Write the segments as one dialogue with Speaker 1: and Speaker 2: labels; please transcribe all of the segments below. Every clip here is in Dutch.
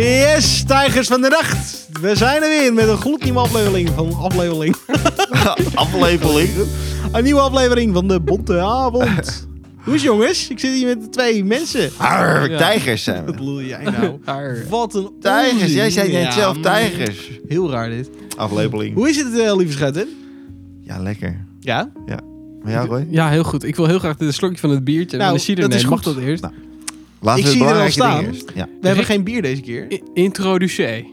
Speaker 1: Yes, tijgers van de nacht. We zijn er weer met een gloednieuwe aflevering van aflevering.
Speaker 2: Afleveling.
Speaker 1: Een nieuwe aflevering van de Bonte Avond. Hoe is het, jongens? Ik zit hier met twee mensen.
Speaker 2: Arr,
Speaker 3: Ja.
Speaker 2: tijgers zijn
Speaker 1: Wat
Speaker 2: we.
Speaker 1: bedoel jij nou?
Speaker 3: Haar.
Speaker 1: Wat een
Speaker 2: Tijgers,
Speaker 1: onzin.
Speaker 2: jij zei net
Speaker 1: Ja,
Speaker 2: zelf
Speaker 1: man.
Speaker 2: tijgers.
Speaker 1: Heel raar dit.
Speaker 2: Afleveling.
Speaker 1: Hoe is het, eh, lieve schatten?
Speaker 2: Ja, lekker.
Speaker 1: Ja?
Speaker 2: Maar ja, Roy?
Speaker 3: Ja, heel goed. Ik wil heel graag een slokje van het biertje.
Speaker 1: Nou,
Speaker 3: Nou, de cider
Speaker 1: dat is
Speaker 3: nemen.
Speaker 1: goed.
Speaker 3: Mag dat eerst?
Speaker 2: Nou. Laten
Speaker 1: Ik
Speaker 2: we het
Speaker 1: zie er al
Speaker 2: belangrijke ding
Speaker 1: staan.
Speaker 2: eerst. Ja.
Speaker 1: We hebben geen bier deze keer.
Speaker 3: I- Introduceer.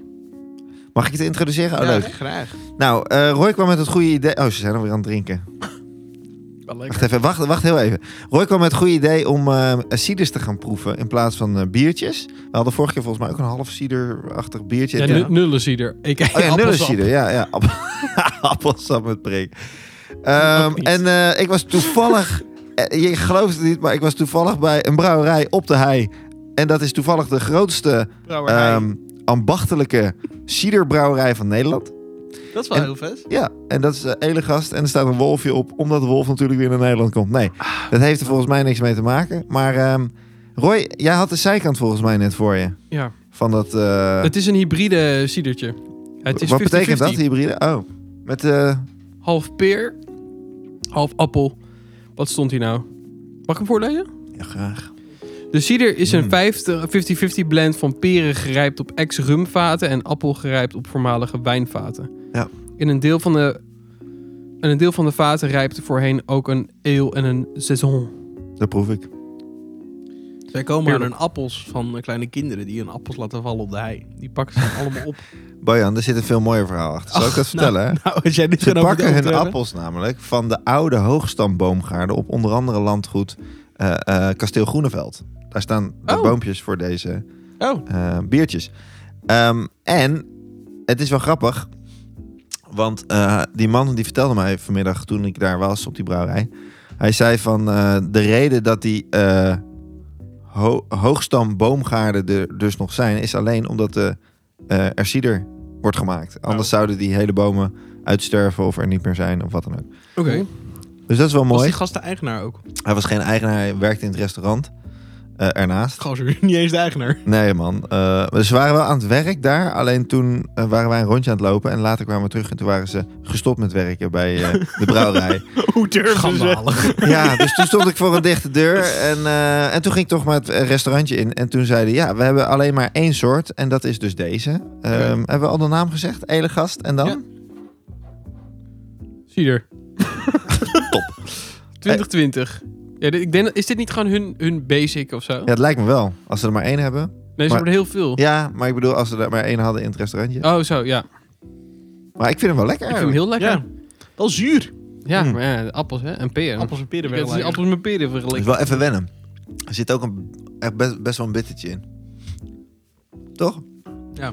Speaker 2: Mag ik het introduceren? Oh,
Speaker 1: Ja,
Speaker 2: leuk.
Speaker 1: graag.
Speaker 2: Nou, eh, Roy kwam met het goede idee... Oh, ze zijn alweer aan het drinken.
Speaker 3: Wel lekker.
Speaker 2: Wacht even, wacht, wacht heel even. Roy kwam met het goede idee om eh ciders te gaan proeven in plaats van eh, biertjes. We hadden vorige keer volgens mij ook een half ciderachtig biertje.
Speaker 3: Ja,
Speaker 2: Ja.
Speaker 3: nu- nullen cider. Ik
Speaker 2: Oh ja, nullencider. Ja, ja. App- Appelsap met prik. Ehm,
Speaker 3: Ook niet.
Speaker 2: en eh, ik was toevallig... eh, je gelooft het niet, maar ik was toevallig bij een brouwerij op de hei. En dat is toevallig de grootste
Speaker 1: Brouwerij.
Speaker 2: ehm, ambachtelijke ciderbrouwerij van Nederland.
Speaker 1: dat is wel
Speaker 2: en-
Speaker 1: heel vet.
Speaker 2: Ja, en dat is eh, Elegast. En er staat een wolfje op, omdat de wolf natuurlijk weer naar Nederland komt. Nee, dat heeft er volgens mij niks mee te maken. Maar ehm, Roy, jij had de zijkant volgens mij net voor je.
Speaker 3: Ja.
Speaker 2: Van dat... eh,
Speaker 3: Het is een hybride cidertje. Het is
Speaker 2: wat
Speaker 3: 50-50.
Speaker 2: betekent dat, hybride? Oh, met... eh,
Speaker 3: Half peer, half appel. Wat stond hier nou? Mag ik hem voorlezen?
Speaker 2: Ja, graag.
Speaker 3: De cider is
Speaker 1: Hmm.
Speaker 3: een
Speaker 2: Mm.
Speaker 3: 50 50-50 blend van peren gerijpt op ex-rumvaten en appel gerijpt op voormalige wijnvaten.
Speaker 2: Ja.
Speaker 3: In een deel van de, in een deel van de vaten rijpte voorheen ook een eeuw en een saison.
Speaker 2: Dat proef ik.
Speaker 1: Zij komen aan
Speaker 3: Heerlijk.
Speaker 1: hun appels van eh, kleine kinderen die hun appels laten vallen op de hei. Die pakken ze allemaal op.
Speaker 2: Bojan, er zit een veel mooier verhaal achter. Zal ik dat vertellen? hè?
Speaker 1: Nou, als jij dit
Speaker 2: Ze
Speaker 1: gewoon over de
Speaker 2: pakken hun
Speaker 1: auto hebt.
Speaker 2: appels namelijk van de oude hoogstamboomgaarden op onder andere landgoed eh, eh, Kasteel Groeneveld. Daar staan de
Speaker 3: Oh.
Speaker 2: boompjes voor deze
Speaker 1: Oh.
Speaker 2: eh, biertjes. Ehm, en het is wel grappig, want eh, die man die vertelde mij vanmiddag toen ik daar was op die brouwerij. Hij zei van eh, de reden dat die eh ho- hoogstamboomgaarden er dus nog zijn, is alleen omdat de eh er cider wordt gemaakt. Anders
Speaker 1: Oh.
Speaker 2: zouden die hele bomen uitsterven of er niet meer zijn of wat dan ook.
Speaker 3: Oké.
Speaker 2: Dus dat is wel
Speaker 1: Was
Speaker 2: mooi.
Speaker 1: die gast de eigenaar ook?
Speaker 2: Hij was geen eigenaar, hij werkte in het restaurant eh, ernaast.
Speaker 1: Gozer, niet eens de eigenaar.
Speaker 2: Nee, man. Eh, maar ze waren wel aan het werk daar. Alleen toen eh, waren wij een rondje aan het lopen. En later kwamen we terug en toen waren ze gestopt met werken bij eh, de brouwerij.
Speaker 1: Hoe durven ze?
Speaker 2: ja, dus toen stond ik voor een dichte deur. En, eh, en toen ging ik toch maar het eh, restaurantje in. En toen zeiden ja, we hebben alleen maar één soort. En dat is dus deze. Ehm,
Speaker 1: Ja.
Speaker 2: Hebben we al de naam gezegd? Elegast. En dan?
Speaker 3: Ja. Cider.
Speaker 2: Top.
Speaker 3: 2020. Ja, dit- ik denk, dat- is dit niet gewoon hun, hun basic of zo?
Speaker 2: Ja, het lijkt me wel. Als ze er maar één hebben.
Speaker 3: nee, ze
Speaker 2: maar-
Speaker 3: hebben er heel veel.
Speaker 2: Ja, maar ik bedoel, als ze er maar één hadden in het restaurantje.
Speaker 3: Oh, zo, ja.
Speaker 2: Maar ik vind hem wel lekker.
Speaker 3: Ik vind hem heel lekker.
Speaker 1: Ja.
Speaker 3: Ja,
Speaker 1: Wel zuur.
Speaker 2: Mm.
Speaker 3: maar ja, appels hè, en peren.
Speaker 1: Appels en peren
Speaker 3: Ja, het is
Speaker 1: wel
Speaker 3: appels met peren vergeleken.
Speaker 2: Dus wel even wennen. Er zit ook een, echt best, best wel een bittertje in. Toch?
Speaker 3: Ik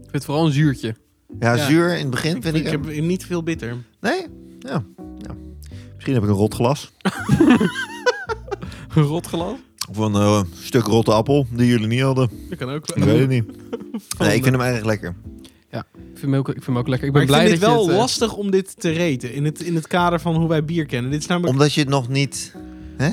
Speaker 3: vind het vooral een zuurtje.
Speaker 2: Ja,
Speaker 1: Ja.
Speaker 2: zuur in het begin vind ik.
Speaker 1: Ik heb niet veel bitter.
Speaker 2: hem- Nee? Ja. ja. Misschien heb ik een rot glas.
Speaker 1: Rotgeloof?
Speaker 2: Of een eh, stuk rotte appel die jullie niet hadden.
Speaker 1: Dat kan ook.
Speaker 2: Ik weet het niet. Nee, ik vind hem eigenlijk lekker.
Speaker 3: Ik vind hem ook, ik vind hem ook lekker. Ik
Speaker 1: Maar
Speaker 3: ben
Speaker 1: ik
Speaker 3: blij
Speaker 1: vind dit
Speaker 3: dat
Speaker 1: wel
Speaker 3: je het, eh,
Speaker 1: lastig om dit te reten. In het, in het kader van hoe wij bier kennen. Dit is namelijk...
Speaker 2: Omdat je het nog niet
Speaker 1: Hè?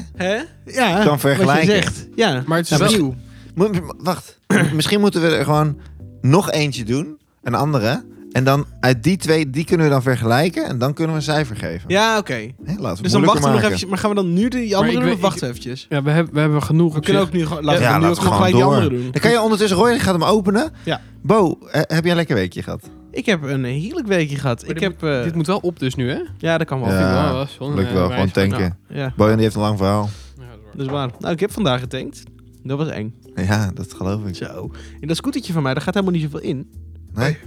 Speaker 1: Ja.
Speaker 2: kan
Speaker 1: Wat je
Speaker 2: vergelijken.
Speaker 1: zegt. Ja.
Speaker 3: Maar het
Speaker 1: Ja,
Speaker 3: is wel...
Speaker 1: nieuw.
Speaker 2: Moet- wacht. Misschien moeten we er gewoon nog eentje doen. Een andere. En dan uit die twee, die kunnen we dan vergelijken. En dan kunnen we een cijfer geven.
Speaker 1: Ja, oké.
Speaker 2: Hè, laten we
Speaker 1: Dus
Speaker 2: het
Speaker 1: dan
Speaker 2: moeilijker
Speaker 1: wachten we nog
Speaker 2: maken.
Speaker 1: eventjes. Maar gaan we dan nu die andere
Speaker 3: ik
Speaker 1: doen?
Speaker 3: weet-
Speaker 1: Of wachten we eventjes?
Speaker 3: Ja, we hebben, we hebben genoeg.
Speaker 1: We
Speaker 3: op
Speaker 1: kunnen
Speaker 3: zich.
Speaker 1: ook nu gewoon... Laten
Speaker 2: Ja,
Speaker 1: we nu ook
Speaker 2: laten we
Speaker 1: gewoon
Speaker 2: gewoon
Speaker 1: gelijk die
Speaker 2: door.
Speaker 1: andere doen.
Speaker 2: Dan kan je ondertussen Roy gaat hem openen.
Speaker 1: Ja. Eh,
Speaker 2: Bo, eh, heb jij een lekker weekje gehad?
Speaker 1: Ik heb een heerlijk weekje gehad. Ik
Speaker 3: dit
Speaker 1: heb... eh,
Speaker 3: Dit moet wel op dus nu, hè?
Speaker 1: Ja, dat kan wel.
Speaker 2: Ja,
Speaker 3: Vind ik wel, zonde,
Speaker 2: Lukt wel,
Speaker 3: eh,
Speaker 2: gewoon
Speaker 3: wijs, maar nou.
Speaker 2: tanken.
Speaker 1: Ja,
Speaker 2: Bojan die heeft een lang verhaal.
Speaker 3: Ja, dat is waar.
Speaker 1: dat is waar. Nou, ik heb vandaag getankt. Dat was eng.
Speaker 2: Ja, dat geloof ik.
Speaker 1: Zo. In dat scootertje van mij, daar gaat helemaal niet zoveel in.
Speaker 2: Nee?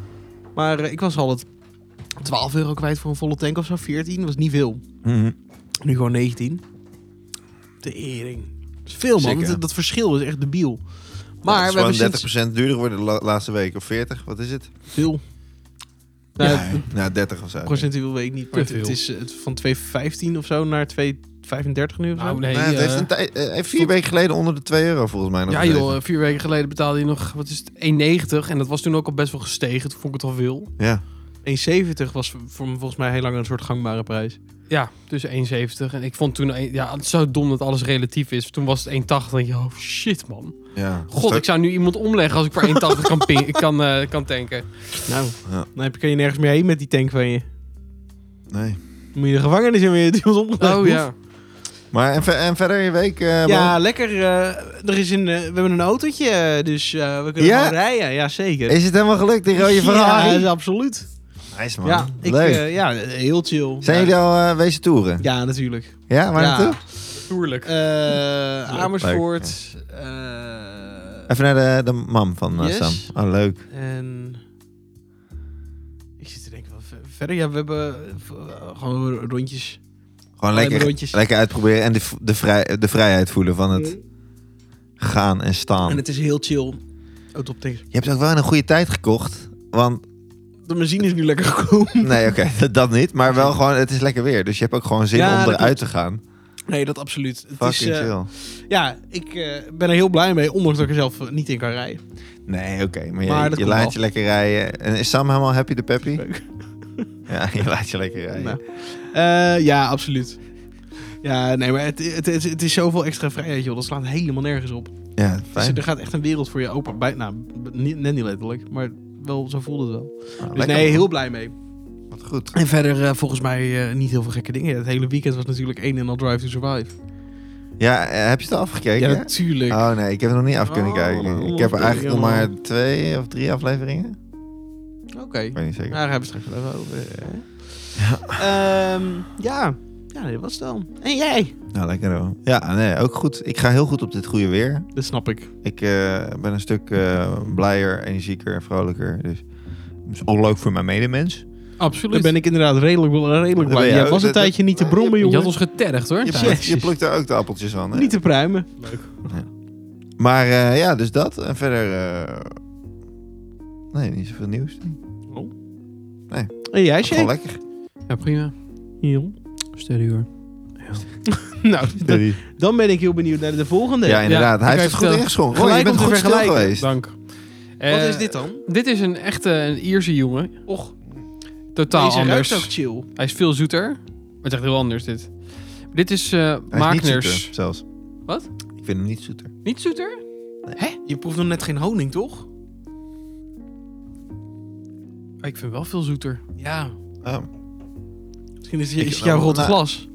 Speaker 1: Maar eh, ik was al het 12 euro kwijt voor een volle tank of zo. 14 was niet veel.
Speaker 2: Mhm.
Speaker 1: Nu gewoon 19. De ering. Dat is veel, man.
Speaker 2: Zeker.
Speaker 1: Dat, dat verschil is echt debiel.
Speaker 2: Ja,
Speaker 1: Maar
Speaker 2: het
Speaker 1: we
Speaker 2: is
Speaker 1: hebben
Speaker 2: gewoon
Speaker 1: sinds...
Speaker 2: 30% duurder geworden de la- laatste week. Of 40, wat is het?
Speaker 1: Veel. Nou,
Speaker 2: ja, nou, 30 of zo.
Speaker 1: procentueel weet ik niet. Maar
Speaker 3: Te
Speaker 1: het, het is
Speaker 3: veel.
Speaker 1: eh, het van 2,15 of zo naar 2,35 nu of zo.
Speaker 3: Nou, nee.
Speaker 2: Nee, het
Speaker 3: eh,
Speaker 2: heeft, een tij- eh, heeft vier weken geleden onder de 2 euro volgens mij nog
Speaker 3: ja
Speaker 2: gezeten.
Speaker 3: joh, eh, vier
Speaker 1: eh,
Speaker 3: weken geleden betaalde je nog, wat is het, 1,90. En dat was toen ook al best wel gestegen. Toen vond ik het al veel.
Speaker 2: Ja.
Speaker 1: ik 1,70 was voor voor me volgens mij heel lang een soort gangbare prijs.
Speaker 3: Ja, tussen 1,70. En ik vond toen... een- Ja, het is zo dom dat alles relatief is. Toen was het 1,80. Dan denk je, oh shit man.
Speaker 2: Ja.
Speaker 3: God, ik zou nu iemand omleggen als ik voor 1,80 kan, ping, kan, eh, kan tanken.
Speaker 1: Nou,
Speaker 2: Ja.
Speaker 1: dan heb je, kan je nergens meer heen met die tank van je.
Speaker 2: Nee.
Speaker 1: Dan moet je de gevangenis in weer die was omgelegd.
Speaker 3: Oh ja.
Speaker 2: Maar en, ver- en verder in je week? eh,
Speaker 1: Ja,
Speaker 2: Bo?
Speaker 1: lekker. eh, er is een, eh, we hebben een autootje, eh, dus eh, we kunnen
Speaker 2: Ja?
Speaker 1: gewoon rijden. Ja, zeker.
Speaker 2: Is het helemaal gelukt, die rode Ferrari?
Speaker 1: Ja, is absoluut.
Speaker 2: Nice man.
Speaker 1: Ja, ik,
Speaker 2: Leuk.
Speaker 1: eh, ja, heel chill.
Speaker 2: Zijn
Speaker 1: ja.
Speaker 2: jullie al eh, wezen toeren?
Speaker 1: Ja, natuurlijk.
Speaker 2: Ja, waar
Speaker 1: Ja.
Speaker 2: naartoe?
Speaker 3: Tuurlijk.
Speaker 1: Eh,
Speaker 3: Leuk.
Speaker 1: Amersfoort. eh,
Speaker 2: Even naar de, de mam van eh,
Speaker 1: Yes.
Speaker 2: Sam. Oh, leuk.
Speaker 1: en... Ik zit te denken, wat ver- verder? Ja, we hebben eh, gewoon rondjes.
Speaker 2: Gewoon
Speaker 1: Kleine
Speaker 2: lekker,
Speaker 1: rondjes.
Speaker 2: lekker uitproberen en de, v- de, vrij, de vrijheid voelen van het gaan en staan.
Speaker 1: En het is heel chill. Oh, top tegen.
Speaker 2: Je hebt ook wel in een goede tijd gekocht. Want,
Speaker 1: De benzine is nu lekker gekomen.
Speaker 2: nee oké, dat niet. Maar wel gewoon, het is lekker weer. Dus je hebt ook gewoon zin
Speaker 1: Ja, dat
Speaker 2: om
Speaker 1: klopt.
Speaker 2: eruit te gaan.
Speaker 1: Nee, dat absoluut. Het is,
Speaker 2: Fucking
Speaker 1: eh,
Speaker 2: chill.
Speaker 1: Ja, ik eh, ben er heel blij mee, ondanks dat ik er zelf eh, niet in kan rijden.
Speaker 2: Nee, oké. maar je,
Speaker 1: maar dat
Speaker 2: je
Speaker 1: komt wel.
Speaker 2: laat je lekker rijden. En is Sam helemaal happy de peppy?
Speaker 1: Leuk.
Speaker 2: Ja, je laat je lekker rijden.
Speaker 1: Nou. Eh, ja, absoluut. Ja, nee, maar het, het, het, het is zoveel extra vrijheid, joh. Dat slaat helemaal nergens op.
Speaker 2: Ja,
Speaker 1: Dus
Speaker 2: fijn.
Speaker 1: er gaat echt een wereld voor je open. Bij, nou, b- niet, net niet letterlijk, maar wel, zo voelde het wel.
Speaker 2: Nou,
Speaker 1: Dus
Speaker 2: lekker,
Speaker 1: nee,
Speaker 2: man.
Speaker 1: heel blij mee.
Speaker 2: Wat goed.
Speaker 1: En verder eh, volgens mij eh, niet heel veel gekke dingen. Het hele weekend was natuurlijk één en al Drive to Survive.
Speaker 2: Ja, eh, heb je het al afgekeken?
Speaker 1: ja, natuurlijk.
Speaker 2: Oh nee, ik heb er nog niet af kunnen
Speaker 1: Oh,
Speaker 2: kijken. Ik heb er eigenlijk nog maar twee of drie afleveringen.
Speaker 1: Oké.
Speaker 2: Ik weet niet
Speaker 1: Nou,
Speaker 2: zeker.
Speaker 1: daar hebben we het straks wel even over. hè. Ehm, ja. ja, dat was het dan. En jij?
Speaker 2: Nou, lekker hoor. Ja, nee, ook goed. Ik ga heel goed op dit goede weer.
Speaker 1: Dat snap ik.
Speaker 2: Ik eh, ben een stuk eh, blijer, energieker en vrolijker. Dus het is ook leuk voor mijn medemens.
Speaker 1: Daar
Speaker 3: Absoluut.
Speaker 1: ben ik inderdaad redelijk, redelijk
Speaker 2: ben
Speaker 1: blij.
Speaker 2: je
Speaker 1: Jij
Speaker 2: ook.
Speaker 1: was een
Speaker 2: Dat- dat-
Speaker 1: tijdje niet te brommen,
Speaker 3: je had
Speaker 1: jongen.
Speaker 3: ons getergd hoor.
Speaker 2: Je
Speaker 1: Ja,
Speaker 2: plukt, je
Speaker 1: precies.
Speaker 2: plukt er ook de appeltjes van. Hè?
Speaker 1: Niet te pruimen.
Speaker 2: Maar eh, ja, dus dat. En verder... eh, Nee, niet zoveel nieuws.
Speaker 1: En jij,
Speaker 2: Gewoon
Speaker 1: Shay?
Speaker 2: lekker.
Speaker 3: Ja, prima. Steady hoor.
Speaker 1: Nou, d- dan ben ik heel benieuwd naar de volgende.
Speaker 2: Ja, inderdaad.
Speaker 3: Ja,
Speaker 2: Hij
Speaker 3: ik
Speaker 2: heeft het
Speaker 3: ga
Speaker 2: goed
Speaker 3: vertellen.
Speaker 2: ingeschonken. Roy, je
Speaker 1: Gelijk
Speaker 2: bent
Speaker 1: om te
Speaker 2: goed stil
Speaker 1: vergelijken.
Speaker 2: geweest.
Speaker 3: Dank.
Speaker 1: Wat
Speaker 3: Eh,
Speaker 1: is dit dan?
Speaker 3: Dit is een echte een Ierse jongen.
Speaker 1: Och,
Speaker 3: Totaal
Speaker 1: deze
Speaker 3: anders.
Speaker 1: ruikt ook chill.
Speaker 3: Hij is veel zoeter. Maar het is echt heel anders dit. Dit is eh
Speaker 2: Hij is niet
Speaker 3: Magners.
Speaker 2: zoeter, zelfs.
Speaker 3: Wat?
Speaker 2: Ik vind hem niet zoeter.
Speaker 3: Niet zoeter?
Speaker 1: Hè? Je proeft nog net geen honing, toch?
Speaker 3: Ah, Ik vind wel veel zoeter.
Speaker 1: Ja.
Speaker 2: Ah.
Speaker 1: Misschien is,
Speaker 2: Ik-
Speaker 1: is het jouw rot
Speaker 2: nou-
Speaker 1: glas.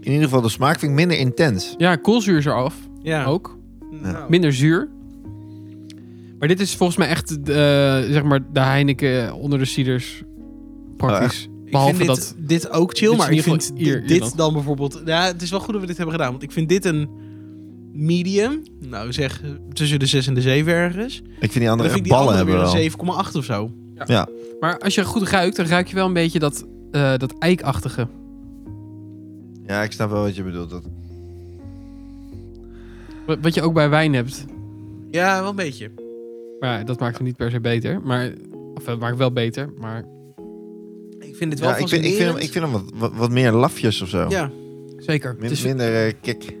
Speaker 2: In ieder geval, de smaak vind ik minder intens.
Speaker 3: Ja, koolzuur is eraf.
Speaker 1: Ja.
Speaker 3: Ook.
Speaker 1: Nou.
Speaker 3: Minder zuur. Maar dit is volgens mij echt de, zeg maar de Heineken eh, onder de ciders. Praktisch.
Speaker 1: Ah, Ik
Speaker 3: Behalve
Speaker 1: vind
Speaker 3: dat...
Speaker 1: dit, dit ook
Speaker 3: Dit
Speaker 1: chill,
Speaker 3: is
Speaker 1: maar
Speaker 3: in
Speaker 1: ik
Speaker 3: ieder
Speaker 1: vind
Speaker 3: geval
Speaker 1: di-
Speaker 3: Ier-
Speaker 1: dit,
Speaker 3: Ierland.
Speaker 1: dan bijvoorbeeld... Ja, het is wel goed dat we dit hebben gedaan, want ik vind dit een medium. Nou, zeg eh, tussen de 6 en de 7 ergens. En
Speaker 2: Ik vind die
Speaker 1: dan
Speaker 2: andere
Speaker 1: vind ik
Speaker 2: echt
Speaker 1: die
Speaker 2: ballen
Speaker 1: andere
Speaker 2: hebben wel.
Speaker 1: weer een 7,8 of zo.
Speaker 3: Maar als je goed ruikt, dan ruik je wel een beetje dat, eh, dat eikachtige.
Speaker 2: Ja, ik snap wel wat je bedoelt. Dat...
Speaker 3: Wat wat je ook bij wijn hebt.
Speaker 1: Ja, wel een beetje.
Speaker 3: Maar ja, dat maakt hem niet per se beter. Maar, of het maakt wel beter, maar
Speaker 1: Ik vind dit wel
Speaker 2: Ja, ik, vind, ik, vind hem, ik vind hem wat, wat, wat meer lafjes of zo.
Speaker 1: Ja.
Speaker 3: zeker.
Speaker 2: Min-
Speaker 3: het is
Speaker 2: minder eh, kick.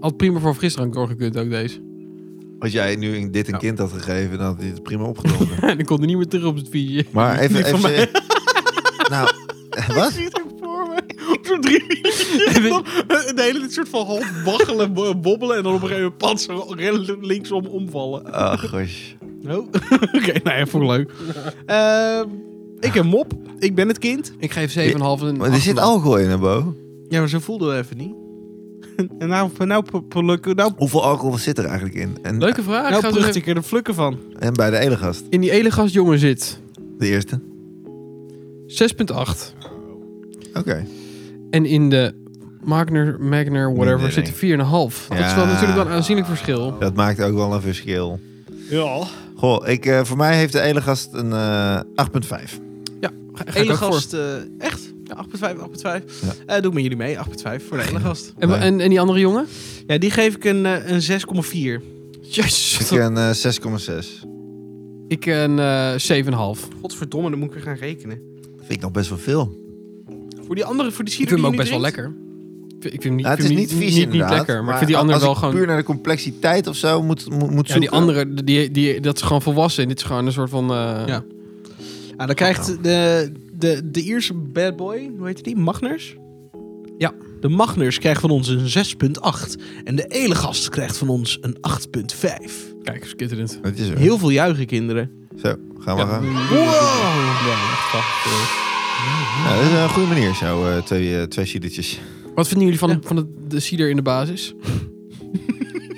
Speaker 3: al prima voor frisdrank doorgekund ook deze.
Speaker 2: Als jij nu een- dit een
Speaker 1: Ja.
Speaker 2: kind had gegeven, dan had hij het prima opgedronken.
Speaker 3: En ik kon er niet meer terug op het fietsje.
Speaker 2: maar even...
Speaker 1: Die
Speaker 2: even
Speaker 1: van mij.
Speaker 2: serieus. nou, wat?
Speaker 1: zit ook voor me. Op zo'n driewielertje. En dan De hele tijd soort van half waggelen, bo- bobbelen. En dan op een gegeven moment pats zo rel- linksom omvallen.
Speaker 2: Oh, gosh.
Speaker 1: Oh. Oké, nou ja, vond ik leuk. Ehm, ik heb mop. Ik ben het kind.
Speaker 3: Ik geef 7,5 en
Speaker 2: Maar er zit alcohol in, hè, Bo?
Speaker 1: Ja, maar zo voelde we even niet. En nou, nou, pu- pu- luk- nou,
Speaker 2: Hoeveel alcohol zit er eigenlijk in? En,
Speaker 3: Leuke vraag.
Speaker 1: nou
Speaker 3: Gaan we
Speaker 1: prucht
Speaker 3: even-
Speaker 1: ik er de flukken van.
Speaker 2: en bij de ene gast,
Speaker 3: In die elegast jongen zit. 6,8.
Speaker 2: de eerste. Oké.
Speaker 3: En in de Magner, Magner,
Speaker 2: Minder,
Speaker 3: whatever,
Speaker 2: denk
Speaker 3: zit 4,5. Dat is wel
Speaker 2: Ja.
Speaker 3: natuurlijk wel een aanzienlijk verschil.
Speaker 2: Dat maakt ook wel een verschil.
Speaker 1: Ja.
Speaker 2: Goh, ik, eh, voor mij heeft de ene gast een eh, 8,5.
Speaker 3: Ga, ga ik ook voor.
Speaker 1: Elegast, eh echt? Ja, 8,5, 8,5.
Speaker 2: Ja.
Speaker 1: Eh, doe ik met jullie mee, 8,5 voor de Elegast.
Speaker 3: En, en, en die andere jongen?
Speaker 1: Ja, die geef ik een, eh, een 6,4.
Speaker 2: Dus Ik
Speaker 3: Yes.
Speaker 2: een eh, 6,6.
Speaker 3: Ik een eh 7,5.
Speaker 1: Godverdomme, dan moet ik er gaan rekenen.
Speaker 2: Vind ik nog best wel veel.
Speaker 1: Voor die andere, voor die
Speaker 3: Ik
Speaker 1: cider
Speaker 3: vind hem ook
Speaker 1: die
Speaker 3: best
Speaker 1: je
Speaker 3: wel
Speaker 1: nu drinkt?
Speaker 3: lekker. Ik vind, ik vind hem niet,
Speaker 2: Ja, Nou, het
Speaker 3: ik
Speaker 2: is
Speaker 3: vind hem
Speaker 2: niet vies
Speaker 3: niet, niet
Speaker 2: inderdaad.
Speaker 3: lekker, maar, ik vind die andere
Speaker 2: als
Speaker 3: wel
Speaker 2: ik
Speaker 3: gewoon...
Speaker 2: puur naar de complexiteit of zo moet, moet, moet
Speaker 3: Ja, die
Speaker 2: zoeken.
Speaker 3: andere, die, die, dat is gewoon volwassen. En dit is gewoon een soort van... eh,
Speaker 1: Ja. Ah, dan krijgt de, de, de Ierse bad boy, hoe heet die? Magners?
Speaker 3: Ja.
Speaker 1: De Magners krijgt van ons een 6,8. En de Elegast krijgt van ons een 8,5.
Speaker 3: Kijk, skitterend.
Speaker 2: Dat is er.
Speaker 1: Heel veel juichen, kinderen.
Speaker 2: Zo, gaan we gaan.
Speaker 3: eh.
Speaker 1: Wow!
Speaker 2: Nou, dat is een goede manier zo, eh, twee, eh, twee siedertjes.
Speaker 3: Wat vinden jullie van,
Speaker 1: Ja.
Speaker 3: van de, de cider in de basis?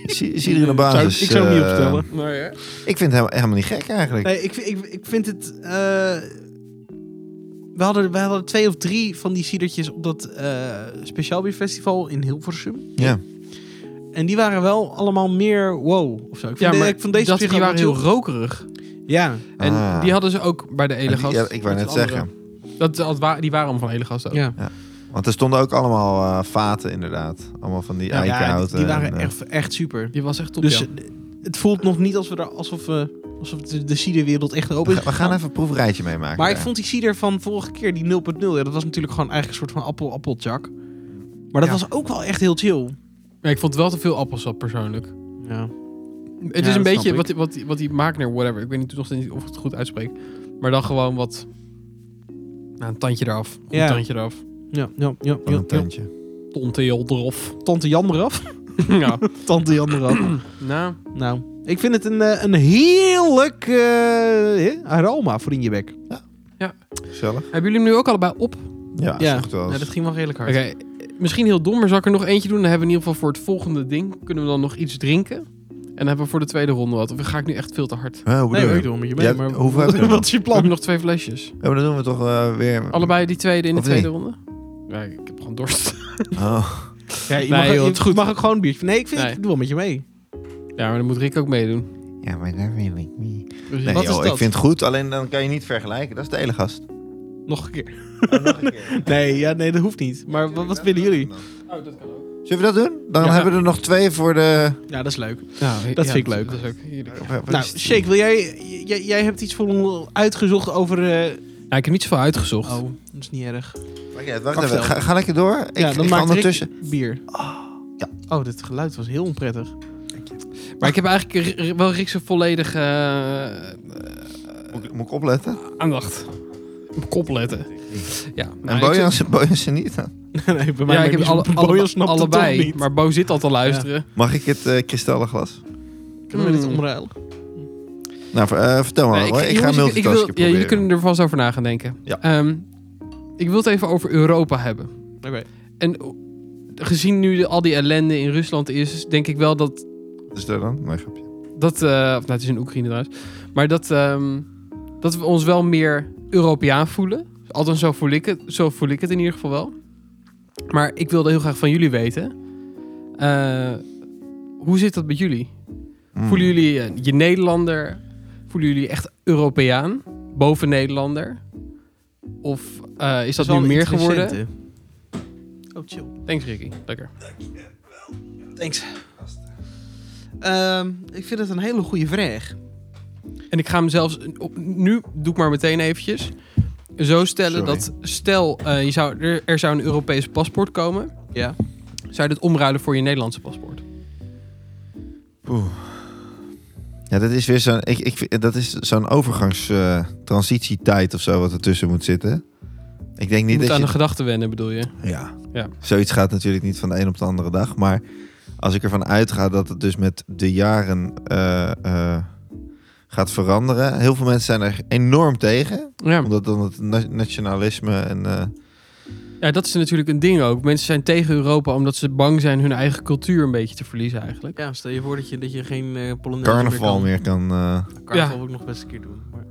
Speaker 2: Si- Cider in de basis.
Speaker 1: ik zou hem niet
Speaker 2: eh,
Speaker 1: opstellen.
Speaker 3: Nou ja.
Speaker 2: Ik vind het helemaal, helemaal niet gek eigenlijk.
Speaker 1: Nee, ik, ik, ik vind het... eh, we, hadden, we hadden twee of drie van die sidertjes op dat eh speciaalbierfestival in Hilversum.
Speaker 2: Ja.
Speaker 1: En die waren wel allemaal meer wow of zo. Ik
Speaker 3: Ja,
Speaker 1: vond, de-
Speaker 3: maar
Speaker 1: ik vond deze
Speaker 3: dat,
Speaker 1: op zich
Speaker 3: die
Speaker 1: ook
Speaker 3: waren
Speaker 1: wel
Speaker 3: heel rokerig.
Speaker 1: Ja,
Speaker 3: En
Speaker 2: Ah.
Speaker 3: die hadden ze ook bij de Elegast.
Speaker 2: Ja, ik wou
Speaker 3: Dat
Speaker 2: net
Speaker 3: is het andere.
Speaker 2: zeggen.
Speaker 3: Dat, dat wa- die waren om van Elegast ook.
Speaker 1: ja.
Speaker 2: Want er stonden ook allemaal eh, vaten inderdaad. Allemaal van die
Speaker 1: Nou ja, die,
Speaker 2: eikenhouten.
Speaker 1: die waren
Speaker 2: en, eh,
Speaker 1: echt, echt super.
Speaker 3: Die was echt top,
Speaker 1: dus
Speaker 3: ja.
Speaker 1: eh, het voelt nog niet alsof we er, alsof, we alsof de, de ciderwereld echt
Speaker 2: we,
Speaker 1: open is.
Speaker 2: gaan- we gaan even een proefrijtje meemaken.
Speaker 1: Maar ik
Speaker 2: daar.
Speaker 1: vond die cider van vorige keer, die 0.0, ja, dat was natuurlijk gewoon eigenlijk een soort van appel-appelchak. Maar dat
Speaker 3: Ja.
Speaker 1: was ook wel echt heel chill.
Speaker 3: Maar ik vond het wel te veel appelsap persoonlijk.
Speaker 1: Ja. Ja,
Speaker 3: Het is een
Speaker 1: dat snap
Speaker 3: beetje
Speaker 1: ik.
Speaker 3: wat, die- wat, die- wat die Maakner, whatever. Ik weet niet, nog steeds niet of ik het goed uitspreek. Maar dan gewoon wat... Nou, een tandje eraf. Een
Speaker 1: Ja.
Speaker 3: tandje eraf.
Speaker 1: Ja, ja, ja,
Speaker 2: Van
Speaker 1: ja,
Speaker 2: een tandje.
Speaker 3: Tonteel eraf.
Speaker 1: Tante Jan eraf.
Speaker 3: ja.
Speaker 1: Tante Jan eraf.
Speaker 3: Nou,
Speaker 1: nou, ik vind het een, eh, een heerlijk eh, eh, aroma voor in je bek.
Speaker 2: Gezellig.
Speaker 3: hebben jullie hem nu ook allebei op?
Speaker 2: Ja,
Speaker 1: Ja.
Speaker 2: is goed wel.
Speaker 3: Nee,
Speaker 2: eens.
Speaker 3: dat ging wel redelijk hard. Oké, misschien heel dom, maar zal ik er nog eentje doen? Dan hebben we in ieder geval voor het volgende ding... kunnen we dan nog iets drinken. En dan hebben we voor de tweede ronde wat. Of ga ik nu echt veel te hard?
Speaker 2: Hè, hoe
Speaker 1: Nee,
Speaker 2: bedoel
Speaker 1: ik
Speaker 2: je?
Speaker 1: doe met je
Speaker 2: Ja,
Speaker 1: mee. Maar
Speaker 2: hoeveel heb je er nog?
Speaker 1: wat is je
Speaker 3: We
Speaker 1: plan?
Speaker 3: hebben nog twee flesjes.
Speaker 2: Ja, maar dan doen we toch eh, weer...
Speaker 3: Allebei die tweede in de
Speaker 2: Of niet?
Speaker 3: tweede ronde? Ja, ik heb gewoon dorst.
Speaker 2: Oh.
Speaker 1: Ja, je
Speaker 3: Nee,
Speaker 1: mag,
Speaker 3: joh,
Speaker 1: je
Speaker 3: het is goed.
Speaker 1: mag ook gewoon een biertje. Nee, ik, vind,
Speaker 3: Nee.
Speaker 1: ik doe wel met je mee.
Speaker 3: Ja, maar dan moet Rick ook meedoen.
Speaker 2: Ja, maar daar wil ik niet.
Speaker 3: Precies.
Speaker 2: Nee,
Speaker 1: Wat is
Speaker 2: joh, ik
Speaker 1: dat?
Speaker 2: vind het goed. Alleen dan kan je niet vergelijken. Dat is de hele gast.
Speaker 1: Nog een keer.
Speaker 2: nog een keer.
Speaker 1: Nee, ja, nee dat hoeft niet. Maar wat, wat willen jullie?
Speaker 3: Oh, dat kan ook.
Speaker 2: Zullen we dat doen? Dan
Speaker 3: Ja.
Speaker 2: hebben we er nog twee voor de...
Speaker 1: Ja, dat is leuk.
Speaker 3: Nou,
Speaker 1: Dat
Speaker 3: ja,
Speaker 1: vind ik leuk.
Speaker 3: Dat is ook hier. Nou,
Speaker 1: Nou, Shake, wil jij, j- j- jij hebt iets voor ons uitgezocht over... eh,
Speaker 3: ik heb niet zoveel uitgezocht.
Speaker 1: Oh, dat is niet erg.
Speaker 2: Wacht even, wacht
Speaker 1: Mag
Speaker 2: even.
Speaker 1: wel.
Speaker 2: Ga, ga lekker door. Ik,
Speaker 1: ja, dan
Speaker 2: ik ga
Speaker 1: maakt
Speaker 2: ondertussen.
Speaker 1: Rick bier.
Speaker 2: ja.
Speaker 1: Oh, dit geluid was heel onprettig.
Speaker 3: Maar ik heb eigenlijk r- r- wel Rick zijn volledige eh, eh,
Speaker 2: Moet, ik- moet ik opletten?
Speaker 3: Ah, aandacht. Op kop letten. Ja.
Speaker 2: en
Speaker 3: nou, ik
Speaker 2: Bojan ze- Bojan ze niet.
Speaker 1: nee, bij
Speaker 3: zit-
Speaker 1: mij
Speaker 3: Ja, ik heb alle, alle-
Speaker 1: Bojan snapt het
Speaker 3: allebei.
Speaker 1: toch niet.
Speaker 3: Maar Bo zit al te luisteren.
Speaker 2: Mag ik het eh kristallenglas?
Speaker 1: Kunnen we dit
Speaker 3: Hmm.
Speaker 1: omruilen?
Speaker 2: Nou, ver- eh, vertel maar.
Speaker 3: Nee,
Speaker 2: hoor. ik, ga
Speaker 3: jongens, ik- ik wil-
Speaker 2: multitasken
Speaker 3: Ja,
Speaker 2: proberen.
Speaker 3: jullie kunnen er vast over na gaan denken.
Speaker 2: Ja.
Speaker 3: Ehm, ik wil het even over Europa hebben.
Speaker 1: Oké.
Speaker 3: En gezien nu de- al die ellende in Rusland is, denk ik wel dat.
Speaker 2: Is dat dan? Nee, grapje.
Speaker 3: dat eh, of nou, het is in Oekraïne trouwens. Maar dat, ehm, dat we ons wel meer Europeaan voelen. Althans, zo voel, ik het, zo voel ik het in ieder geval wel. Maar ik wilde heel graag van jullie weten. eh, hoe zit dat met jullie?
Speaker 2: Mm.
Speaker 3: Voelen jullie eh, je Nederlander? Voelen jullie echt Europeaan? Boven Nederlander? Of eh, is dat,
Speaker 1: wel
Speaker 3: nu
Speaker 1: een
Speaker 3: meer geworden?
Speaker 1: interessante. Oh, chill.
Speaker 3: Thanks, Ricky. Lekker.
Speaker 1: Thanks. Ehm, ik vind het een hele goede vraag.
Speaker 3: En ik ga hem zelfs... eh, Op, nu doe ik maar meteen eventjes. Zo stellen
Speaker 2: Sorry.
Speaker 3: dat... Stel, eh, je zou, er, er zou een Europees paspoort komen.
Speaker 1: Ja.
Speaker 3: Zou je dat omruilen voor je Nederlandse paspoort?
Speaker 2: Oeh. Ja, dat is weer zo'n ik, ik, vind- dat is zo'n overgangstransitietijd of zo wat ertussen moet zitten. Ik denk
Speaker 3: Je
Speaker 2: niet
Speaker 3: moet
Speaker 2: dat
Speaker 3: aan
Speaker 2: je...
Speaker 3: de gedachten wennen, bedoel je?
Speaker 2: Ja.
Speaker 3: Ja.
Speaker 2: Zoiets gaat natuurlijk niet van de een op de andere dag. Maar als ik ervan uitga dat het dus met de jaren eh, eh, gaat veranderen. Heel veel mensen zijn er enorm tegen.
Speaker 3: Ja.
Speaker 2: Omdat dan het na- nationalisme en... eh,
Speaker 3: ja, dat is natuurlijk een ding ook. Mensen zijn tegen Europa omdat ze bang zijn hun eigen cultuur een beetje te verliezen eigenlijk.
Speaker 1: Ja, stel je voor dat je, dat je geen eh Polonaise
Speaker 2: carnaval meer kan. eh,
Speaker 1: Carnaval
Speaker 3: Ja.
Speaker 1: wil ik nog best een keer doen. Maar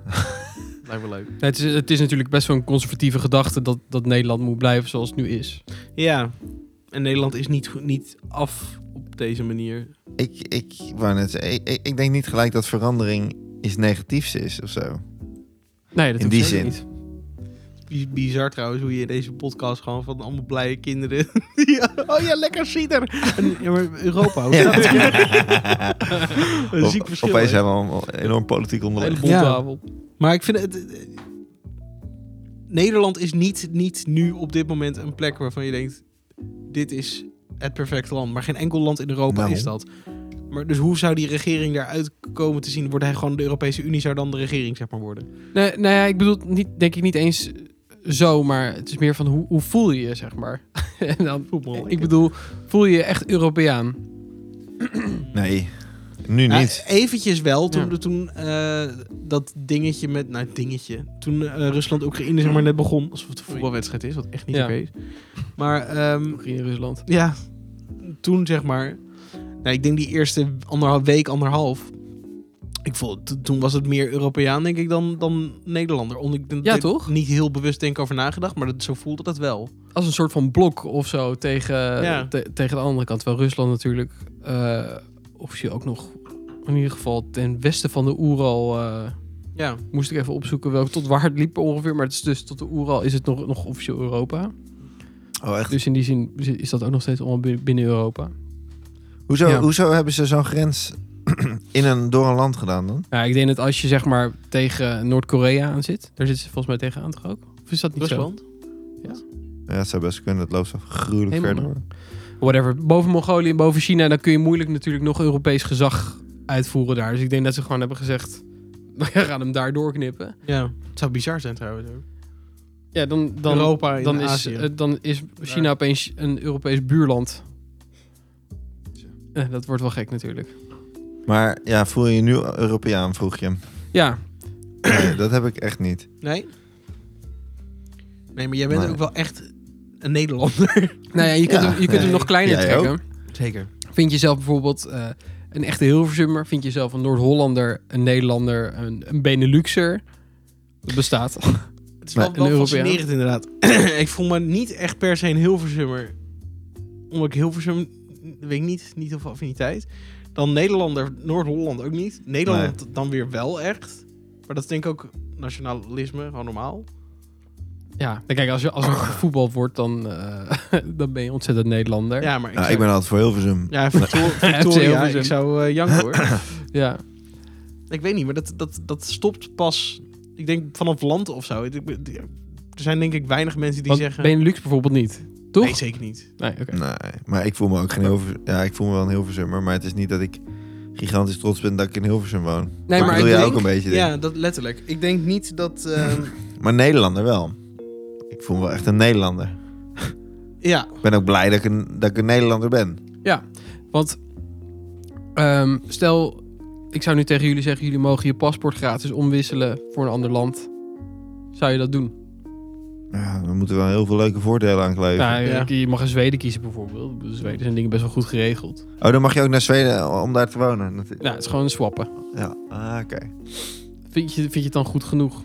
Speaker 1: lijkt me leuk.
Speaker 3: Nee, het, is, het is natuurlijk best wel een conservatieve gedachte dat, dat Nederland moet blijven zoals het nu is.
Speaker 1: Ja. En Nederland is niet, goed- niet af op deze manier.
Speaker 2: ik, ik, wou net zeggen, ik, ik, ik denk niet gelijk dat verandering iets negatiefs is of zo.
Speaker 3: Nee, dat
Speaker 2: In
Speaker 3: hoeft
Speaker 2: die
Speaker 3: zeker
Speaker 2: zin.
Speaker 3: niet.
Speaker 1: Bi- Bizar trouwens hoe je in deze podcast gewoon van allemaal blije kinderen... die, oh ja, lekker cider! En, ja, maar Europa, hoe gaat het? Een ziek
Speaker 2: Op-
Speaker 1: verschil.
Speaker 2: Opeens
Speaker 1: hè?
Speaker 2: hebben we allemaal enorm politiek
Speaker 3: Een hele
Speaker 2: onderlegd.
Speaker 1: Ja.
Speaker 3: bontafel.
Speaker 1: Maar ik vind het... eh, Nederland is niet, niet nu op dit moment een plek waarvan je denkt... Dit is het perfecte land. Maar geen enkel land in Europa
Speaker 2: Nou.
Speaker 1: is dat. Maar dus hoe zou die regering daaruit komen te zien? Wordt hij gewoon de Europese Unie zou dan de regering zeg maar worden?
Speaker 3: Nee, nou ja, ik bedoel, niet, denk ik niet eens zo, maar het is meer van hoe, hoe voel je je, zeg maar. en dan,
Speaker 2: Eh,
Speaker 1: Voetbal.
Speaker 3: ik bedoel, voel je je echt Europeaan?
Speaker 2: Nee, nu
Speaker 1: Ja,
Speaker 2: niet.
Speaker 1: Nou, eventjes wel, toen,
Speaker 3: Ja.
Speaker 1: toen eh, dat dingetje met... Nou, dingetje. Toen eh, Rusland-Oekraïne zeg maar net begon. Alsof het een voetbalwedstrijd is, wat echt niet
Speaker 3: Ja.
Speaker 1: oké is. Maar ehm,
Speaker 3: Oekraïne, Rusland.
Speaker 1: ja, toen zeg maar... Nou, ik denk die eerste anderhalf, week, anderhalf... Ik voel, to- toen was het meer Europeaan, denk ik, dan, dan Nederlander. Omdat ik denk-
Speaker 3: Ja, toch?
Speaker 1: niet heel bewust denk ik over nagedacht, maar dat, zo voelde dat wel.
Speaker 3: Als een soort van blok of zo tegen,
Speaker 1: Ja.
Speaker 3: te- tegen de andere kant. Wel Rusland natuurlijk eh officieel ook nog, in ieder geval ten westen van de Oeral... eh,
Speaker 1: Ja.
Speaker 3: moest ik even opzoeken welk tot waar het liep ongeveer. Maar het is dus tot de Oeral is het nog, nog officieel Europa.
Speaker 2: Oh, echt?
Speaker 3: Dus in die zin is dat ook nog steeds allemaal bin- binnen Europa.
Speaker 2: Hoezo,
Speaker 3: Ja.
Speaker 2: hoezo hebben ze zo'n grens in een, door een land gedaan dan?
Speaker 3: Ja, ik denk dat als je zeg maar tegen Noord-Korea aan zit, daar zitten ze volgens mij tegenaan toch ook? Of is dat niet
Speaker 1: Rusland?
Speaker 2: Ja, dat zou best kunnen. Dat loopt zo gruwelijk
Speaker 3: Helemaal
Speaker 2: ver door.
Speaker 3: zo? Whatever. Boven Mongolië en boven China, dan kun je moeilijk natuurlijk nog Europees gezag uitvoeren daar. Dus ik denk dat ze gewoon hebben gezegd, we gaan hem daar doorknippen.
Speaker 1: Ja, het zou bizar zijn trouwens. ook.
Speaker 3: Ja, dan, dan,
Speaker 1: Europa in
Speaker 3: dan, is,
Speaker 1: Azië.
Speaker 3: eh, dan is China opeens een Europees buurland. Eh, dat wordt wel gek natuurlijk.
Speaker 2: Maar ja, voel je je nu Europeaan, vroeg je.
Speaker 3: Ja,
Speaker 2: Nee, dat heb ik echt niet.
Speaker 1: nee? Nee, maar jij bent
Speaker 2: Nee.
Speaker 1: ook wel echt een Nederlander.
Speaker 3: Nou ja, je kunt,
Speaker 2: Ja,
Speaker 3: hem, je kunt hem
Speaker 1: nee.
Speaker 3: nog kleiner
Speaker 2: Jij
Speaker 3: trekken.
Speaker 1: Zeker.
Speaker 3: Vind jezelf bijvoorbeeld eh, een echte Hilversummer? Vind jezelf een Noord-Hollander, een Nederlander, een, een Beneluxer? Dat bestaat.
Speaker 1: Het is
Speaker 2: Maar
Speaker 1: wel, wel
Speaker 3: een Europeaan.
Speaker 1: fascinerend inderdaad. ik voel me niet echt per se een Hilversummer. Omdat ik Hilversum, weet ik niet, niet of affiniteit. Dan Nederlander, Noord-Holland ook niet. Nederland dan weer wel echt. Maar dat is denk ik ook nationalisme, gewoon normaal.
Speaker 3: Ja, dan Nou, kijk, als je als er gevoetbald wordt, dan, eh, dan ben je ontzettend Nederlander. Ja.
Speaker 1: Ja, maar ik,
Speaker 2: Nou,
Speaker 1: zou-
Speaker 2: ik ben altijd voor Hilversum.
Speaker 1: Ja, Victor- Victoria,
Speaker 3: Hilversum.
Speaker 1: ik zou eh, janken hoor.
Speaker 3: ja.
Speaker 1: Ik weet niet, maar dat, dat, dat stopt pas, ik denk vanaf land of zo. Ik- ik- Er zijn denk ik weinig mensen die
Speaker 3: Want
Speaker 1: zeggen...
Speaker 3: Benelux bijvoorbeeld niet, toch?
Speaker 1: Nee, zeker niet.
Speaker 3: Nee, oké.
Speaker 2: Nee, maar ik voel me ook geen Hilversum. Ja, ik voel me wel een Hilversummer. Maar het is niet dat ik gigantisch trots ben dat ik in Hilversum woon. dat
Speaker 3: Nee, maar ik
Speaker 2: bedoel jij
Speaker 3: denk...
Speaker 2: ook een beetje. denk ik.
Speaker 1: Ja, dat letterlijk. Ik denk niet dat... ehm,
Speaker 2: Maar Nederlander wel. Ik voel me wel echt een Nederlander.
Speaker 1: ja,
Speaker 2: Ik ben ook blij dat ik een, dat ik een Nederlander ben.
Speaker 3: Want ehm, stel, ik zou nu tegen jullie zeggen, jullie mogen je paspoort gratis omwisselen voor een ander land. Zou je dat doen?
Speaker 2: Ja, we moeten wel heel veel leuke voordelen aan kleven.
Speaker 3: Nou,
Speaker 1: Ja.
Speaker 3: Je mag in Zweden kiezen bijvoorbeeld. De Zweden zijn dingen best wel goed geregeld.
Speaker 2: Oh, dan mag je ook naar Zweden om daar te wonen. Dat-
Speaker 3: Nou, het is gewoon swappen.
Speaker 2: Ja, ah, oké.
Speaker 3: Vind je, vind je het dan goed genoeg?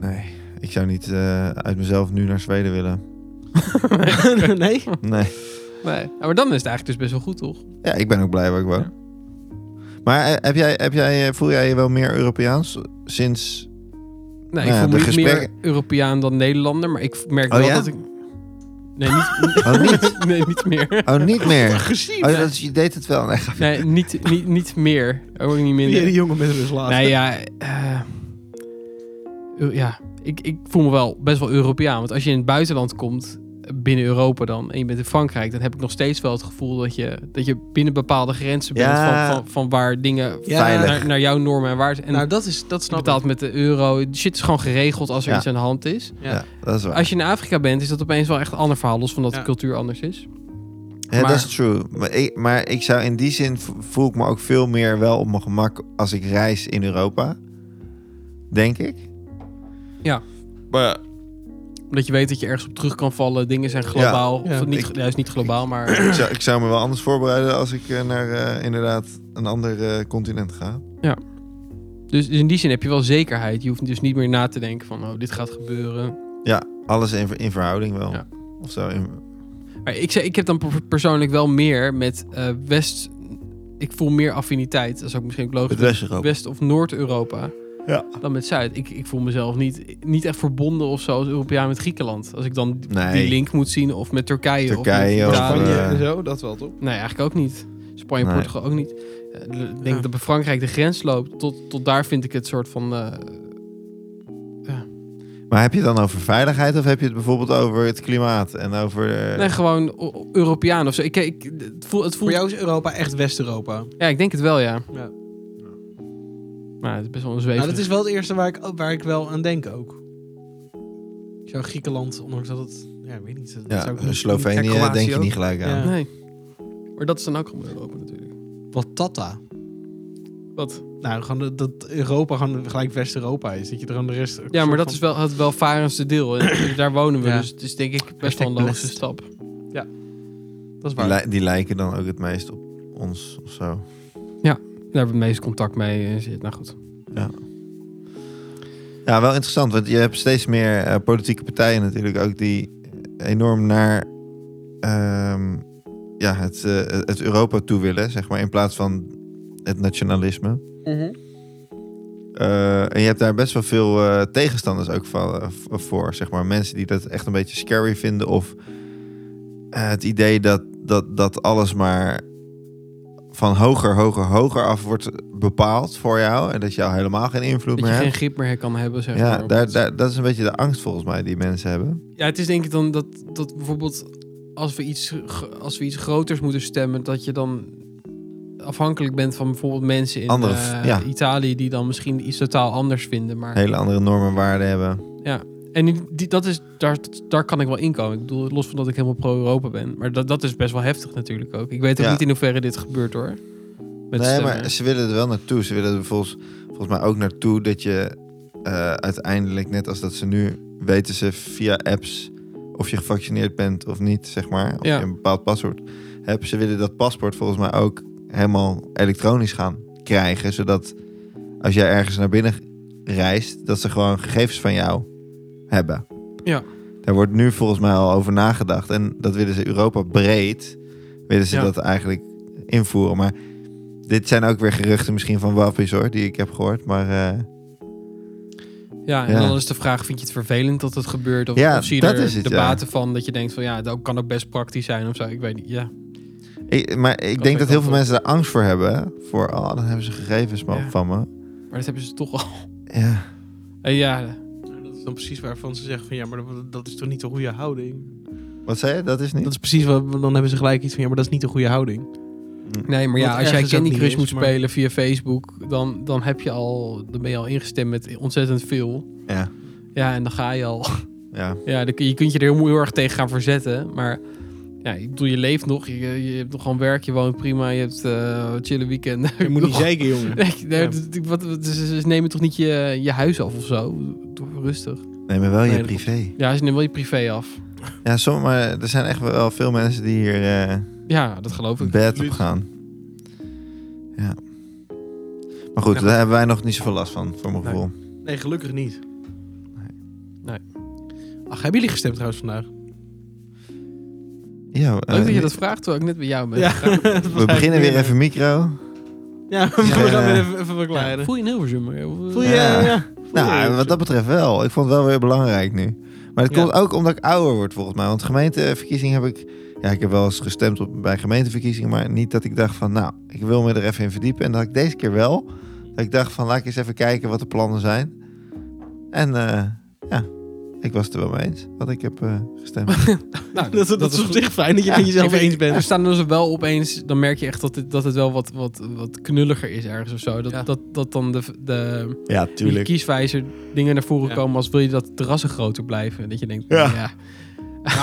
Speaker 2: Nee, ik zou niet eh, uit mezelf nu naar Zweden willen.
Speaker 1: nee.
Speaker 2: Nee.
Speaker 3: Nee. Ja, maar dan is het eigenlijk dus best wel goed, toch?
Speaker 2: Ja, ik ben ook blij waar ik woon. Maar eh, heb jij, heb jij, eh, voel jij je wel meer Europeaans sinds...
Speaker 3: Nee,
Speaker 2: Nou ja,
Speaker 3: ik voel me
Speaker 2: de
Speaker 3: niet
Speaker 2: gesprekken-
Speaker 3: meer Europeaan dan Nederlander, maar ik merk
Speaker 2: Oh
Speaker 3: wel
Speaker 2: ja?
Speaker 3: dat ik... Nee, niet,
Speaker 2: Oh, niet?
Speaker 3: nee, niet meer.
Speaker 2: Oh, niet meer.
Speaker 1: Agressief.
Speaker 2: Oh, dat is, je deed het wel. Nee,
Speaker 3: Nee, niet, niet, niet meer. Ook niet
Speaker 1: Die
Speaker 3: minder.
Speaker 1: hele jongen met Rusland.
Speaker 3: Nee, ja... eh, Eu- ja, ik, ik voel me wel best wel Europeaan. Want als je in het buitenland komt, binnen Europa dan, en je bent in Frankrijk, dan heb ik nog steeds wel het gevoel dat je, dat je binnen bepaalde grenzen bent
Speaker 2: Ja.
Speaker 3: van, van, van waar dingen
Speaker 1: Ja,
Speaker 2: Veilig.
Speaker 3: naar, naar jouw normen en waarden. En
Speaker 1: nou, dat, is, dat
Speaker 3: je
Speaker 1: snap
Speaker 3: betaalt met de euro. Shit is gewoon geregeld als er
Speaker 2: Ja.
Speaker 3: iets aan de hand is.
Speaker 1: ik.
Speaker 2: ja.
Speaker 1: Ja.
Speaker 2: dat is waar.
Speaker 3: Als je in Afrika bent, is dat opeens wel echt een ander verhaal. Los van dat
Speaker 1: Ja.
Speaker 3: de cultuur anders is.
Speaker 2: Ja,
Speaker 3: maar-
Speaker 2: dat is true. Maar ik, maar ik zou in die zin v- voel ik me ook veel meer wel op mijn gemak als ik reis in Europa. Denk ik.
Speaker 3: Ja.
Speaker 2: Maar
Speaker 3: Omdat je weet dat je ergens op terug kan vallen. Dingen zijn globaal.
Speaker 1: Ja.
Speaker 3: Of niet,
Speaker 2: Ik-
Speaker 3: juist niet globaal, maar...
Speaker 2: ik zou, ik zou me wel anders voorbereiden als ik eh, naar eh, inderdaad een ander eh, continent ga.
Speaker 3: Dus, dus in die zin heb je wel zekerheid. Je hoeft dus niet meer na te denken van, oh, dit gaat gebeuren.
Speaker 2: Alles in, ver- in verhouding wel.
Speaker 3: Ja.
Speaker 2: Of zo. in-
Speaker 3: Maar ik, zeg- ik heb dan per- persoonlijk wel meer met eh, West... Ik voel meer affiniteit. Dat is ook misschien ook logisch.
Speaker 2: het West-Europa.
Speaker 3: West- of Noord-Europa
Speaker 2: Ja.
Speaker 3: dan met Zuid. Ik, ik voel mezelf niet, niet echt verbonden of zo als Europeaan met Griekenland. Als ik dan die-
Speaker 2: Nee.
Speaker 3: die link moet zien of met Turkije,
Speaker 2: Turkije
Speaker 3: of
Speaker 2: of,
Speaker 3: met
Speaker 2: eh,
Speaker 3: Italië.
Speaker 1: Spanje
Speaker 2: Ja.
Speaker 1: en zo, dat wel toch?
Speaker 3: Nee, eigenlijk ook niet. Spanje,
Speaker 2: Nee.
Speaker 3: Portugal ook niet. Eh, Ik denk
Speaker 1: Ja.
Speaker 3: dat bij Frankrijk de grens loopt. Tot, tot daar vind ik het soort van... eh,
Speaker 2: Maar heb je het dan over veiligheid of heb je het bijvoorbeeld over het klimaat en over... eh,
Speaker 3: Nee, gewoon o- o- Europeaan of zo. Ik, ik, het voelt, het
Speaker 1: Voor
Speaker 3: voelt
Speaker 1: jou is Europa echt West-Europa. Nou,
Speaker 3: Ja, ik denk het wel, ja.
Speaker 1: Ja.
Speaker 3: Maar het is best wel een
Speaker 1: Nou,
Speaker 3: zweverig.
Speaker 1: dat is wel het eerste waar ik, waar ik wel aan denk ook. Ik zou Griekenland, ondanks dat het... Ja, ik weet niet. Dat zou
Speaker 2: ja,
Speaker 1: ik niet-
Speaker 2: Slovenië
Speaker 4: Kroatië
Speaker 2: denk je
Speaker 4: ook.
Speaker 2: niet gelijk aan.
Speaker 1: Ja.
Speaker 3: Nee. Maar dat is dan ook gewoon Europa natuurlijk.
Speaker 1: Wat Tata.
Speaker 3: Wat?
Speaker 1: Nou, gewoon dat- dat Europa gewoon gelijk West-Europa is. Dat je er aan de rest...
Speaker 3: Ja, maar dat is wel het welvarendste deel. En daar wonen we,
Speaker 1: Ja.
Speaker 3: dus het is denk ik best
Speaker 1: Hashtag
Speaker 3: wel een logische
Speaker 1: blessed.
Speaker 3: stap.
Speaker 1: Dat is
Speaker 2: Die,
Speaker 1: waar.
Speaker 2: li- die lijken dan ook het meest op ons of zo.
Speaker 3: Daar hebben we het meest contact mee eh, zit. Nou goed.
Speaker 2: Ja, wel interessant, want je hebt steeds meer eh, politieke partijen natuurlijk ook die enorm naar ehm, ja, het, eh, het Europa toe willen, zeg maar, in plaats van het nationalisme.
Speaker 3: Mhm.
Speaker 2: Eh, en je hebt daar best wel veel eh, tegenstanders ook van, eh, v- voor, zeg maar. Mensen die dat echt een beetje scary vinden of eh, het idee dat, dat, dat alles maar van hoger, hoger, hoger af wordt bepaald voor jou en dat je al helemaal geen invloed
Speaker 3: Dat je
Speaker 2: meer hebt.
Speaker 3: geen grip meer kan hebben, zeg maar.
Speaker 2: Ja,
Speaker 3: op
Speaker 2: daar,
Speaker 3: het-
Speaker 2: daar, dat is een beetje de angst volgens mij die mensen hebben.
Speaker 3: ja, het is denk ik dan dat, dat bijvoorbeeld als we, iets, ge- als we iets groters moeten stemmen, dat je dan afhankelijk bent van bijvoorbeeld mensen in
Speaker 2: Andere-
Speaker 3: eh,
Speaker 2: ja.
Speaker 3: Italië die dan misschien iets totaal anders vinden. Maar
Speaker 2: Hele andere normen en waarden hebben.
Speaker 3: En die, die- dat is, daar, daar kan ik wel inkomen. Ik bedoel, los van dat ik helemaal pro-Europa ben. Maar dat, dat is best wel heftig natuurlijk ook. Ik weet ook
Speaker 2: Ja.
Speaker 3: niet in hoeverre dit gebeurt hoor. Met
Speaker 2: nee,
Speaker 3: stemmen.
Speaker 2: maar ze willen er wel naartoe. Ze willen er volgens, volgens mij ook naartoe dat je eh, uiteindelijk, net als dat ze nu, weten ze via apps of je gevaccineerd bent of niet, zeg maar. Of
Speaker 3: Ja.
Speaker 2: je een bepaald paswoord hebt. Ze willen dat paspoort volgens mij ook helemaal elektronisch gaan krijgen. Zodat als jij ergens naar binnen reist, dat ze gewoon gegevens van jou hebben.
Speaker 3: Ja.
Speaker 2: Daar wordt nu volgens mij al over nagedacht. En dat willen ze Europa breed, willen ze
Speaker 3: Ja.
Speaker 2: dat eigenlijk invoeren. Maar dit zijn ook weer geruchten misschien van wappies hoor, die ik heb gehoord. Maar eh,
Speaker 3: ja, en
Speaker 2: ja.
Speaker 3: dan is de vraag, vind je het vervelend dat het gebeurt? Of,
Speaker 2: Ja,
Speaker 3: of zie je
Speaker 2: dat
Speaker 3: er
Speaker 2: is het,
Speaker 3: de
Speaker 2: ja.
Speaker 3: baten van dat je denkt van ja, dat kan ook best praktisch zijn of zo. Ik weet niet, ja.
Speaker 2: ik, maar ik
Speaker 3: Kan
Speaker 2: denk dat
Speaker 3: ik
Speaker 2: heel veel
Speaker 3: ook wel.
Speaker 2: mensen daar angst voor hebben. Voor, oh, dan hebben ze gegevens ma-
Speaker 3: Ja.
Speaker 2: van me.
Speaker 3: Maar dat hebben ze toch al.
Speaker 2: Ja.
Speaker 3: Eh, ja,
Speaker 1: Dat is dan precies waarvan ze zeggen van... Ja, maar dat, dat is toch niet de goede houding?
Speaker 2: Wat zei je? Dat is niet?
Speaker 1: Dat is precies wat... Dan hebben ze gelijk iets van... Ja, maar dat is niet de goede houding.
Speaker 3: nee, maar ja,
Speaker 1: Wat
Speaker 3: als jij
Speaker 1: ergens ook
Speaker 3: Candy
Speaker 1: niet
Speaker 3: Crush
Speaker 1: is,
Speaker 3: moet
Speaker 1: maar-
Speaker 3: spelen via Facebook, dan, dan heb je al, dan ben je al ingestemd met ontzettend veel.
Speaker 2: Ja.
Speaker 3: Ja, en dan ga je al.
Speaker 2: ja.
Speaker 3: Ja, dan kun- je kunt je er heel, heel erg tegen gaan verzetten. Maar ja, ik bedoel, je leeft nog. Je, je hebt nog gewoon werk. Je woont prima. Je hebt eh chille weekenden.
Speaker 1: Je moet niet zeker, jongen.
Speaker 3: Nee, nee,
Speaker 1: Ja.
Speaker 3: d- d- wat, wat- dus, dus neem je toch niet je, je huis af of zo? Doe even rustig.
Speaker 2: Nee, maar wel
Speaker 3: Nee,
Speaker 2: je
Speaker 3: dat klopt.
Speaker 2: privé.
Speaker 3: Ja, ze nemen wel je privé af.
Speaker 2: Ja, soms, maar er zijn echt wel veel mensen die hier eh,
Speaker 3: Ja, dat geloof ik.
Speaker 2: bed op
Speaker 1: Absoluut.
Speaker 2: gaan. Ja. Maar goed, daar hebben wij nog niet zoveel last van, voor mijn
Speaker 1: Nee.
Speaker 2: gevoel.
Speaker 1: Nee, gelukkig niet.
Speaker 3: Nee.
Speaker 1: Ach, hebben jullie gestemd trouwens vandaag?
Speaker 2: Ja, eh,
Speaker 3: Leuk dat je dat vraagt, terwijl ik net bij jou ben.
Speaker 2: we beginnen weer even micro.
Speaker 1: Ja, we
Speaker 2: Ja.
Speaker 1: gaan weer even, even verklaren.
Speaker 3: Voel je een Hilversum? hè? Of, eh,
Speaker 1: Voel je... Ja.
Speaker 2: Ja.
Speaker 1: ja.
Speaker 2: Nou, wat dat betreft wel. Ik vond het wel weer belangrijk nu. Maar dat
Speaker 3: Ja.
Speaker 2: komt ook omdat ik ouder word volgens mij. Want gemeenteverkiezingen heb ik... Ja, ik heb wel eens gestemd op, bij gemeenteverkiezingen. Maar niet dat ik dacht van... Nou, ik wil me er even in verdiepen. En dat ik deze keer wel. Dat ik dacht van... Laat ik eens even kijken wat de plannen zijn. En eh, ja... Ik was het er wel mee eens wat ik heb eh, gestemd.
Speaker 3: Nou,
Speaker 1: Dat, dat, is op zich fijn dat je
Speaker 3: Ja,
Speaker 1: het met jezelf
Speaker 3: ik weet-
Speaker 1: eens bent.
Speaker 3: Er staan dus wel opeens, dan merk je echt dat het, dat het wel wat, wat, wat knulliger is ergens of zo. Dat,
Speaker 1: Ja.
Speaker 3: dat, dat dan de, de,
Speaker 2: ja,
Speaker 3: die kieswijzer dingen naar voren
Speaker 1: Ja.
Speaker 3: komen als wil je dat terrassen groter blijven. Dat je denkt,
Speaker 2: Ja.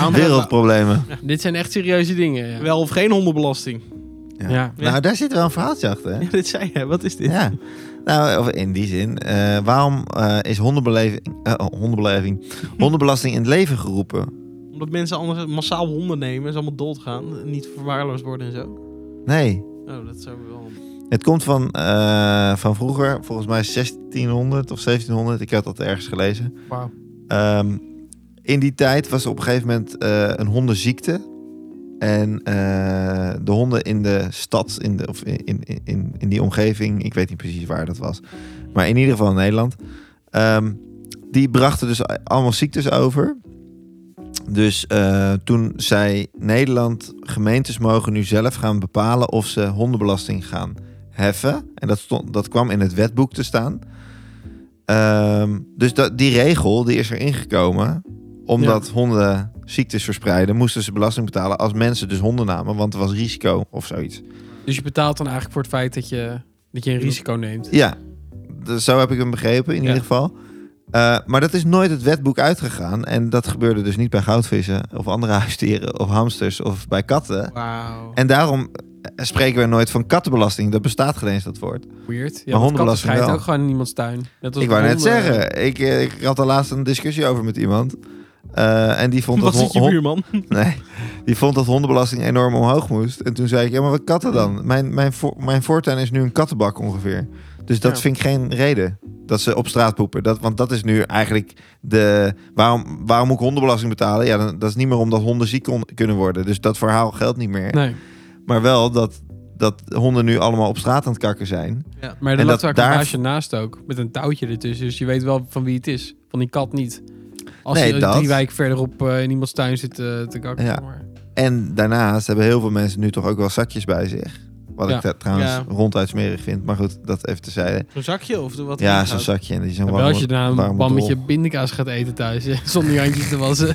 Speaker 3: ja.
Speaker 2: Wereldproblemen.
Speaker 3: dit zijn echt serieuze dingen. Ja.
Speaker 1: Wel of geen hondenbelasting.
Speaker 2: Ja.
Speaker 3: Ja.
Speaker 2: Nou, daar zit wel een verhaaltje achter, hè?
Speaker 1: Ja, dit zei je. Wat is dit?
Speaker 2: Ja. Nou, of in die zin. eh, waarom eh, is hondenbeleving, eh, oh, hondenbeleving, hondenbelasting in het leven geroepen?
Speaker 1: Omdat mensen anders massaal honden nemen en ze allemaal doodgaan. en Niet verwaarloosd worden en zo.
Speaker 2: Nee.
Speaker 1: Oh, dat zou wel...
Speaker 2: Het komt van, eh, van vroeger, volgens mij 1600 of 1700. Ik had dat ergens gelezen.
Speaker 3: Wauw.
Speaker 2: Ehm, in die tijd was er op een gegeven moment eh, een hondenziekte. En eh, de honden in de stad, in, de, of in, in, in, in die omgeving, ik weet niet precies waar dat was. Maar in ieder geval in Nederland. Ehm, die brachten dus allemaal ziektes over. Dus eh, toen zei Nederland, gemeentes mogen nu zelf gaan bepalen of ze hondenbelasting gaan heffen. En dat, stond, dat kwam in het wetboek te staan. Ehm, dus dat, die regel die is er ingekomen. Omdat honden ziektes verspreiden, moesten ze belasting betalen als mensen dus honden namen. Want er was risico of zoiets.
Speaker 3: Dus je betaalt dan eigenlijk voor het feit dat je, dat je een risico neemt.
Speaker 2: Ja, dus zo heb ik hem begrepen in
Speaker 3: Ja.
Speaker 2: ieder geval. Eh, maar dat is nooit het wetboek uitgegaan. En dat gebeurde dus niet bij goudvissen of andere huisdieren of hamsters of bij katten.
Speaker 3: Wauw.
Speaker 2: En daarom eh, spreken we nooit van kattenbelasting. Dat bestaat geen eens dat woord.
Speaker 3: Weird. Ja,
Speaker 2: Maar
Speaker 3: want katten
Speaker 2: hondenbelasting
Speaker 3: schijten
Speaker 2: wel.
Speaker 3: ook gewoon in iemands tuin. Net als
Speaker 2: Ik wou net
Speaker 3: honden-
Speaker 2: zeggen, ik, eh, ik had daar laatst een discussie over met iemand. Eh, en die vond
Speaker 1: Was
Speaker 2: dat
Speaker 1: het je
Speaker 2: hon-
Speaker 1: buurman?
Speaker 2: Nee, die vond dat hondenbelasting enorm omhoog moest. En toen zei ik, ja, maar wat katten dan? Mijn, mijn, vo- mijn voortuin is nu een kattenbak ongeveer. Dus dat
Speaker 3: Ja.
Speaker 2: vind ik geen reden dat ze op straat poepen. Dat, want dat is nu eigenlijk de... Waarom, waarom moet ik hondenbelasting betalen? Ja, dan, dat is niet meer omdat honden ziek kon- kunnen worden. Dus dat verhaal geldt niet meer.
Speaker 3: Nee,
Speaker 2: Maar wel dat, dat honden nu allemaal op straat aan het kakken zijn.
Speaker 3: maar
Speaker 2: En
Speaker 3: er loopt
Speaker 2: dat
Speaker 3: vaak een
Speaker 2: daar-
Speaker 3: baasje naast ook. Met een touwtje ertussen. Dus je weet wel van wie het is. Van die kat niet. Als
Speaker 2: Nee,
Speaker 3: je
Speaker 2: dat.
Speaker 3: drie wijken verderop eh, in iemands tuin zit eh, te kakken.
Speaker 2: Ja.
Speaker 3: zeg maar.
Speaker 2: En daarnaast hebben heel veel mensen nu toch ook wel zakjes bij zich. Wat
Speaker 3: Ja.
Speaker 2: ik da- trouwens
Speaker 1: Ja.
Speaker 2: ronduit smerig vind. Maar goed, dat even tezijde.
Speaker 1: Zo'n zakje of de- wat?
Speaker 2: Ja,
Speaker 1: erin
Speaker 2: zo'n
Speaker 1: gaat?
Speaker 2: zakje. En die zijn
Speaker 3: Ja, wel
Speaker 2: warm-
Speaker 3: als je daarna een
Speaker 2: warme
Speaker 3: bammetje
Speaker 2: drol.
Speaker 3: bindekaas gaat eten thuis. hè, zonder je handjes te wassen.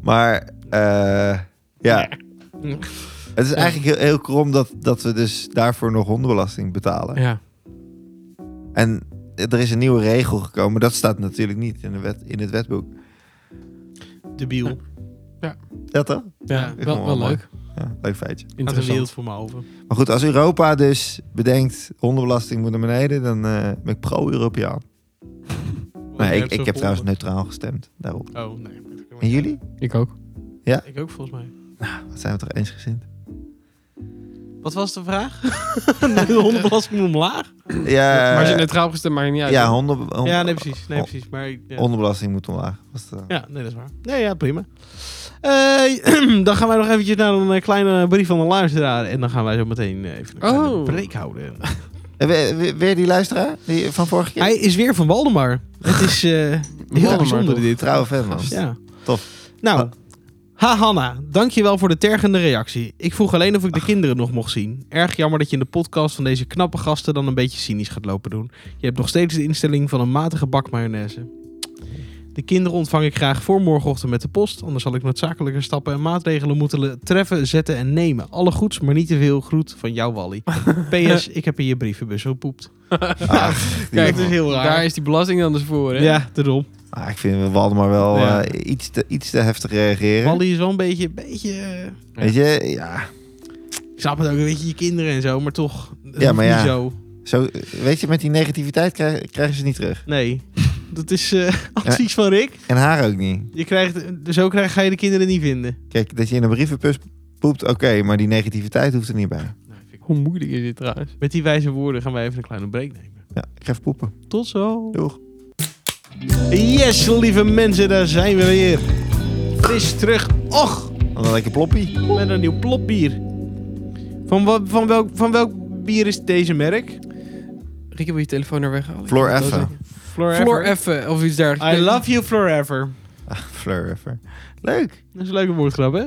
Speaker 2: Maar eh, ja, het is eigenlijk heel, heel krom dat, dat we dus daarvoor nog hondenbelasting betalen.
Speaker 3: Ja.
Speaker 2: En er is een nieuwe regel gekomen. Dat staat natuurlijk niet in, de wet, in het wetboek.
Speaker 1: Debiel.
Speaker 2: Dat toch?
Speaker 1: Ja,
Speaker 3: Ja,
Speaker 1: ik
Speaker 3: wel,
Speaker 2: vond het
Speaker 3: wel
Speaker 2: wel
Speaker 3: leuk.
Speaker 2: Ja, leuk feitje.
Speaker 1: Gaat de wereld
Speaker 3: Interessant.
Speaker 1: voor me over.
Speaker 2: Maar goed, als Europa dus bedenkt hondenbelasting moet naar beneden, dan eh, ben ik pro-Europeaan. Nee, ik, ik heb trouwens neutraal gestemd daarop.
Speaker 1: Oh, nee.
Speaker 2: En jullie?
Speaker 3: Ik ook.
Speaker 2: Eh,
Speaker 1: Ik ook volgens mij.
Speaker 2: Wat zijn we toch eensgezind?
Speaker 1: Wat was de vraag? de hondenbelasting moet omlaag?
Speaker 2: Ja, eh,
Speaker 3: maar als je neutraal gestemd, maakt het niet uit.
Speaker 2: ja honden, hon-
Speaker 1: Ja, nee, precies. Nee, precies. Maar ik- ja.
Speaker 2: hondenbelasting moet omlaag. Was het, eh,
Speaker 1: Ja, nee, dat is waar. Nee, ja, prima. Eh, dan gaan wij nog eventjes naar een eh, kleine brief van de luisteraar. En dan gaan wij zo meteen eh, even een kleine
Speaker 3: Oh.
Speaker 1: break houden.
Speaker 2: eh, weer- weer, weer die luisteraar die, van vorige keer?
Speaker 1: Hij is weer van Waldemar. Het is eh, heel
Speaker 3: Waldemar,
Speaker 1: bijzonder
Speaker 3: toch?
Speaker 1: dit.
Speaker 2: Trouwe fan, man.
Speaker 1: Ja.
Speaker 2: Tof.
Speaker 1: Nou, ha Hanna, dankjewel voor de tergende reactie. Ik vroeg alleen of ik de kinderen nog mocht zien. Erg jammer dat je in de podcast van deze knappe gasten dan een beetje cynisch gaat lopen doen. Je hebt nog steeds de instelling van een matige bak mayonaise. De kinderen ontvang ik graag voor morgenochtend met de post. Anders zal ik noodzakelijke stappen en maatregelen moeten le- treffen, zetten en nemen. Alle goeds, maar niet te veel. Groet van jou, Wally. PS, ik heb in je brievenbus gepoept.
Speaker 2: Ach, Ah, die
Speaker 3: Kijk,
Speaker 2: man.
Speaker 1: is heel raar.
Speaker 3: Daar is die belasting dan dus voor, hè?
Speaker 1: Ja, daarom.
Speaker 2: Ah, ik vind Waldemar wel
Speaker 1: dus- Ja.
Speaker 2: eh, iets, te, iets te heftig reageren.
Speaker 1: Wally is wel een beetje, beetje eh,
Speaker 2: Weet je, ja.
Speaker 1: Ik snap het ook, weet je, je kinderen en zo, maar toch. het
Speaker 2: Ja,
Speaker 1: hoeft
Speaker 2: maar
Speaker 1: niet
Speaker 2: ja.
Speaker 1: zo.
Speaker 2: Zo, weet je, met die negativiteit krijg, krijgen ze niet terug.
Speaker 1: Nee. Dat is eh advies van Rick.
Speaker 2: En haar ook niet.
Speaker 1: Je krijgt, dus zo krijg, ga je de kinderen niet vinden.
Speaker 2: Kijk, dat je in een brievenbus poept, oké, maar die negativiteit hoeft er niet bij.
Speaker 3: Hoe moeilijk is dit trouwens?
Speaker 1: Met die wijze woorden gaan wij even een kleine break nemen.
Speaker 2: Ja, ik ga even poepen.
Speaker 1: Tot zo.
Speaker 2: Doeg.
Speaker 1: Yes, lieve mensen, daar zijn we weer. Fris terug. Och,
Speaker 2: Wat een lekker ploppie.
Speaker 1: met een nieuw plopbier. Van, wa- van, welk, van welk bier is deze merk?
Speaker 3: Rick, wil je telefoon er weghalen?
Speaker 2: Floor
Speaker 3: Ik wil het
Speaker 2: Effe.
Speaker 3: wel zeggen. Floor Effe of iets dergelijks.
Speaker 1: I love you forever.
Speaker 2: Ah, Fleur even. Leuk.
Speaker 1: Dat is een leuke woordgrap, hè?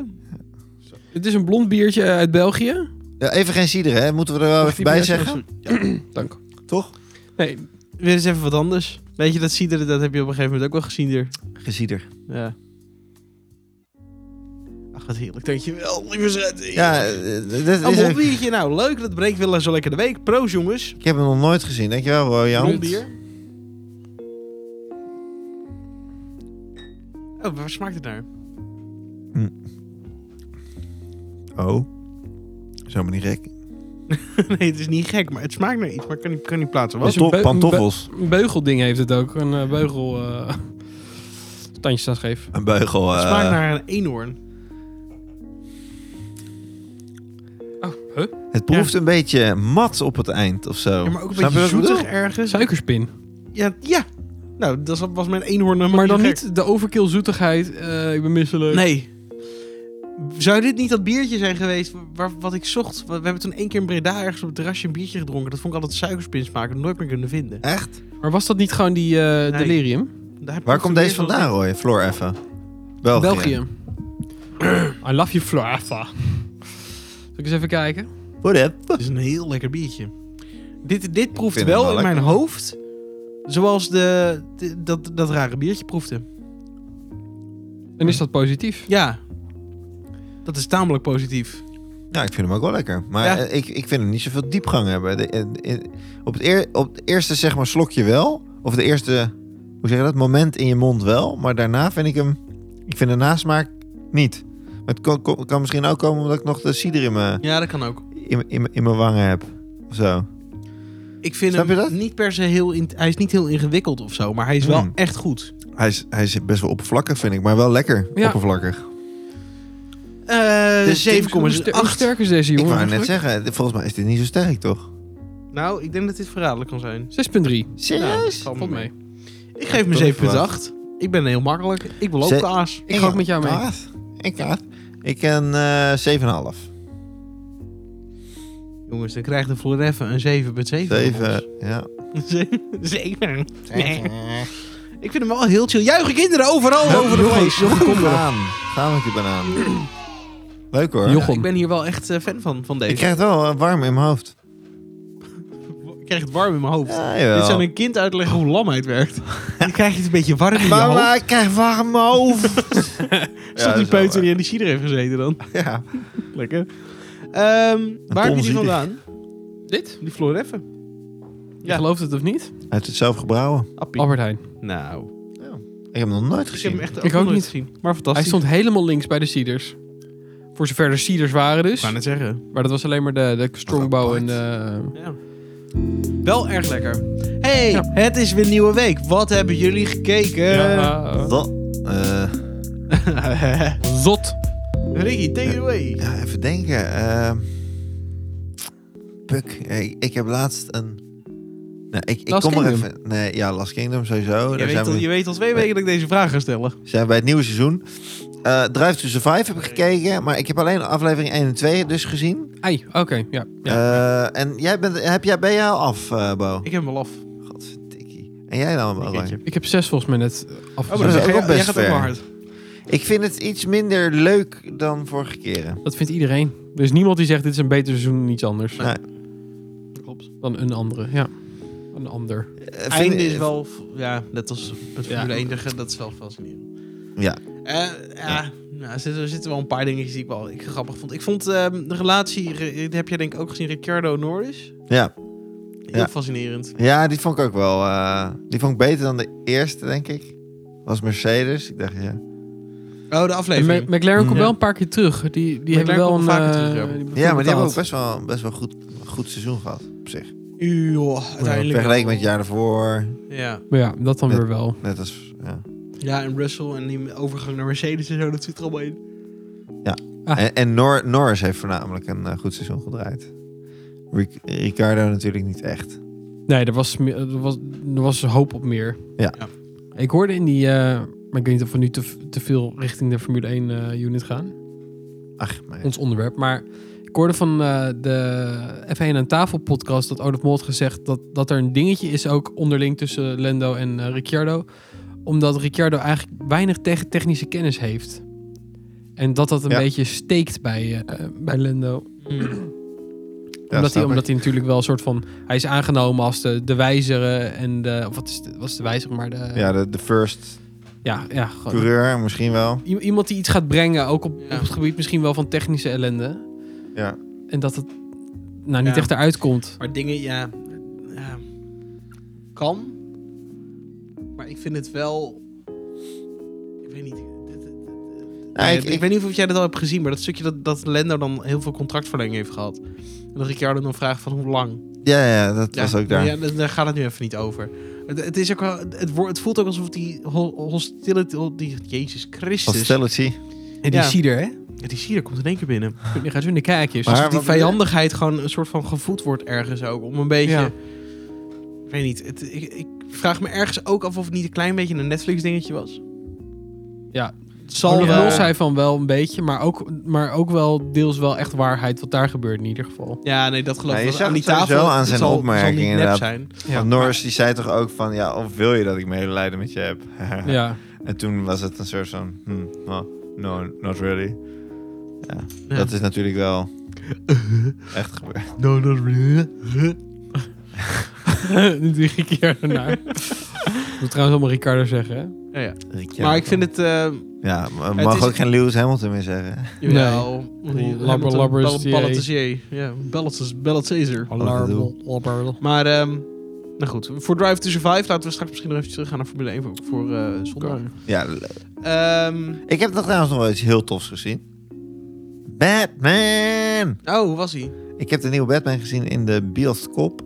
Speaker 3: Het is een blond biertje uit België.
Speaker 2: Ja, even geen cider, hè? Moeten we er wel even bij zeggen?
Speaker 3: Dank.
Speaker 2: Toch?
Speaker 3: Nee,
Speaker 1: Weer eens even wat anders. Weet je, dat cider, dat heb je op een gegeven moment ook wel gezien hier.
Speaker 2: Gecider.
Speaker 1: Ja. Ach, wat heerlijk. Dankjewel, lieve schat.
Speaker 2: Ja, eh, dat
Speaker 1: Een
Speaker 2: is
Speaker 1: blond
Speaker 2: een-
Speaker 1: biertje. Nou, leuk. Dat breekt wel zo lekker de week. Proost, jongens.
Speaker 2: Ik heb hem nog nooit gezien. Dankjewel, Rojan.
Speaker 1: Blond bier. Oh, waar smaakt het naar?
Speaker 2: Oh. Zo maar niet gek.
Speaker 1: nee, het is niet gek, maar het smaakt naar iets. Maar ik kan niet, kan niet plaatsen. Wat?
Speaker 3: Dus een beu-
Speaker 2: pantoffels.
Speaker 3: een beugelding heeft het ook. Een eh, beugel... eh tandjes staan scheef.
Speaker 2: Een beugel.
Speaker 1: Het
Speaker 2: eh,
Speaker 1: smaakt naar een eenhoorn.
Speaker 3: Oh, huh?
Speaker 2: Het proeft een beetje mat op het eind of zo.
Speaker 1: Ja, maar ook een
Speaker 2: Snap je
Speaker 1: beetje
Speaker 2: wat ik
Speaker 1: zoetig
Speaker 2: bedoel?
Speaker 1: ergens.
Speaker 3: Suikerspin.
Speaker 1: Ja, ja. Nou, dat was- was mijn eenhoorn. helemaal
Speaker 3: Maar dan
Speaker 1: gek.
Speaker 3: niet de overkill zoetigheid. eh, ik ben misselijk.
Speaker 1: Nee. Zou dit niet dat biertje zijn geweest waar, wat ik zocht? We we hebben toen één keer in Breda ergens op het terrasje een biertje gedronken. Dat vond ik altijd suikerspin smaken. Nooit meer kunnen vinden.
Speaker 2: Echt?
Speaker 3: Maar was dat niet gewoon die eh, delirium?
Speaker 1: Daar
Speaker 2: Waar komt deze vandaan, Roy? Floor even. België.
Speaker 3: België. I love you, Floor Effe. Zal ik eens even kijken?
Speaker 2: What up?
Speaker 1: Het is een heel lekker biertje. Dit, dit proeft
Speaker 2: vind
Speaker 1: wel,
Speaker 2: hem wel
Speaker 1: in mijn
Speaker 2: lekker.
Speaker 1: hoofd Zoals de, de- dat, dat rare biertje proefde.
Speaker 3: En is dat positief?
Speaker 1: Ja. Dat is tamelijk positief.
Speaker 2: Ja, ik vind hem ook wel lekker. Maar
Speaker 1: Ja.
Speaker 2: eh, ik, ik vind hem niet zoveel diepgang hebben. De- eh, eh, op, het eer- op het eerste zeg maar slokje wel. Of de eerste, hoe zeg je dat, moment in je mond wel. Maar daarna vind ik hem, ik vind de nasmaak niet. Maar het kan, kan- kan misschien ook komen omdat ik nog de cider in mijn
Speaker 1: Ja, dat kan ook.
Speaker 2: in, in, in mijn wangen heb. Of zo.
Speaker 1: Ik vind
Speaker 2: Snap
Speaker 1: hem
Speaker 2: je dat?
Speaker 1: niet per se heel... in- hij is niet heel ingewikkeld of zo, maar hij is wel
Speaker 2: Hmm.
Speaker 1: echt goed.
Speaker 2: Hij is, hij is best wel oppervlakkig vind ik, maar wel lekker
Speaker 3: Ja.
Speaker 2: oppervlakkig.
Speaker 1: Eh
Speaker 2: Dus
Speaker 3: Hoe, ster- hoe
Speaker 1: 7,8.
Speaker 3: sterk is deze
Speaker 2: Ik
Speaker 3: jongen?
Speaker 2: wou net
Speaker 3: eigenlijk?
Speaker 2: zeggen, dit- volgens mij is dit niet zo sterk toch?
Speaker 1: Nou, ik denk dat dit verraderlijk kan zijn.
Speaker 3: 6,3.
Speaker 1: Nou, dat
Speaker 2: Serieus?
Speaker 1: valt me
Speaker 3: Valt mee.
Speaker 1: mee. Ik geef
Speaker 2: Tot
Speaker 1: me 7,8. Ik ben heel makkelijk. Ik beloop
Speaker 2: Ze-
Speaker 1: de aas.
Speaker 3: Ik ga ook met jou mee.
Speaker 2: Kaat. Ik kaat. Ik een eh 7,5.
Speaker 1: Jongens, dan krijgt de Floor even een 7 met 7.
Speaker 2: Zeven, ja.
Speaker 1: Zeker. Nee. Ik vind hem wel heel chill. Juichen kinderen overal over de
Speaker 2: Nog
Speaker 1: place.
Speaker 2: een- nog een banaan. Gaan met die banaan. Leuk hoor.
Speaker 3: Joch-
Speaker 1: Ja, ik ben hier wel echt eh, fan van, van deze.
Speaker 2: Ik krijg het wel eh, warm in mijn hoofd.
Speaker 1: Ik krijg het warm in mijn hoofd.
Speaker 2: Ja,
Speaker 1: Dit zou
Speaker 2: jawel.
Speaker 1: een kind uitleggen hoe lamheid werkt. Dan krijg je het een beetje warm in je hoofd.
Speaker 2: Mama, ik krijg warm in mijn hoofd.
Speaker 1: Zat
Speaker 2: dat
Speaker 1: die
Speaker 2: is wel
Speaker 1: peuter
Speaker 2: waar.
Speaker 1: die aan die cider heeft gezeten dan.
Speaker 2: Ja.
Speaker 1: Lekker. Ehm, waar heb je die
Speaker 2: tonzieder.
Speaker 1: vandaan?
Speaker 3: Dit?
Speaker 1: Die Floor even.
Speaker 3: Je
Speaker 1: Ja.
Speaker 3: gelooft het of niet?
Speaker 2: Uit het zelf gebrouwen.
Speaker 1: Appie.
Speaker 3: Albert Heijn.
Speaker 1: Nou,
Speaker 2: Ik heb hem nog nooit
Speaker 1: ik heb
Speaker 2: gezien.
Speaker 1: hem echt
Speaker 3: Ik ook
Speaker 1: nooit
Speaker 3: niet.
Speaker 1: gezien. Maar
Speaker 3: Hij
Speaker 1: fantastisch.
Speaker 3: stond helemaal links bij de Cedars. Voor zover de Cedars waren
Speaker 1: Ik
Speaker 3: dus.
Speaker 1: wou net zeggen.
Speaker 3: Maar dat was alleen maar de, de Strongbow
Speaker 2: apart.
Speaker 3: en de...
Speaker 1: Ja. Wel erg lekker. Hey,
Speaker 3: Ja.
Speaker 1: het is weer nieuwe week. Wat hebben jullie gekeken?
Speaker 3: Ja.
Speaker 2: Dat, eh,
Speaker 3: Zot.
Speaker 1: Ricky, take it away.
Speaker 2: ja, even denken. ehm Puk, ik, ik heb laatst een... Nou, ik, ik
Speaker 3: Last
Speaker 2: kom er
Speaker 3: Kingdom.
Speaker 2: even... Nee, ja, Last Kingdom sowieso.
Speaker 1: Je
Speaker 2: Daar
Speaker 1: weet,
Speaker 2: zijn
Speaker 1: al,
Speaker 2: we
Speaker 1: je weet al twee weken dat ik deze vraag ga stellen.
Speaker 2: We zijn bij het nieuwe seizoen. Eh Drive to Survive heb ik gekeken, maar ik heb alleen aflevering 1 en 2 dus gezien.
Speaker 3: Ei, oké. Ja. ja.
Speaker 2: Eh, en jij bent, heb jij, ben jij al af, eh, Bo?
Speaker 1: Ik heb hem al af.
Speaker 2: Godverdikkie. En jij dan, Bo?
Speaker 1: Een
Speaker 3: Ik heb zes volgens mij net
Speaker 1: Oh,
Speaker 3: afgezet.
Speaker 1: maar dan
Speaker 2: dat is
Speaker 1: ga
Speaker 2: ook
Speaker 1: je-
Speaker 2: wel
Speaker 1: jij
Speaker 2: best
Speaker 1: gaat ook wel hard.
Speaker 2: ver. Ik vind het iets minder leuk dan vorige keren.
Speaker 3: Dat vindt iedereen. Er is niemand die zegt dit is een beter seizoen dan iets anders.
Speaker 2: Nee.
Speaker 1: Klopt.
Speaker 3: Dan een andere, ja. Een ander.
Speaker 2: Eh,
Speaker 1: Het
Speaker 2: vind-
Speaker 1: einde is wel, v- ja, net als het
Speaker 3: Ja.
Speaker 1: Formule 1, dat- dat is wel fascinerend.
Speaker 2: Ja,
Speaker 1: Eh, ja, nou, er zitten, er zitten wel een paar dingetjes die ik wel ik grappig vond. Ik vond ehm, de relatie, eh, die heb jij denk ik ook gezien, Ricciardo Norris.
Speaker 2: ja.
Speaker 1: Heel
Speaker 2: Ja.
Speaker 1: fascinerend.
Speaker 2: ja, die vond ik ook wel. eh, die vond ik beter dan de eerste, denk ik. Was Mercedes. Ik dacht, ja.
Speaker 1: Oh, de
Speaker 3: En
Speaker 1: aflevering.
Speaker 3: Ma- McLaren komt
Speaker 1: Ja.
Speaker 3: wel een paar keer terug. Die, die hebben
Speaker 1: McLaren
Speaker 3: wel een...
Speaker 1: komt vaker
Speaker 3: eh,
Speaker 1: terug, ja.
Speaker 2: Ja, maar die hebben
Speaker 3: betaald.
Speaker 2: ook best wel, best wel goed, goed seizoen gehad op zich.
Speaker 1: Joh, uiteindelijk.
Speaker 2: Vergeleken met het jaar daarvoor.
Speaker 1: Ja.
Speaker 3: Maar ja, dat dan
Speaker 2: Met-
Speaker 3: weer wel.
Speaker 2: Net als. Ja.
Speaker 1: ja, en Russell en die overgang naar Mercedes en zo, dat zit er allemaal in.
Speaker 3: Ah.
Speaker 2: En, en Nor- Norris heeft voornamelijk een eh, goed seizoen gedraaid. Ric- Ricardo natuurlijk niet echt.
Speaker 3: Nee, er was, me- er was, er was hoop op meer.
Speaker 2: Ja.
Speaker 1: Ja.
Speaker 3: Ik hoorde in die... eh, maar ik weet niet of we nu te, te veel richting de Formule 1 eh, unit gaan.
Speaker 2: Ach, mijn.
Speaker 3: ons onderwerp. Maar ik hoorde van eh, de F1 aan tafel podcast dat Olaf Mol had gezegd dat, dat er een dingetje is ook onderling tussen Lando en eh, Ricciardo. Omdat Ricciardo eigenlijk weinig te- technische kennis heeft. En dat dat een
Speaker 2: Ja.
Speaker 3: beetje steekt bij, eh, bij Lando.
Speaker 2: Ja,
Speaker 3: omdat,
Speaker 2: snap
Speaker 3: hij,
Speaker 2: ik.
Speaker 3: omdat hij natuurlijk wel een soort van... Hij is aangenomen als de, de wijzere en de... Of wat is de, wat is de wijzere? Maar de...
Speaker 2: Ja, de, de first
Speaker 3: ja, ja gewoon-
Speaker 2: coureur misschien wel.
Speaker 3: I- Iemand die iets gaat brengen, ook op,
Speaker 1: Ja.
Speaker 3: op het gebied misschien wel van technische ellende.
Speaker 2: Ja.
Speaker 3: En dat het nou niet
Speaker 1: Ja.
Speaker 3: echt eruit komt.
Speaker 1: Maar dingen, ja, ja, Kan. Maar ik vind het wel. Ik weet niet. dit- dit-
Speaker 2: Nou,
Speaker 1: Nee,
Speaker 2: ik,
Speaker 1: ik,
Speaker 2: ik,
Speaker 1: weet niet of jij dat al hebt gezien, maar dat stukje dat, dat Lendo dan heel veel contractverlenging heeft gehad. En dat Ricciardo dan vraagt van hoe lang.
Speaker 2: ja, ja, dat was ook daar.
Speaker 1: Ja, daar- daar gaat het nu even niet over. Het, het, is ook wel, het, wo- het voelt ook alsof die ho- hostility... Die, Jezus Christus.
Speaker 2: Hostility.
Speaker 3: En
Speaker 1: die
Speaker 3: cider, hè?
Speaker 1: Ja, die Sierra komt in één keer binnen.
Speaker 3: Die gaat zo in de kijkjes. Dus
Speaker 2: Maar-
Speaker 1: Alsof die
Speaker 2: wat bedoel-
Speaker 1: vijandigheid gewoon een soort van gevoed wordt ergens ook. Om een beetje...
Speaker 3: Ja.
Speaker 1: Ik weet niet. Het, ik, ik vraag me ergens ook af of het niet een klein beetje een Netflix dingetje was.
Speaker 3: Ja.
Speaker 1: Het
Speaker 3: Zal
Speaker 1: Zal eh,
Speaker 3: er
Speaker 1: wel.
Speaker 3: wel zijn van wel een beetje, maar ook, maar ook wel deels wel echt waarheid wat daar gebeurt in ieder geval.
Speaker 1: Ja, nee, dat geloof
Speaker 2: Ja,
Speaker 1: ik
Speaker 2: je
Speaker 1: wel.
Speaker 2: zag
Speaker 1: Aan die
Speaker 2: het sowieso
Speaker 1: tafel
Speaker 2: aan
Speaker 1: het
Speaker 2: zijn
Speaker 1: zal,
Speaker 2: opmerking
Speaker 1: zal niet nep
Speaker 2: inderdaad.
Speaker 1: zijn.
Speaker 3: Ja.
Speaker 2: Want Norris die zei toch ook van, ja, of wil je dat ik medelijden met je heb?
Speaker 3: Ja.
Speaker 2: En toen was het een soort van, hmm, well, no, not really. Ja,
Speaker 1: Ja.
Speaker 3: Nou,
Speaker 2: dat is natuurlijk wel echt gebeurd.
Speaker 1: No, no,
Speaker 3: Drie keer daarna. Dat Nou. moet trouwens allemaal Ricardo zeggen, hè?
Speaker 1: Ja, ja.
Speaker 2: Ja,
Speaker 1: maar ik vind het... eh
Speaker 2: Ja, maar mag
Speaker 1: is-
Speaker 2: ook geen Lewis Hamilton meer zeggen.
Speaker 1: jawel.
Speaker 3: Nee.
Speaker 1: Hamilton,
Speaker 3: Labber, labber,
Speaker 1: ball-
Speaker 3: CA.
Speaker 1: Balletier. Ja, Ballet- Balletizer.
Speaker 2: Alarm,
Speaker 1: Maar, ehm nou goed. Voor Drive to Survive laten we straks misschien nog even teruggaan naar Formule 1 voor, voor eh, zondag.
Speaker 2: Ja, le-
Speaker 1: Ehm,
Speaker 2: ik heb nog trouwens nog wel iets heel tofs gezien. Batman!
Speaker 1: oh, hoe was hij?
Speaker 2: Ik heb de nieuwe Batman gezien in de bioscoop.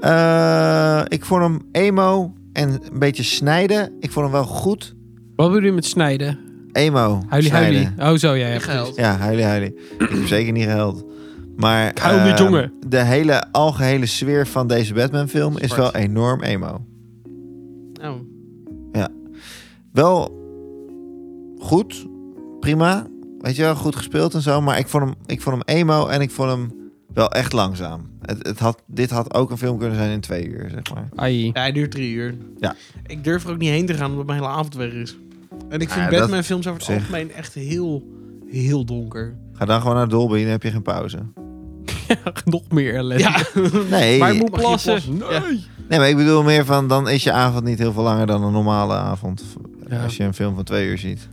Speaker 2: Eh, ik vond hem emo en een beetje snijden. Ik vond hem wel goed.
Speaker 3: Wat bedoel je met snijden?
Speaker 2: Emo,
Speaker 3: Huilie,
Speaker 2: snijden.
Speaker 3: huilie. Oh, zo, ja. ja precies.
Speaker 1: Gehuild.
Speaker 2: Ja, huilie, huilie. ik heb zeker niet gehuild. Maar
Speaker 3: Ik huil niet,
Speaker 2: eh,
Speaker 3: jongen.
Speaker 2: de hele algehele sfeer van deze Batman film is
Speaker 1: Zwart.
Speaker 2: wel enorm emo.
Speaker 1: Oh.
Speaker 2: wel goed, prima. Weet je wel, goed gespeeld en zo. Maar ik vond hem, ik vond hem emo en ik vond hem wel echt langzaam. Het, het had, dit had ook een film kunnen zijn in twee uur, zeg maar.
Speaker 3: Ai.
Speaker 1: Ja, hij duurt drie uur.
Speaker 2: Ja.
Speaker 1: Ik durf er ook niet heen te gaan omdat mijn hele avond weg is. En ik
Speaker 2: Ah,
Speaker 1: vind
Speaker 2: dat-
Speaker 1: Batman-films over het
Speaker 2: zeg.
Speaker 1: algemeen echt heel, heel donker.
Speaker 2: Ga dan gewoon naar Dolby, dan heb je geen pauze.
Speaker 3: Nog meer ellende.
Speaker 1: Ja,
Speaker 2: Nee,
Speaker 1: maar ik moet
Speaker 3: Mag je
Speaker 1: plassen.
Speaker 3: plassen?
Speaker 1: Ja.
Speaker 2: nee, maar ik bedoel meer van, dan is je avond niet heel veel langer dan een normale avond.
Speaker 3: Ja.
Speaker 2: Als je een film van twee uur ziet.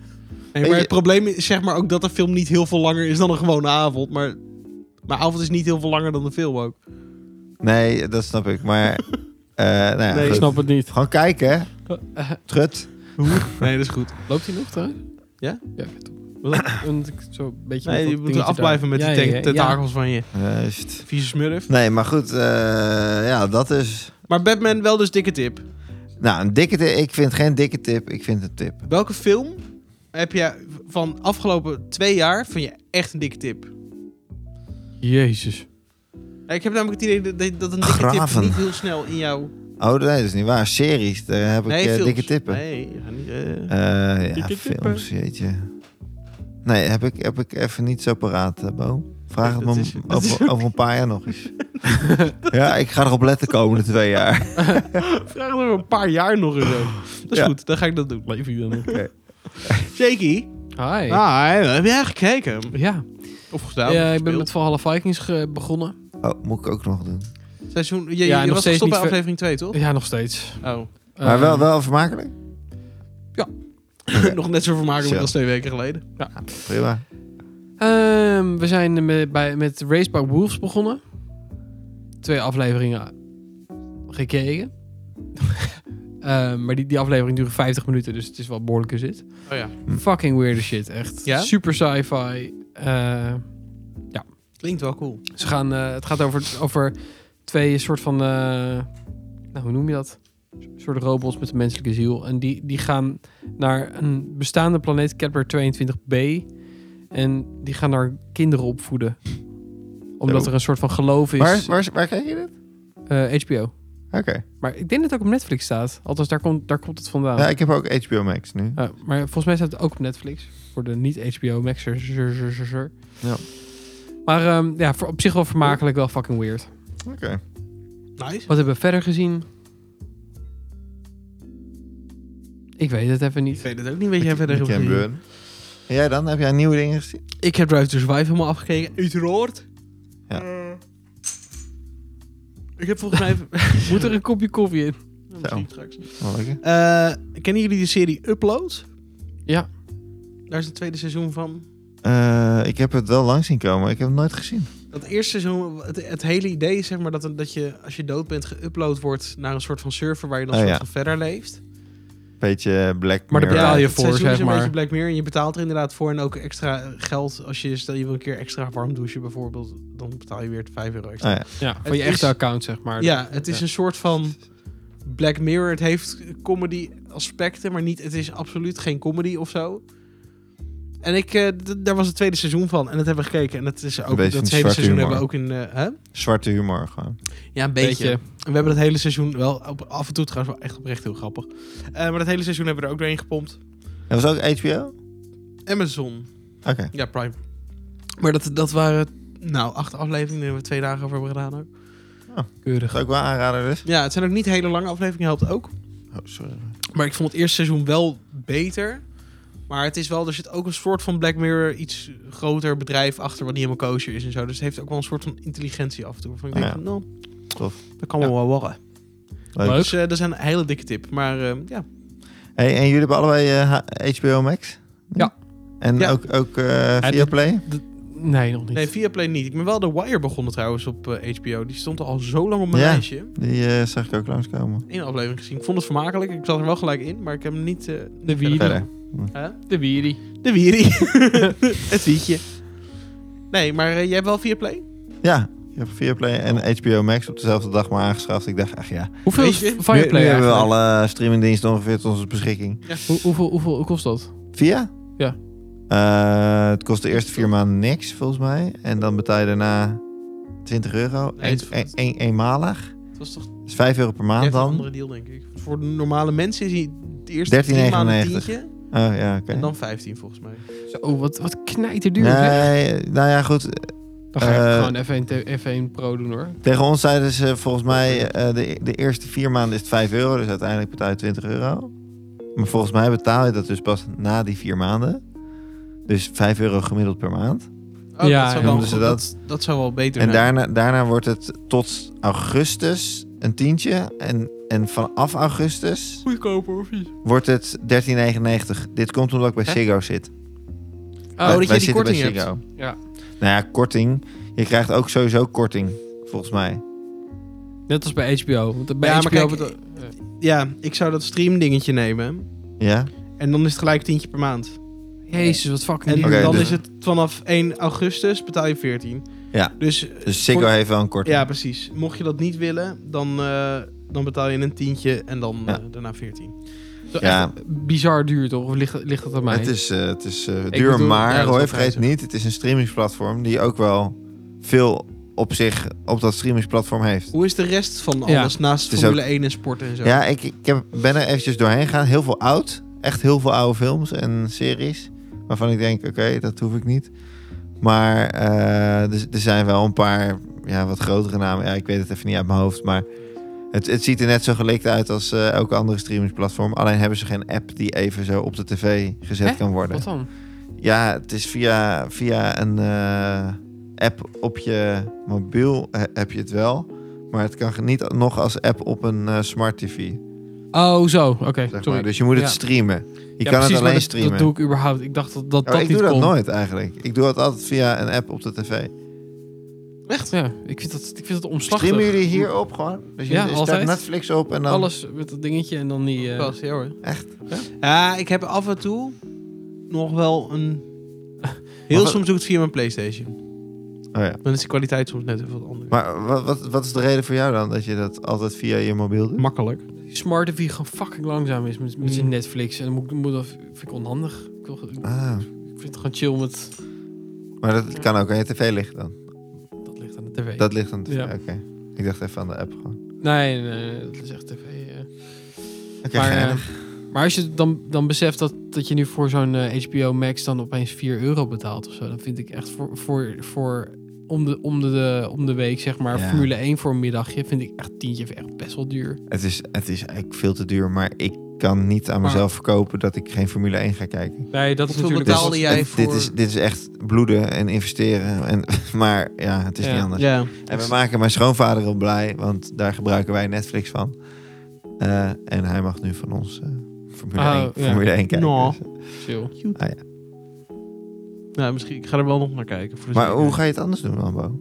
Speaker 1: Nee, maar het probleem is zeg maar ook dat de film niet heel veel langer is dan een gewone avond. Maar mijn avond is niet heel veel langer dan de film ook.
Speaker 2: Nee, dat snap ik. Maar, eh, nou ja,
Speaker 1: Nee,
Speaker 3: Ik
Speaker 2: goed.
Speaker 3: snap het niet.
Speaker 2: Gewoon kijken, hè.
Speaker 3: Eh,
Speaker 2: Trut.
Speaker 1: Nee, dat is goed.
Speaker 3: Loopt hij nog trouwens?
Speaker 1: Ja?
Speaker 3: Ja, ik weet het. Zo'n beetje met
Speaker 1: Nee, je
Speaker 3: dat
Speaker 1: moet
Speaker 3: dingetje
Speaker 1: afblijven met
Speaker 3: daar.
Speaker 1: die
Speaker 3: Ja, ja,
Speaker 1: tank-
Speaker 3: ja, ja.
Speaker 1: tentakels van je
Speaker 2: Juist.
Speaker 1: vieze smurf.
Speaker 2: Nee, maar goed. eh, ja, dat is...
Speaker 1: Maar Batman wel dus dikke tip.
Speaker 2: Nou, een dikke tip. Ik vind geen dikke tip. Ik vind een tip.
Speaker 1: Welke film heb je van afgelopen twee jaar vind je echt een dikke tip?
Speaker 3: Jezus.
Speaker 1: Ja, Ik heb namelijk het idee dat- dat, dat een dikke
Speaker 2: Graven.
Speaker 1: tip niet heel snel in jou...
Speaker 2: Oh, nee, dat is niet waar. Series, daar heb ik eh,
Speaker 1: films.
Speaker 2: dikke tippen.
Speaker 1: Nee, je gaat niet, eh.
Speaker 2: Eh, ja,
Speaker 3: Dikke tippen.
Speaker 2: films, jeetje. Nee, heb ik, heb ik even niet zo paraat, eh, Bo. Vraag het me
Speaker 1: Dat
Speaker 2: om-
Speaker 1: is- dat is
Speaker 2: over, over een paar jaar nog eens. ja, ik ga erop letten de komende twee jaar.
Speaker 1: Vraag er een paar jaar nog eens over. Dat is
Speaker 2: Ja.
Speaker 1: goed, dan ga ik dat doen.
Speaker 3: Leef je dan
Speaker 1: Shaky,
Speaker 3: Hi.
Speaker 1: ah, heb jij gekeken?
Speaker 3: Ja,
Speaker 1: Of gedaan? of
Speaker 3: ja ik ben
Speaker 1: gespeeld?
Speaker 3: met Valhalla Vikings ge- begonnen.
Speaker 2: Oh, moet ik ook nog doen.
Speaker 1: Seizoen, je, je-
Speaker 3: Ja,
Speaker 1: je
Speaker 3: nog
Speaker 1: was
Speaker 3: steeds
Speaker 1: gestopt bij
Speaker 3: niet ver-
Speaker 1: aflevering 2, toch?
Speaker 3: Ja, nog steeds.
Speaker 1: Oh.
Speaker 2: Maar
Speaker 3: Eh,
Speaker 2: wel, wel vermakelijk.
Speaker 1: Oh. nog net zo vermakelijk
Speaker 2: Zo.
Speaker 1: als twee weken geleden.
Speaker 2: Prima.
Speaker 3: ehm, we zijn met, bij, met Race by Wolves begonnen. Twee afleveringen gekeken. Ehm, maar die, die aflevering duurde 50 minuten, dus het is wel behoorlijke zit.
Speaker 1: Oh ja.
Speaker 2: Hm.
Speaker 3: Fucking weirde shit, echt.
Speaker 1: Ja?
Speaker 3: Super sci-fi. Eh,
Speaker 1: Klinkt wel cool.
Speaker 3: ze gaan, eh, het gaat over, over twee soort van... eh, nou, hoe noem je dat? Soort robots met een menselijke ziel. En die, die gaan naar een bestaande planeet, Kepler 22b. En die gaan daar kinderen opvoeden. Omdat
Speaker 2: Zo.
Speaker 3: er een soort van geloof is.
Speaker 2: Waar, waar, waar kijk je dit?
Speaker 3: Eh, HBO.
Speaker 2: Oké.
Speaker 3: Maar ik denk dat het ook op Netflix staat. Althans, daar komt, daar komt het vandaan.
Speaker 2: Ja, ik heb ook HBO Max nu.
Speaker 3: Ja, maar volgens mij staat het ook op Netflix. Voor de niet-HBO Maxers.
Speaker 2: Ja.
Speaker 3: Maar ehm, ja, voor, op zich wel vermakelijk, wel fucking weird.
Speaker 2: Oké.
Speaker 1: Nice.
Speaker 3: Wat hebben we verder gezien? Ik weet het even
Speaker 1: Ik
Speaker 3: niet.
Speaker 1: weet het ook niet wat jij verder
Speaker 2: Ik
Speaker 1: hebt
Speaker 2: ken
Speaker 1: gezien.
Speaker 2: Burn. En jij dan? Heb jij nieuwe dingen gezien?
Speaker 1: Ik heb Drive to Survive helemaal afgekeken. Uiteraard.
Speaker 2: Ja.
Speaker 1: Eh, ik heb volgens mij... even-
Speaker 3: Moet er een kopje koffie in?
Speaker 1: Misschien straks.
Speaker 2: Oh, lekker.
Speaker 1: Eh, kennen jullie de serie Upload?
Speaker 3: Ja.
Speaker 1: Daar is het tweede seizoen van.
Speaker 2: Eh, ik heb het wel lang zien komen. Ik heb het nooit gezien.
Speaker 1: Dat eerste seizoen, het, het hele idee is zeg maar dat, dat je als je dood bent geüpload wordt naar een soort van server waar je dan
Speaker 2: Oh,
Speaker 1: soort
Speaker 2: ja.
Speaker 1: van verder leeft.
Speaker 2: Beetje Black
Speaker 3: Maar de
Speaker 2: Mirror.
Speaker 3: betaal je
Speaker 1: het
Speaker 3: voor,
Speaker 1: seizoen
Speaker 3: zeg
Speaker 1: is een
Speaker 3: maar.
Speaker 1: beetje Black Mirror en je betaalt er inderdaad voor en ook extra geld. Als je, stel je wil een keer extra warm douchen bijvoorbeeld, dan betaal je weer 5 euro extra.
Speaker 2: Ah, ja.
Speaker 3: Ja, van
Speaker 1: Het
Speaker 3: je echte
Speaker 1: is-
Speaker 3: account, zeg maar.
Speaker 1: Ja, het is
Speaker 3: Ja.
Speaker 1: een soort van Black Mirror. Het heeft comedy aspecten, maar niet, het is absoluut geen comedy of zo. En ik, eh, d- daar was het tweede seizoen van en dat hebben we gekeken. En dat is ook,
Speaker 2: beetje
Speaker 1: dat
Speaker 2: van
Speaker 1: hele
Speaker 2: die
Speaker 1: seizoen
Speaker 2: zwarte
Speaker 1: hebben we ook in, eh, hè?
Speaker 2: Zwarte humor gewoon.
Speaker 1: Ja, een beetje. En we hebben dat hele seizoen wel op, af en toe trouwens wel echt oprecht heel grappig. Eh, maar dat hele seizoen hebben we er ook doorheen gepompt.
Speaker 2: Dat was ook HBO?
Speaker 1: Amazon.
Speaker 2: Oké.
Speaker 1: Ja, Prime. Maar dat, dat waren, nou, acht afleveringen. Daar hebben we twee dagen over hebben gedaan ook.
Speaker 3: keurig.
Speaker 2: Zou ik wel aanraden dus?
Speaker 1: Ja, het zijn ook niet hele lange afleveringen, helpt ook.
Speaker 2: Oh, sorry.
Speaker 1: Maar ik vond het eerste seizoen wel beter. Maar het is wel, er zit ook een soort van Black Mirror, iets groter bedrijf achter wat niet helemaal koosje is en zo. Dus het heeft ook wel een soort van intelligentie af en toe. Waarvan ik denk
Speaker 2: Ja.
Speaker 1: van, nou,
Speaker 2: tof.
Speaker 1: Dat kan wel wel worden.
Speaker 2: Leuk.
Speaker 3: Leuk.
Speaker 1: Dus eh, dat is een hele dikke tip. Maar eh, ja,
Speaker 2: Hey, en jullie hebben allebei eh, H- HBO Max?
Speaker 3: Ja.
Speaker 2: En
Speaker 1: Ja.
Speaker 2: ook, ook eh Viaplay?
Speaker 3: Nee, nog niet.
Speaker 1: nee, Viaplay niet. Ik ben wel The Wire begonnen trouwens op eh, HBO. Die stond al zo lang op mijn
Speaker 2: Ja.
Speaker 1: lijstje.
Speaker 2: Die eh, zag ik ook langskomen.
Speaker 1: Eén aflevering gezien. Ik vond het vermakelijk. Ik zat er wel gelijk in, maar ik heb hem niet... eh,
Speaker 3: de Wiri.
Speaker 2: Verder.
Speaker 1: hè?
Speaker 3: De Wiri.
Speaker 1: De Wiri. het wietje. Nee, maar eh, jij hebt wel Viaplay?
Speaker 2: Ja, ik heb Viaplay en HBO Max op dezelfde dag maar aangeschaft. Ik dacht, ach ja,
Speaker 3: Hoeveel
Speaker 1: Weet
Speaker 3: is
Speaker 1: je?
Speaker 2: nu,
Speaker 3: Fireplay
Speaker 2: nu hebben we
Speaker 3: eigenlijk?
Speaker 2: alle streamingdiensten ongeveer tot onze beschikking.
Speaker 3: Hoe, hoeveel, hoeveel hoe kost dat?
Speaker 2: Via?
Speaker 3: Ja.
Speaker 2: Eh, het kost de eerste vier maanden niks, volgens mij. En dan betaal je daarna 20 euro.
Speaker 1: Nee,
Speaker 2: Eén-
Speaker 1: het-
Speaker 2: één- één- eenmalig.
Speaker 1: Het was toch jij
Speaker 2: Dat is 5 euro per maand
Speaker 1: hebt een
Speaker 2: dan.
Speaker 1: andere deal, denk ik. Voor de normale mensen is hij de eerste drie maanden
Speaker 2: 13,99.
Speaker 1: tientje.
Speaker 2: Oh ja, oké.
Speaker 1: En dan 15 volgens mij.
Speaker 3: Zo, wat, wat knijterduur. zeg.
Speaker 2: Nee, nou ja, goed.
Speaker 3: Dan ga ik
Speaker 2: eh,
Speaker 3: gewoon even een, te- even een pro doen hoor.
Speaker 2: Tegen ons zeiden ze volgens mij eh, de, de eerste vier maanden is het 5 euro, dus uiteindelijk betaal je 20 euro. Maar volgens mij betaal je dat dus pas na die vier maanden. Dus 5 euro gemiddeld per maand.
Speaker 1: Oh,
Speaker 3: Ja,
Speaker 1: dat zou, wel,
Speaker 2: noemden
Speaker 1: goed-
Speaker 2: ze
Speaker 1: dat,
Speaker 2: Dus dat.
Speaker 1: dat, zou wel beter
Speaker 2: En
Speaker 3: eh,
Speaker 1: zijn.
Speaker 2: daarna, daarna wordt het tot augustus een tientje. En, en vanaf augustus
Speaker 3: Goedkoper of niet?
Speaker 2: wordt het 13,99. Dit komt omdat ik bij
Speaker 1: Hè?
Speaker 2: Ziggo zit.
Speaker 1: Oh, dat
Speaker 2: Wij-
Speaker 3: Eh,
Speaker 2: wij
Speaker 1: je die
Speaker 2: zitten bij
Speaker 1: korting hebt.
Speaker 2: Ziggo.
Speaker 3: Ja.
Speaker 2: Nou ja, korting. Je krijgt ook sowieso korting, volgens mij.
Speaker 3: Net als bij HBO. Want bij
Speaker 1: Ja,
Speaker 3: HBO
Speaker 1: maar kijk,
Speaker 3: beta- eh,
Speaker 1: Ja, ik zou dat streamdingetje nemen.
Speaker 2: Ja?
Speaker 1: En dan is het gelijk tientje per maand.
Speaker 3: Jezus, wat fucking
Speaker 1: En
Speaker 3: duur.
Speaker 2: Oké,
Speaker 1: dan
Speaker 2: dus-
Speaker 1: is het vanaf 1 augustus betaal je 14.
Speaker 2: Ja.
Speaker 1: Dus
Speaker 2: Dus Ziggo
Speaker 1: Kort-
Speaker 2: heeft wel een korting.
Speaker 1: ja, precies. Mocht je dat niet willen, dan, eh, dan betaal je een tientje en dan
Speaker 2: Ja.
Speaker 1: eh, daarna 14.
Speaker 3: Zo
Speaker 2: Ja.
Speaker 3: echt Bizar duur toch? Of ligt, ligt dat aan mij?
Speaker 2: Het is, eh, het is eh,
Speaker 3: Ik
Speaker 2: duur,
Speaker 3: bedoel, ja,
Speaker 2: maar
Speaker 3: dat is
Speaker 2: hoor,
Speaker 3: wel
Speaker 2: vergeet
Speaker 3: prijzig.
Speaker 2: niet, het is een streamingsplatform die ook wel veel op zich op dat streamingsplatform heeft.
Speaker 1: Hoe is de rest van
Speaker 3: Ja.
Speaker 1: alles naast
Speaker 2: Het is
Speaker 1: Formule 1 en sport en zo?
Speaker 2: Ja, ik, ik heb, ben er eventjes doorheen gegaan. Heel veel oud, echt heel veel oude films en series, waarvan ik denk, oké, dat hoef ik niet. Maar eh, er, er zijn wel een paar ja, wat grotere namen. Ja, ik weet het even niet uit mijn hoofd, maar het, het ziet er net zo gelikt uit als eh, elke andere streamingsplatform. Alleen hebben ze geen app die even zo op de tv gezet
Speaker 3: Hè?
Speaker 2: kan worden.
Speaker 3: Wat dan?
Speaker 2: Ja, het is via, via een eh, app op je mobiel he- heb je het wel. Maar het kan niet nog als app op een eh, smart tv.
Speaker 3: Oh, zo. Oké,
Speaker 2: Zeg
Speaker 3: sorry.
Speaker 2: maar. Dus je moet het
Speaker 3: Ja.
Speaker 2: streamen. Je
Speaker 3: Ja,
Speaker 2: kan
Speaker 3: precies,
Speaker 2: het
Speaker 3: maar
Speaker 2: alleen
Speaker 3: dat-
Speaker 2: streamen.
Speaker 3: Dat doe ik überhaupt. Ik dacht dat dat,
Speaker 2: Oh,
Speaker 3: dat
Speaker 2: ik
Speaker 3: niet
Speaker 2: doe dat
Speaker 3: kon.
Speaker 2: nooit eigenlijk. Ik doe het altijd via een app op de tv.
Speaker 3: Echt? Ja, ik vind dat, ik vind dat omslachtig.
Speaker 2: Streamen jullie hierop gewoon? Dus je
Speaker 3: Ja,
Speaker 2: je start
Speaker 3: altijd.
Speaker 2: Netflix op en dan...
Speaker 3: Alles met dat dingetje en dan die... eh,
Speaker 1: Pas, ja hoor.
Speaker 2: Echt?
Speaker 1: Ja? Ja, ik heb af en toe nog wel een... Heel
Speaker 2: wat-
Speaker 1: soms doe ik het via mijn Playstation.
Speaker 2: Oh ja.
Speaker 1: Dan is de kwaliteit soms net even wat anders.
Speaker 2: Maar wat, wat, wat is de reden voor jou dan dat je dat altijd via je mobiel doet?
Speaker 1: Makkelijk.
Speaker 3: die Smart TV gewoon fucking langzaam is met, met zijn
Speaker 1: Mm.
Speaker 3: Netflix. En dan moet, moet dat vind ik onhandig. Ik, wil- ik
Speaker 2: Ah,
Speaker 3: vind het gewoon chill met...
Speaker 2: maar dat kan ook aan je tv liggen dan.
Speaker 3: Dat ligt aan de tv.
Speaker 2: Dat ligt aan de tv,
Speaker 3: Ja.
Speaker 2: oké. Ik dacht even aan de app gewoon.
Speaker 3: Nee, nee, nee, dat is echt tv. eh.
Speaker 2: Oké,
Speaker 3: maar, eh,
Speaker 2: geinig.
Speaker 3: maar als je dan, dan beseft dat, dat je nu voor zo'n eh, HBO Max dan opeens 4 euro betaalt of zo, dan vind ik echt voor, voor, voor om, de, om, de, de, om de week, zeg maar,
Speaker 2: Ja.
Speaker 3: Formule 1 voor een middagje, vind ik echt tientje echt best wel duur.
Speaker 2: Het is, het is eigenlijk veel te duur, maar ik kan niet aan
Speaker 3: Maar-
Speaker 2: mezelf verkopen dat ik geen Formule 1 ga kijken.
Speaker 3: Nee, dat
Speaker 1: is natuurlijk- Betaalde
Speaker 2: Dus
Speaker 1: jij
Speaker 2: het-
Speaker 1: voor-
Speaker 2: dit, is, dit is echt bloeden en investeren. En, maar ja, het is
Speaker 3: Ja.
Speaker 2: niet anders.
Speaker 1: Ja.
Speaker 2: En we maken mijn schoonvader op blij, want daar gebruiken wij Netflix van. Eh, en hij mag nu van ons eh, Formule,
Speaker 3: Oh,
Speaker 2: 1,
Speaker 3: ja.
Speaker 2: Formule 1 kijken.
Speaker 1: Nou.
Speaker 2: Dus, eh,
Speaker 3: chill.
Speaker 1: Nou, misschien, ik ga er wel nog naar kijken.
Speaker 3: Dus
Speaker 1: Voor de
Speaker 2: maar
Speaker 1: zekerheid.
Speaker 2: hoe ga je het anders doen dan, Bo?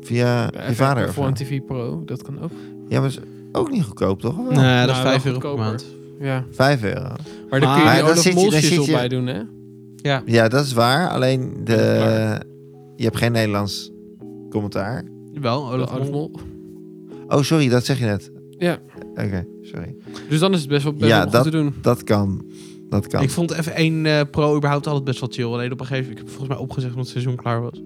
Speaker 2: Via je vader? of
Speaker 3: Voor een
Speaker 2: zo?
Speaker 3: TV Pro, dat kan ook.
Speaker 2: Ja, maar is ook niet goedkoop, toch?
Speaker 1: Nee, dat is 5
Speaker 3: Nou, wel
Speaker 1: euro per
Speaker 3: goedkoper.
Speaker 1: maand.
Speaker 3: Ja.
Speaker 2: Vijf euro.
Speaker 3: Maar dan
Speaker 1: Maar
Speaker 3: kun je
Speaker 2: dan
Speaker 3: die Olaf
Speaker 2: zit je- dan zit
Speaker 3: Molsjes
Speaker 2: je-
Speaker 3: op bij doen, hè?
Speaker 1: Ja.
Speaker 2: Ja, dat is waar. Alleen de,
Speaker 3: Dat is
Speaker 2: je hebt geen Nederlands commentaar.
Speaker 1: Wel, Olaf
Speaker 3: Olaf
Speaker 1: Mol.
Speaker 3: Mol.
Speaker 2: Oh, sorry, dat zeg je net.
Speaker 3: Ja.
Speaker 2: Oké, sorry.
Speaker 3: Dus dan is het best wel best
Speaker 2: Ja,
Speaker 3: wel goed
Speaker 2: dat-
Speaker 3: te doen.
Speaker 2: Dat kan. Dat kan.
Speaker 1: Ik vond F1 eh, Pro überhaupt altijd best wel chill. Alleen op een gegeven moment, ik heb volgens mij opgezegd omdat het seizoen klaar was.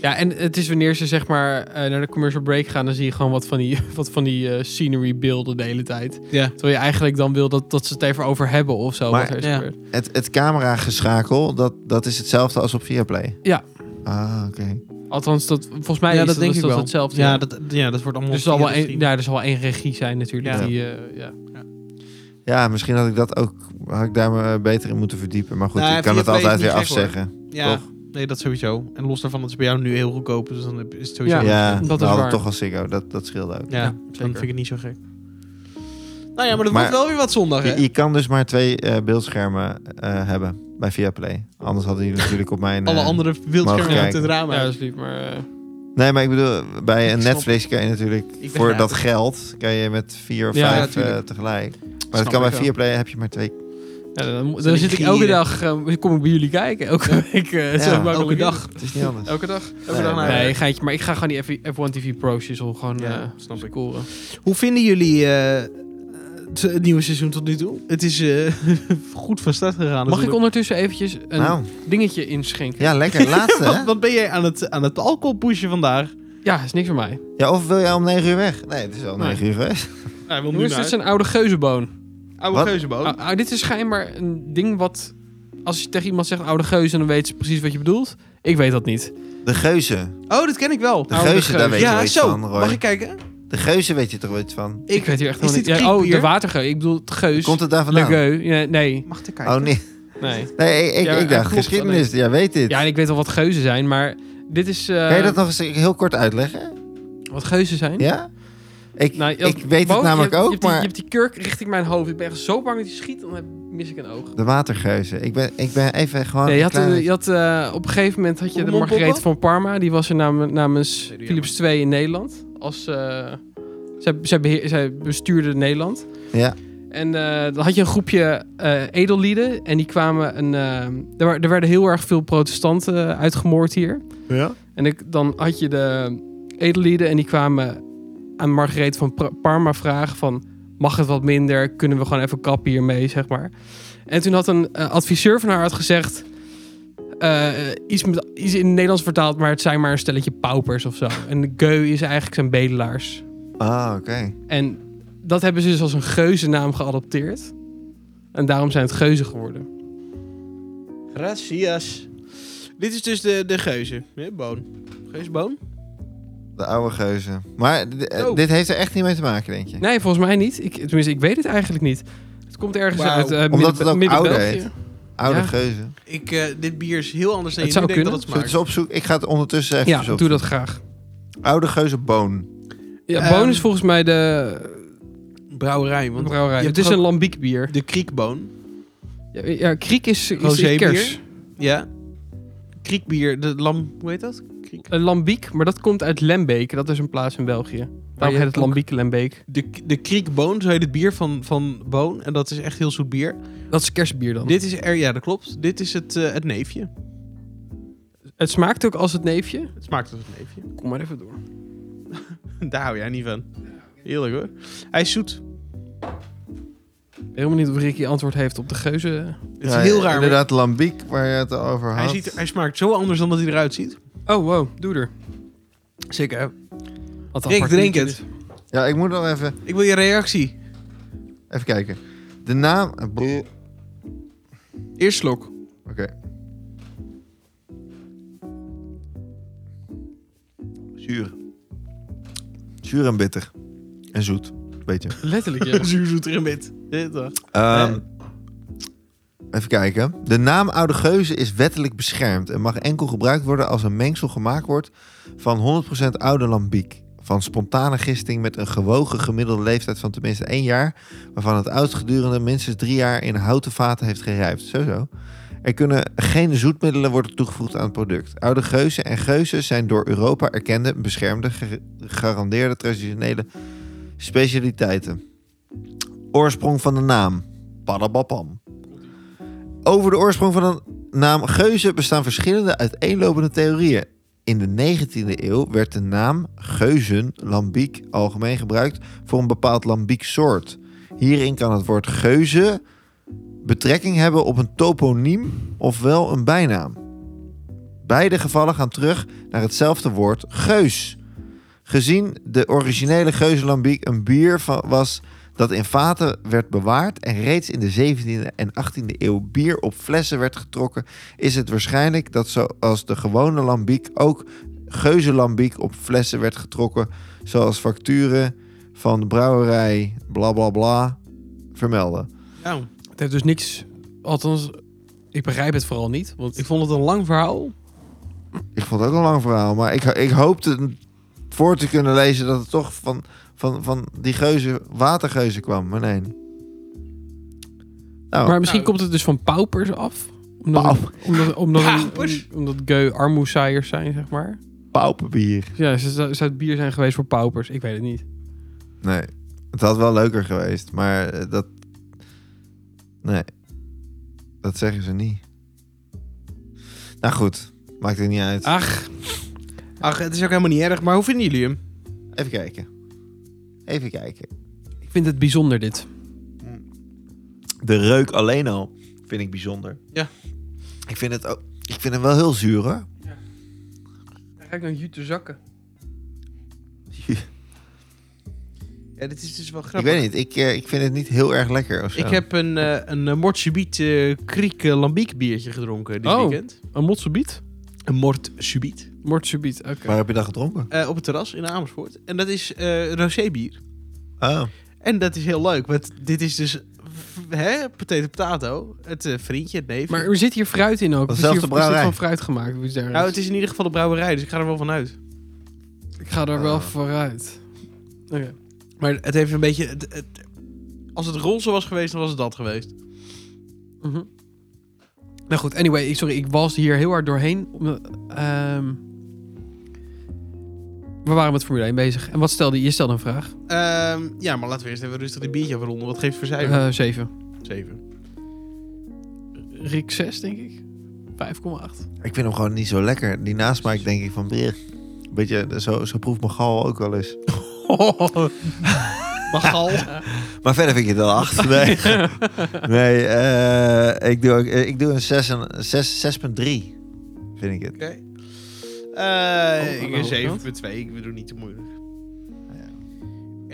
Speaker 3: Ja, en het is wanneer ze zeg maar eh, naar de commercial break gaan, dan zie je gewoon wat van die, wat van die eh, scenery beelden de hele tijd.
Speaker 1: Ja.
Speaker 3: Terwijl je eigenlijk dan wil dat, dat ze het even over hebben of zo.
Speaker 2: Maar-
Speaker 3: wat er is
Speaker 1: Ja.
Speaker 3: gebeurd.
Speaker 2: Het, het camerageschakel, dat, dat is hetzelfde als op Viaplay?
Speaker 3: Ja.
Speaker 2: Ah, oké.
Speaker 3: Althans, dat, volgens mij is dat, is dat hetzelfde.
Speaker 1: Ja, dat, ja, dat wordt allemaal...
Speaker 3: dus er zal, wel
Speaker 1: via de
Speaker 3: één,
Speaker 1: stream.
Speaker 3: ja, er zal wel één regie zijn natuurlijk.
Speaker 1: Ja.
Speaker 3: Die, eh, ja.
Speaker 2: Ja, misschien had ik dat ook had ik daar me beter in moeten verdiepen. Maar goed,
Speaker 1: Nou,
Speaker 2: ik kan het
Speaker 1: Viaplay is
Speaker 2: altijd weer
Speaker 1: niet gek, hoor.
Speaker 2: afzeggen.
Speaker 1: Ja,
Speaker 2: Toch?
Speaker 1: Nee, dat sowieso. En los daarvan, dat is bij jou nu heel goedkoop. Dus dan heb- is het sowieso...
Speaker 3: Ja,
Speaker 2: Ja,
Speaker 3: dat
Speaker 2: dat
Speaker 3: is
Speaker 2: we hadden
Speaker 3: waar.
Speaker 2: toch al Ziggo. Dat, dat scheelde ook.
Speaker 1: Ja,
Speaker 3: Ja,
Speaker 1: dan
Speaker 3: zeker.
Speaker 1: vind ik het niet zo gek. Nou ja, maar dat
Speaker 2: Maar-
Speaker 1: wordt wel weer wat zondag, hè?
Speaker 2: Je, je kan dus maar twee eh, beeldschermen eh, hebben bij Viaplay. Anders hadden jullie natuurlijk op mijn...
Speaker 1: Alle
Speaker 2: eh,
Speaker 1: andere beeldschermen uit
Speaker 2: kijken.
Speaker 1: het raam.
Speaker 3: Ja,
Speaker 1: uit.
Speaker 3: dat is lief, maar... eh,
Speaker 2: Nee, maar ik bedoel, bij een
Speaker 1: Ik snap-
Speaker 2: Netflix kan je natuurlijk...
Speaker 1: ben
Speaker 2: Voor
Speaker 1: raad,
Speaker 2: dat
Speaker 1: dus-
Speaker 2: geld kan je met vier of
Speaker 3: Ja,
Speaker 2: vijf eh,
Speaker 1: natuurlijk.
Speaker 2: tegelijk. Maar
Speaker 3: Snap
Speaker 2: dat kan bij
Speaker 3: ik wel.
Speaker 2: Viaplay heb je maar twee.
Speaker 3: ja, dan, dan
Speaker 1: die
Speaker 3: zit ik
Speaker 1: gieren.
Speaker 3: elke dag... eh, kom ik bij jullie kijken. Elke week. eh, zo makkelijk
Speaker 1: Elke
Speaker 3: ik
Speaker 1: dag.
Speaker 2: Het is niet
Speaker 3: het.
Speaker 2: anders.
Speaker 3: Elke dag?
Speaker 1: Elke dag naar
Speaker 2: Ja.
Speaker 3: Nee, geintje. Maar ik ga gewoon die F- F1 TV Pro-shoes gewoon
Speaker 1: Ja,
Speaker 3: eh
Speaker 1: snap ik.
Speaker 3: scoren.
Speaker 1: Hoe vinden jullie eh, het- het nieuwe seizoen tot nu toe? Het is eh, goed van start gegaan.
Speaker 3: Mag ik
Speaker 1: natuurlijk.
Speaker 3: ondertussen eventjes een
Speaker 2: Nou,
Speaker 3: dingetje inschenken?
Speaker 2: ja, lekker. Laatste, hè?
Speaker 1: Wat, wat ben jij aan het, aan het alcohol pushen vandaag?
Speaker 3: Ja, is niks voor mij.
Speaker 2: Ja, of wil jij om negen uur weg? Nee, het is al
Speaker 3: Nee.
Speaker 2: negen uur geweest.
Speaker 1: Hij wil
Speaker 3: Hoe is dit zijn oude geuzenboon?
Speaker 1: Oude
Speaker 2: Wat?
Speaker 1: geuzenboom.
Speaker 3: Ah, ah, dit is schijnbaar een ding wat... Als je tegen iemand zegt oude geuzen, dan weet ze precies wat je bedoelt. Ik weet dat niet.
Speaker 2: De geuzen.
Speaker 1: Oh, dat ken ik wel.
Speaker 2: De
Speaker 3: Oude
Speaker 2: geuzen,
Speaker 3: geuzen.
Speaker 2: daar weet je wel
Speaker 1: ja,
Speaker 2: iets
Speaker 1: zo.
Speaker 2: van, Roy.
Speaker 1: Mag ik kijken?
Speaker 2: De geuzen weet je toch wel iets van?
Speaker 3: Ik, weet hier echt
Speaker 1: Is
Speaker 3: helemaal niet.
Speaker 1: dit
Speaker 3: Ja, oh, de
Speaker 1: kikbier?
Speaker 3: watergeus. Ik bedoel, het geus.
Speaker 2: Komt het daar
Speaker 3: Le
Speaker 2: vandaan?
Speaker 3: geu. Ja, nee,
Speaker 1: Mag ik kijken?
Speaker 2: Oh, nee.
Speaker 3: nee.
Speaker 2: Nee, ik, ik,
Speaker 3: eh, Ja,
Speaker 2: ik dacht,
Speaker 3: klopt,
Speaker 2: geschiedenis. Jij weet dit.
Speaker 3: Ja, eh, en ik weet wel wat geuzen zijn, maar dit is... eh,
Speaker 2: Kan je dat nog eens heel kort uitleggen?
Speaker 3: Wat geuzen zijn?
Speaker 2: Ja? Ik,
Speaker 3: Nou, ja,
Speaker 2: ik weet
Speaker 3: Bo,
Speaker 2: het
Speaker 3: je
Speaker 2: namelijk
Speaker 3: hebt- je
Speaker 2: ook,
Speaker 3: hebt die-
Speaker 2: maar
Speaker 3: Je hebt die kurk richting mijn hoofd. Ik ben echt zo bang dat je schiet, dan heb- mis ik een oog.
Speaker 2: de watergeuzen. Ik ben, ik ben even gewoon...
Speaker 3: Nee, je
Speaker 2: een
Speaker 3: had,
Speaker 2: klein-
Speaker 3: eh, je had, eh, op een gegeven moment had je de
Speaker 1: Pokémon
Speaker 3: Margarethe
Speaker 1: poppen?
Speaker 3: van Parma. Die was er nam- namens
Speaker 1: Nee, doe
Speaker 3: Philips II in Nederland. Als, eh, zij, zij, beheer- zij bestuurde Nederland.
Speaker 2: Ja,
Speaker 3: En eh, dan had je een groepje eh, edellieden. En die kwamen een. eh, er, wa- er werden heel erg veel protestanten eh, uitgemoord hier.
Speaker 2: ja?
Speaker 3: En ik, dan had je de edellieden. En die kwamen aan Margarethe van Pra- Parma vragen: van, Mag het wat minder? Kunnen we gewoon even kappen hiermee, zeg maar. En toen had een eh, adviseur van haar had gezegd. eh, iets, met, iets in het Nederlands vertaald, maar het zijn maar een stelletje paupers of zo. En de geu is eigenlijk zijn bedelaars.
Speaker 2: Ah, oké.
Speaker 3: En dat hebben ze dus als een geuzennaam geadopteerd. En daarom zijn het geuzen geworden.
Speaker 1: Gracias. Dit is dus de, de geuzen. hè, Boon. Geuzenboon?
Speaker 2: De oude geuzen. Maar d- eh,
Speaker 1: Oh.
Speaker 2: dit heeft er echt niet mee te maken, denk je?
Speaker 3: Nee, volgens mij niet. Ik, tenminste, ik weet het eigenlijk niet. Het komt ergens
Speaker 1: Wauw.
Speaker 3: uit eh
Speaker 2: Omdat
Speaker 3: midden,
Speaker 2: het ook
Speaker 3: midden
Speaker 2: ouder
Speaker 3: België.
Speaker 2: heet. Oude
Speaker 3: Ja.
Speaker 2: geuzen.
Speaker 1: Ik, eh, dit bier is heel anders dan
Speaker 3: Het
Speaker 1: je nu
Speaker 3: zou
Speaker 1: denkt dat het
Speaker 2: Zullen
Speaker 3: kunnen.
Speaker 2: we het
Speaker 1: smaakt.
Speaker 2: eens opzoeken? Ik ga het ondertussen even
Speaker 3: Ja,
Speaker 2: opzoeken.
Speaker 3: doe dat graag.
Speaker 2: Oude geuzenboon.
Speaker 3: Ja,
Speaker 1: Ehm,
Speaker 3: Boon is volgens mij de
Speaker 1: Brouwerij,
Speaker 3: de
Speaker 1: want
Speaker 3: brouwerij.
Speaker 1: je
Speaker 3: Het
Speaker 1: hebt
Speaker 3: is
Speaker 1: ook-
Speaker 3: een lambiekbier.
Speaker 1: de kriekboon.
Speaker 3: Ja, ja, kriek is, is
Speaker 1: Rosébier?
Speaker 3: kers.
Speaker 1: Ja. Kriekbier, de lam... Hoe heet dat? Kriek.
Speaker 3: Een lambiek, maar dat komt uit Lembeek. Dat is een plaats in België. Daarom heet het
Speaker 1: ook-
Speaker 3: lambiek Lembeek.
Speaker 1: De, de kriekboon, zo heet het bier van, van boon. En dat is echt heel zoet bier.
Speaker 3: Dat is kerstbier dan.
Speaker 1: Dit is er... Ja, dat klopt. Dit is het, eh, het neefje.
Speaker 3: het smaakt ook als het neefje.
Speaker 1: Het smaakt als het neefje.
Speaker 3: Kom maar even door.
Speaker 1: Daar hou jij niet van. Heerlijk hoor. Hij is zoet.
Speaker 3: Ik ben Helemaal niet of Ricky antwoord heeft op de geuzen.
Speaker 1: Het is heel raar. maar
Speaker 2: Inderdaad, lambiek, waar je het over had.
Speaker 1: Hij, ziet, er- hij smaakt zo anders dan dat hij eruit ziet.
Speaker 3: Oh, wow, doe er.
Speaker 1: Zeker.
Speaker 3: Wat
Speaker 1: Rick,
Speaker 3: apart
Speaker 1: drink
Speaker 3: liedje
Speaker 1: het.
Speaker 3: dit.
Speaker 2: Ja, ik moet nog even,
Speaker 1: Ik wil je reactie.
Speaker 2: even kijken. De naam... eh, boe. Oké.
Speaker 1: Eerst slok.
Speaker 2: Zuur. Zuur en bitter. En zoet. Beetje.
Speaker 3: Letterlijk, ja.
Speaker 1: Zuurzoet er een bit. Dit toch?
Speaker 2: Ehm, Even kijken. De naam Oude Geuze is wettelijk beschermd en mag enkel gebruikt worden als een mengsel gemaakt wordt van 100% oude lambiek. Van spontane gisting met een gewogen gemiddelde leeftijd van tenminste één jaar, waarvan het oudst gedurende minstens drie jaar in houten vaten heeft gerijpt. Zo zo. Er kunnen geen zoetmiddelen worden toegevoegd aan het product. Oude geuzen en geuzen zijn door Europa erkende, beschermde, ge- gegarandeerde traditionele specialiteiten. Oorsprong van de naam. Padabapam. Over de oorsprong van de naam geuze bestaan verschillende uiteenlopende theorieën. In de 19e eeuw werd de naam geuzen, lambiek, algemeen gebruikt voor een bepaald lambieksoort. Hierin kan het woord geuze betrekking hebben op een toponiem ofwel een bijnaam. Beide gevallen gaan terug naar hetzelfde woord geus. Gezien de originele geuzenlambiek een bier va- was dat in vaten werd bewaard en reeds in de 17e en 18e eeuw bier op flessen werd getrokken, is het waarschijnlijk dat zoals de gewone lambiek ook geuzenlambiek op flessen werd getrokken, zoals facturen van de brouwerij bla bla bla vermelden.
Speaker 1: Nou,
Speaker 3: Het heeft dus niks... Althans, ik begrijp het vooral niet. Want
Speaker 1: ik vond het een lang verhaal.
Speaker 2: Ik vond het ook een lang verhaal, maar ik, ik hoopte voor te kunnen lezen dat het toch van, van, van die geuze, watergeuze kwam. Maar nee. Nou,
Speaker 3: Maar misschien
Speaker 1: Nou.
Speaker 3: komt het dus van paupers af. Omdat, omdat, omdat,
Speaker 1: Paupers?
Speaker 3: omdat geu armoesaaiers zijn, zeg maar.
Speaker 2: pauperbier.
Speaker 3: Ja, ze zou zou het bier zijn geweest voor paupers. Ik weet het niet.
Speaker 2: Nee. Het had wel leuker geweest, maar eh, dat. Nee. Dat zeggen ze niet. Nou goed, maakt het niet
Speaker 1: Ah.
Speaker 2: uit.
Speaker 3: Ach,
Speaker 1: Ach, het is ook helemaal niet erg, maar hoe vinden jullie hem?
Speaker 2: Even kijken. Even kijken.
Speaker 3: ik vind het bijzonder dit.
Speaker 2: De reuk alleen al vind ik bijzonder.
Speaker 1: Ja.
Speaker 2: Ik vind het ook. Ik vind hem wel heel zuur hoor.
Speaker 3: Kijk naar jute zakken.
Speaker 1: Ja, dit is dus wel
Speaker 2: Ik
Speaker 1: grappig.
Speaker 2: weet niet, ik, eh, ik vind het niet heel erg lekker of zo.
Speaker 1: Ik heb een, eh een eh, Mort-Subit eh, Kriek eh, Lambiek biertje gedronken dit
Speaker 3: Oh.
Speaker 1: weekend.
Speaker 3: Een motsebiet?
Speaker 1: Een Mort-Subit.
Speaker 3: Mort subiet, oké.
Speaker 2: Waar heb je dat gedronken?
Speaker 1: Eh, op het terras in Amersfoort. En dat is eh rosé-bier.
Speaker 2: Oh.
Speaker 1: En dat is heel leuk, want dit is dus... f- Hè, potato potato. Het eh, vriendje, het neefje.
Speaker 3: Maar er zit hier fruit in ook. Of Is, hier,
Speaker 2: Dezelfde
Speaker 3: is dit
Speaker 2: brouwerij.
Speaker 3: van fruit gemaakt? Of iets dergelijks?
Speaker 1: Nou, het is in ieder geval de brouwerij, dus ik ga er wel van uit.
Speaker 3: Ik ga daar wel
Speaker 2: Ah.
Speaker 3: vooruit. Oké.
Speaker 1: Maar het heeft een beetje... Het, het- als het roze was geweest, dan was het dat geweest.
Speaker 3: Mhm. Nou goed, anyway, ik- sorry, ik was hier heel hard doorheen. omdat, ehm, we waren met Formule 1 bezig. En wat stelde je? Je stelde een vraag.
Speaker 1: Ehm, ja, maar laten we eerst even rustig die biertje afronden. Wat geeft het voor cijfer?
Speaker 3: Eh 7.
Speaker 1: Zeven.
Speaker 3: Rick 6, denk ik. 5,8.
Speaker 2: Ik vind hem gewoon niet zo lekker. Die nasmaak denk ik van... brr. Beetje, zo, zo proeft mijn gal ook wel eens.
Speaker 1: Oh. Maar gal.
Speaker 2: Maar verder vind ik het wel acht. Nee, nee eh, ik, doe ook, eh, ik doe een zes en- een zes- 6,3. Vind ik het.
Speaker 1: Oké. Eh,
Speaker 3: Oh,
Speaker 1: ik
Speaker 3: aan de
Speaker 1: een
Speaker 3: overkant.
Speaker 1: 7,2. Ik bedoel niet te moeilijk. Ah,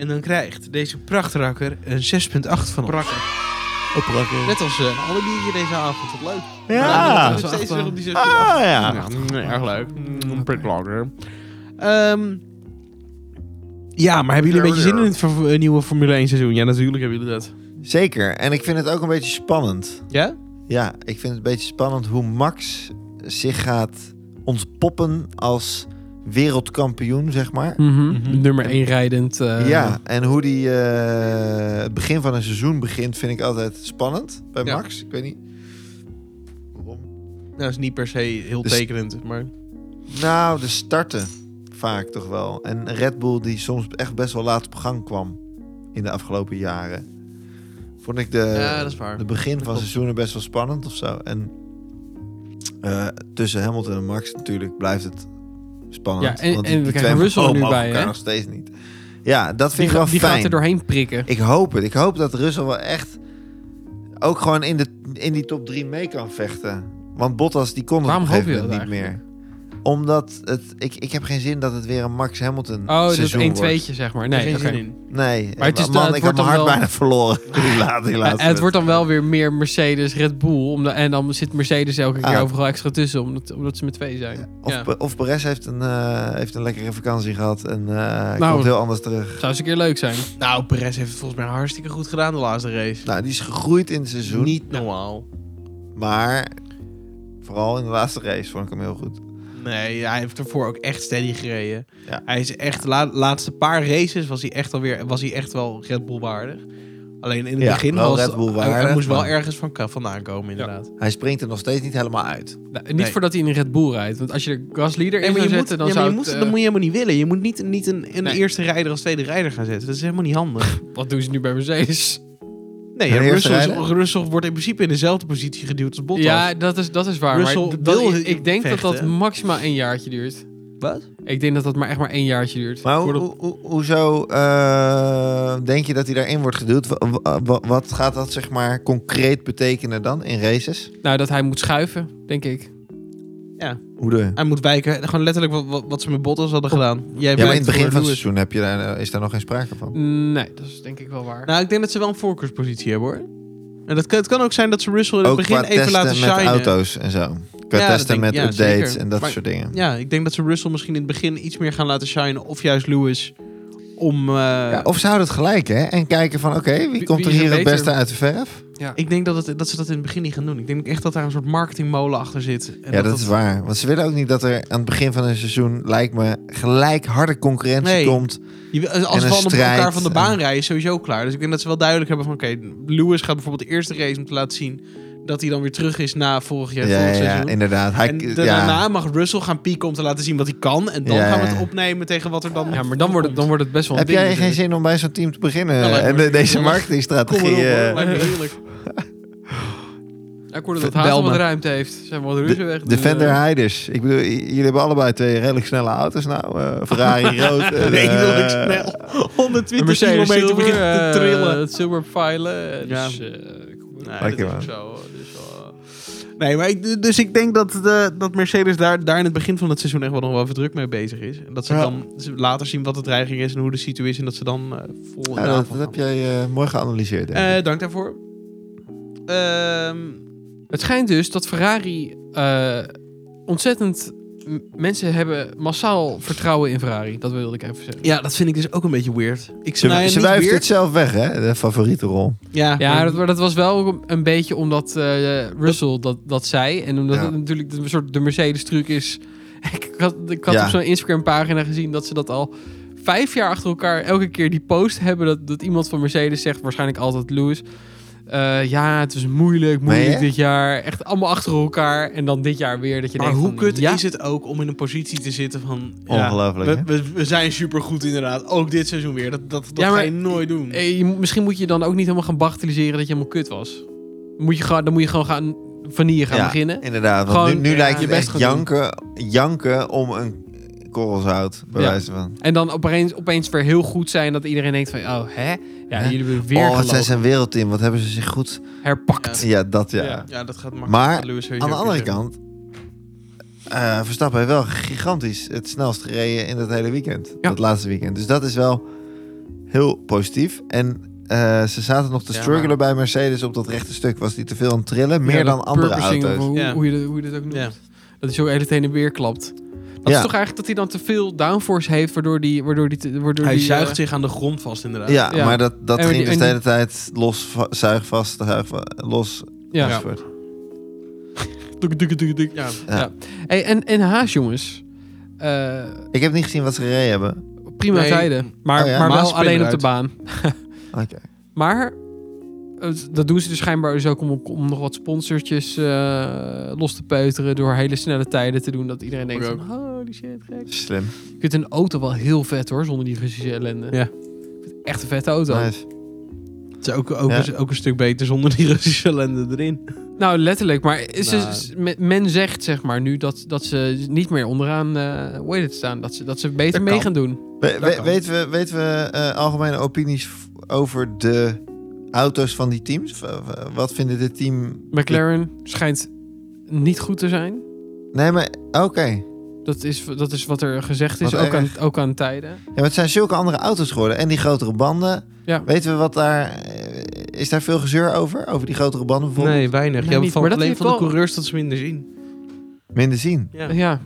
Speaker 1: En dan krijgt deze prachtrakker een 6,8 van ons.
Speaker 2: Opprakken.
Speaker 1: Net als eh, alle biertje deze avond. Wat leuk.
Speaker 2: Ja.
Speaker 1: We steeds weer op die 6,8.
Speaker 2: Ah, ja.
Speaker 1: mm, erg leuk.
Speaker 3: Oké.
Speaker 1: Mm, Pretty lager. Ehm, ja, maar hebben jullie een beetje zin in het ver- eh, nieuwe Formule 1 seizoen? Ja, natuurlijk hebben jullie dat.
Speaker 2: Zeker. En ik vind het ook een beetje spannend.
Speaker 1: Ja?
Speaker 2: Ja, ik vind het een beetje spannend hoe Max zich gaat ontpoppen als wereldkampioen, zeg maar.
Speaker 1: Mhm.
Speaker 3: Nummer 1 rijdend. eh,
Speaker 2: ja, en hoe die eh, het begin van een seizoen begint, vind ik altijd spannend bij
Speaker 1: Ja.
Speaker 2: Max. Ik weet niet waarom.
Speaker 1: Nou, is niet per se heel
Speaker 2: Dus-
Speaker 1: tekenend, maar...
Speaker 2: Nou, de starten vaak toch wel. En Red Bull die soms echt best wel laat op gang kwam in de afgelopen jaren. Vond ik de,
Speaker 1: ja, dat is waar.
Speaker 2: de begin van
Speaker 1: klopt.
Speaker 2: seizoenen best wel spannend of zo. En eh, tussen Hamilton en Max natuurlijk blijft het spannend.
Speaker 3: Ja, en-
Speaker 2: want
Speaker 3: en we krijgen
Speaker 2: man-
Speaker 3: Russell er
Speaker 2: oh,
Speaker 3: nu
Speaker 2: mogen
Speaker 3: bij,
Speaker 2: elkaar
Speaker 3: hè?
Speaker 2: nog steeds niet. Ja, dat
Speaker 3: Die,
Speaker 2: vind
Speaker 3: ga-
Speaker 2: ik wel
Speaker 3: die gaat
Speaker 2: fijn.
Speaker 3: er doorheen prikken.
Speaker 2: Ik hoop het. Ik hoop dat Russell wel echt ook gewoon in, de, in die top 3 mee kan vechten. Want Bottas die kon het
Speaker 3: Waarom
Speaker 2: op een gegeven
Speaker 3: hoop je
Speaker 2: moment
Speaker 3: dat
Speaker 2: niet meer. Omdat het, ik, ik heb geen zin dat het weer een Max Hamilton
Speaker 3: Oh, dat
Speaker 2: seizoen
Speaker 3: 1
Speaker 2: wordt.
Speaker 3: 2'tje zeg maar.
Speaker 1: Daar
Speaker 3: Nee,
Speaker 1: geen
Speaker 3: oké.
Speaker 1: zin in.
Speaker 2: Nee,
Speaker 3: Maar het is de-
Speaker 2: man,
Speaker 3: het
Speaker 2: ik heb
Speaker 3: wordt
Speaker 2: mijn
Speaker 3: dan
Speaker 2: hart
Speaker 3: wel-
Speaker 2: bijna verloren. Die laat, die laat
Speaker 3: En Eh, het wordt dan wel weer meer Mercedes, Red Bull. Om de, en dan zit Mercedes elke keer
Speaker 2: Ah.
Speaker 3: overal extra tussen, omdat, omdat ze met twee zijn.
Speaker 2: Of,
Speaker 3: ja.
Speaker 2: Pe- of Perez heeft een, eh, heeft een lekkere vakantie gehad en eh,
Speaker 3: Nou,
Speaker 2: komt heel anders terug.
Speaker 3: Zou eens een keer leuk zijn.
Speaker 1: Nou, Perez heeft het volgens mij hartstikke goed gedaan de laatste race.
Speaker 2: Nou, die is gegroeid in het seizoen.
Speaker 1: Niet normaal.
Speaker 2: Maar vooral in de laatste race vond ik hem heel goed.
Speaker 1: Nee, hij heeft ervoor ook echt steady gereden.
Speaker 2: Ja.
Speaker 1: Hij is echt, de laatste paar races was hij echt, alweer, was hij echt wel Red Bull waardig. Alleen in het
Speaker 2: Ja,
Speaker 1: begin
Speaker 2: wel
Speaker 1: was
Speaker 2: Red Bull
Speaker 1: hij- hij,
Speaker 2: waardig,
Speaker 1: moest wel
Speaker 2: maar-
Speaker 1: ergens van, ka- vandaan komen, inderdaad.
Speaker 2: Hij springt er nog steeds niet helemaal uit.
Speaker 3: Nou, niet
Speaker 1: Nee.
Speaker 3: voordat hij in een Red Bull rijdt. Want als je de gasleader
Speaker 1: Nee,
Speaker 3: in
Speaker 1: maar
Speaker 3: zou
Speaker 1: je moet,
Speaker 3: zetten, dan
Speaker 1: ja, maar
Speaker 3: zou
Speaker 1: je moet,
Speaker 3: het...
Speaker 1: dat
Speaker 3: eh,
Speaker 1: moet je helemaal niet willen. Je moet niet, niet een, een
Speaker 3: Nee.
Speaker 1: eerste rijder als tweede rijder gaan zetten. Dat is helemaal niet handig.
Speaker 3: Wat doen ze nu bij Mercedes?
Speaker 1: Nee,
Speaker 2: Een
Speaker 1: ja,
Speaker 2: eerste
Speaker 1: Russell, is-
Speaker 2: rijder?
Speaker 1: Russell wordt in principe in dezelfde positie geduwd als Bottas.
Speaker 3: Ja, dat is, dat is waar.
Speaker 1: Russell
Speaker 3: maar d- dat-
Speaker 1: wil
Speaker 3: ik denk dat dat
Speaker 1: vechten.
Speaker 3: maximaal een jaartje duurt.
Speaker 1: Wat?
Speaker 3: Ik denk dat dat maar echt maar één jaartje duurt.
Speaker 2: Maar hoe,
Speaker 3: Voordat-
Speaker 2: hoe- hoe- hoezo eh, denk je dat hij daarin wordt geduwd? Wa- wa- wa- wat gaat dat zeg maar concreet betekenen dan in races?
Speaker 3: Nou, dat hij moet schuiven, denk ik.
Speaker 2: Hoe de...
Speaker 1: Hij moet wijken. Gewoon letterlijk wat, wat, wat ze met Bottas hadden gedaan. Jij
Speaker 2: Oh. Ja, maar in
Speaker 1: wijkt
Speaker 2: het begin
Speaker 1: voor
Speaker 2: van het
Speaker 1: Lewis.
Speaker 2: seizoen heb je daar, eh, is daar nog geen sprake van.
Speaker 3: Nee, dat is denk ik wel waar.
Speaker 1: Nou, ik denk dat ze wel een voorkeurspositie hebben hoor. En dat kan, het kan ook zijn dat ze Russell in het
Speaker 2: Ook
Speaker 1: begin
Speaker 2: qua
Speaker 1: even
Speaker 2: testen
Speaker 1: laten
Speaker 2: met
Speaker 1: shinen.
Speaker 2: auto's en zo.
Speaker 1: Ja,
Speaker 2: Qua
Speaker 1: dat
Speaker 2: testen
Speaker 1: denk-
Speaker 2: met
Speaker 1: ja,
Speaker 2: updates
Speaker 1: zeker.
Speaker 2: en dat
Speaker 1: Maar-
Speaker 2: soort dingen.
Speaker 1: Ja, ik denk dat ze Russell misschien in het begin iets meer gaan laten shinen. Of juist Lewis. Om. eh,
Speaker 2: Ja, of ze houden het gelijk hè? En kijken van oké, wie
Speaker 3: Wie-
Speaker 2: komt
Speaker 3: wie
Speaker 2: er
Speaker 3: is er
Speaker 2: hier het
Speaker 3: beter?
Speaker 2: beste uit de verf?
Speaker 3: Ja.
Speaker 1: Ik denk dat, het, dat ze dat in het begin niet gaan doen. Ik denk echt dat daar een soort marketingmolen achter zit. En
Speaker 2: ja, dat, is waar. Want ze willen ook niet dat er aan het begin van een seizoen, lijkt me, gelijk harde concurrentie
Speaker 1: Nee.
Speaker 2: komt.
Speaker 1: Je wil- als
Speaker 2: een
Speaker 1: we allemaal
Speaker 2: strijd,
Speaker 1: elkaar van de
Speaker 2: eh.
Speaker 1: baan rijden, is sowieso klaar. Dus ik denk dat ze wel duidelijk hebben van... Oké, Lewis gaat bijvoorbeeld de eerste race om te laten zien... dat hij dan weer terug is na vorig jaar,
Speaker 2: Ja, ja,
Speaker 1: vorig seizoen.
Speaker 2: inderdaad. Hij,
Speaker 1: en
Speaker 2: ja.
Speaker 1: daarna mag Russell gaan pieken om te laten zien wat hij kan. En dan
Speaker 2: Ja,
Speaker 1: gaan we het
Speaker 2: ja.
Speaker 1: opnemen tegen wat er dan...
Speaker 3: Ja, maar dan wordt het, dan wordt het best wel een
Speaker 2: Heb jij
Speaker 3: ding
Speaker 2: geen
Speaker 3: natuurlijk.
Speaker 2: zin om bij zo'n team te beginnen? eh,
Speaker 1: Nou, lijkt me-
Speaker 2: en de- deze
Speaker 1: Kom Kom maar
Speaker 2: marketingstrategie.
Speaker 1: op, hoor,
Speaker 2: eh,
Speaker 1: lijkt me heerlijk.
Speaker 3: Ja, ik hoorde dat
Speaker 2: Bel
Speaker 3: Haas al
Speaker 2: me.
Speaker 3: wat ruimte heeft. Zijn we al de ruzie weg. dus,
Speaker 2: Defender
Speaker 3: eh,
Speaker 2: Heiders. Ik bedoel, j- jullie hebben allebei twee redelijk snelle auto's nou. eh, Ferrari rood. en, eh,
Speaker 1: Redelijk snel. 120
Speaker 3: Mercedes eh,
Speaker 1: kilometer
Speaker 3: zilver
Speaker 1: begint te trillen.
Speaker 3: Het zilver pijlen.
Speaker 1: Ja.
Speaker 3: Dus, eh, kom maar.
Speaker 1: Nee,
Speaker 2: Lekker,
Speaker 1: dat is ook zo, dus, eh. Nee, maar ik, dus ik denk dat, de, dat Mercedes daar, daar in het begin van het seizoen echt wel nog wel even druk mee bezig is. En dat ze
Speaker 2: Ja.
Speaker 1: dan ze later zien wat de dreiging is en hoe de situatie is en dat ze dan eh, vol in
Speaker 2: ja,
Speaker 1: de
Speaker 2: dat,
Speaker 1: aanval
Speaker 2: dat
Speaker 1: gaan.
Speaker 2: heb jij eh, mooi geanalyseerd. denk ik.
Speaker 1: Eh, dank daarvoor. Ehm,
Speaker 3: Het schijnt dus dat Ferrari eh, ontzettend... m- Mensen hebben massaal vertrouwen in Ferrari. Dat wilde ik even zeggen.
Speaker 1: ja, dat vind ik dus ook een beetje weird. Ik
Speaker 2: ze
Speaker 1: nou ja,
Speaker 2: ze
Speaker 1: niet
Speaker 2: wuift
Speaker 1: weird.
Speaker 2: het zelf weg, hè? De favoriete rol.
Speaker 1: Ja,
Speaker 3: Ja, dat, maar dat was wel een beetje omdat eh, Russell dat, dat zei. En omdat
Speaker 2: Ja.
Speaker 3: het natuurlijk een soort de Mercedes-truc is. Ik had, ik had
Speaker 2: Ja.
Speaker 3: op zo'n Instagram-pagina gezien dat ze dat al vijf jaar achter elkaar... elke keer die post hebben dat, dat iemand van Mercedes zegt... waarschijnlijk altijd Lewis... eh, ja, het was moeilijk, moeilijk
Speaker 2: hè?
Speaker 3: dit jaar. Echt allemaal achter elkaar. En dan dit jaar weer dat je
Speaker 1: maar
Speaker 3: denkt
Speaker 1: hoe
Speaker 3: van,
Speaker 1: kut
Speaker 3: ja,
Speaker 1: is het ook om in een positie te zitten van... ja,
Speaker 2: Ongelooflijk,
Speaker 1: we, we, we zijn supergoed inderdaad. Ook dit seizoen weer. Dat, dat, dat
Speaker 3: Ja, maar-
Speaker 1: ga je nooit doen.
Speaker 3: eh, je moet- misschien moet je dan ook niet helemaal gaan bagatelliseren dat je helemaal kut was. Moet je gewoon, dan moet je gewoon gaan vanille gaan
Speaker 2: Ja.
Speaker 3: beginnen.
Speaker 2: Inderdaad, want
Speaker 3: Gewoon,
Speaker 2: nu, nu
Speaker 3: ja,
Speaker 2: lijkt
Speaker 3: je
Speaker 2: het
Speaker 3: best
Speaker 2: echt
Speaker 3: gaan
Speaker 2: janken, janken om een korrelzout, bij
Speaker 3: Ja.
Speaker 2: wijze van.
Speaker 3: En dan opeens, opeens weer heel goed zijn dat iedereen denkt van, oh, hè? Ja,
Speaker 2: Hè?
Speaker 3: jullie hebben weer
Speaker 2: oh, wat zijn
Speaker 3: gelogen.
Speaker 2: ze een wereldteam. Wat hebben ze zich goed...
Speaker 3: herpakt.
Speaker 2: Ja, dat ja.
Speaker 3: Ja.
Speaker 1: Ja, dat gaat makkelijk.
Speaker 2: Maar
Speaker 1: Dat Lewis sowieso
Speaker 2: Aan de andere
Speaker 1: kut is.
Speaker 2: kant... eh, Verstappen heeft wel gigantisch het snelst gereden in dat hele weekend.
Speaker 3: Ja.
Speaker 2: Dat laatste weekend. Dus dat is wel heel positief. En eh, ze zaten nog te
Speaker 1: Ja,
Speaker 2: struggelen bij Mercedes op dat rechte stuk. Was die te veel aan het trillen? Meer
Speaker 3: Ja, dat
Speaker 2: dan andere
Speaker 3: purposing, of
Speaker 2: auto's.
Speaker 3: Hoe,
Speaker 1: Ja.
Speaker 3: hoe, je, dat- hoe je dat ook noemt.
Speaker 1: Ja.
Speaker 3: Dat hij zo de hele tijd heen en weer klapt. Dat
Speaker 2: Ja.
Speaker 3: is toch eigenlijk dat hij dan te veel downforce heeft, waardoor die... Waardoor die, te- waardoor
Speaker 1: Hij
Speaker 3: die,
Speaker 1: zuigt
Speaker 3: eh,
Speaker 1: zich aan de grond vast inderdaad.
Speaker 2: Ja,
Speaker 3: Ja.
Speaker 2: maar dat, dat
Speaker 3: En die-
Speaker 2: ging dus
Speaker 3: en
Speaker 2: de
Speaker 3: die-
Speaker 2: hele tijd los, va- zuig vast, zuig va- los.
Speaker 3: ja.
Speaker 1: Ja.
Speaker 2: enzovoort.
Speaker 1: Dik, dik, dik, dik. Ja.
Speaker 3: Hey, en, en Haas, jongens. Eh,
Speaker 2: Ik heb niet gezien wat ze gereden hebben.
Speaker 3: prima
Speaker 1: Nee.
Speaker 3: tijden. Maar,
Speaker 2: Oh ja,
Speaker 3: maar
Speaker 1: Maas
Speaker 3: wel
Speaker 1: spin
Speaker 3: alleen op
Speaker 1: eruit.
Speaker 3: de baan.
Speaker 2: Oké.
Speaker 3: Maar eh, dat doen ze dus schijnbaar dus ook om, om nog wat sponsortjes eh, los te peuteren. Door hele snelle tijden te doen. Dat iedereen denkt
Speaker 1: Ook.
Speaker 3: van, holy shit, gek.
Speaker 2: Slim.
Speaker 3: Ik vind een auto wel heel vet hoor, zonder die Russische ellende.
Speaker 1: Ja.
Speaker 3: Ik vind het echt een vette auto.
Speaker 2: Nice.
Speaker 1: Het is ook, ook,
Speaker 2: Ja.
Speaker 1: een, ook een stuk beter zonder die Russische ellende erin.
Speaker 3: Nou, letterlijk. Maar ze-
Speaker 1: Nou.
Speaker 3: ze- me- men zegt zeg maar nu dat, dat ze niet meer onderaan, eh hoe heet het, staan. Dat ze, dat ze beter
Speaker 1: Dat
Speaker 3: mee
Speaker 1: kan.
Speaker 3: gaan doen.
Speaker 2: We-
Speaker 1: Dat
Speaker 2: we-
Speaker 1: kan.
Speaker 2: weten we, weten we eh, algemene opinies v- over de auto's van die teams? Of, eh, wat vinden dit team...
Speaker 3: McLaren schijnt niet goed te zijn.
Speaker 2: Nee, maar oké.
Speaker 3: Dat is, dat is wat er gezegd is,
Speaker 2: Wat
Speaker 3: ook aan,
Speaker 2: erg.
Speaker 3: ook aan tijden.
Speaker 2: Ja, maar het zijn zulke andere auto's geworden. En die grotere banden.
Speaker 3: Ja.
Speaker 2: Weten we wat daar... eh, is daar veel gezeur over? Over die grotere banden bijvoorbeeld?
Speaker 1: Nee, weinig.
Speaker 3: Nee,
Speaker 1: ja,
Speaker 3: niet.
Speaker 1: van,
Speaker 3: Maar dat
Speaker 1: alleen
Speaker 3: heeft
Speaker 1: van de
Speaker 3: wel-
Speaker 1: coureurs dat ze minder zien.
Speaker 2: Minder zien.
Speaker 1: Ja.
Speaker 3: Ja,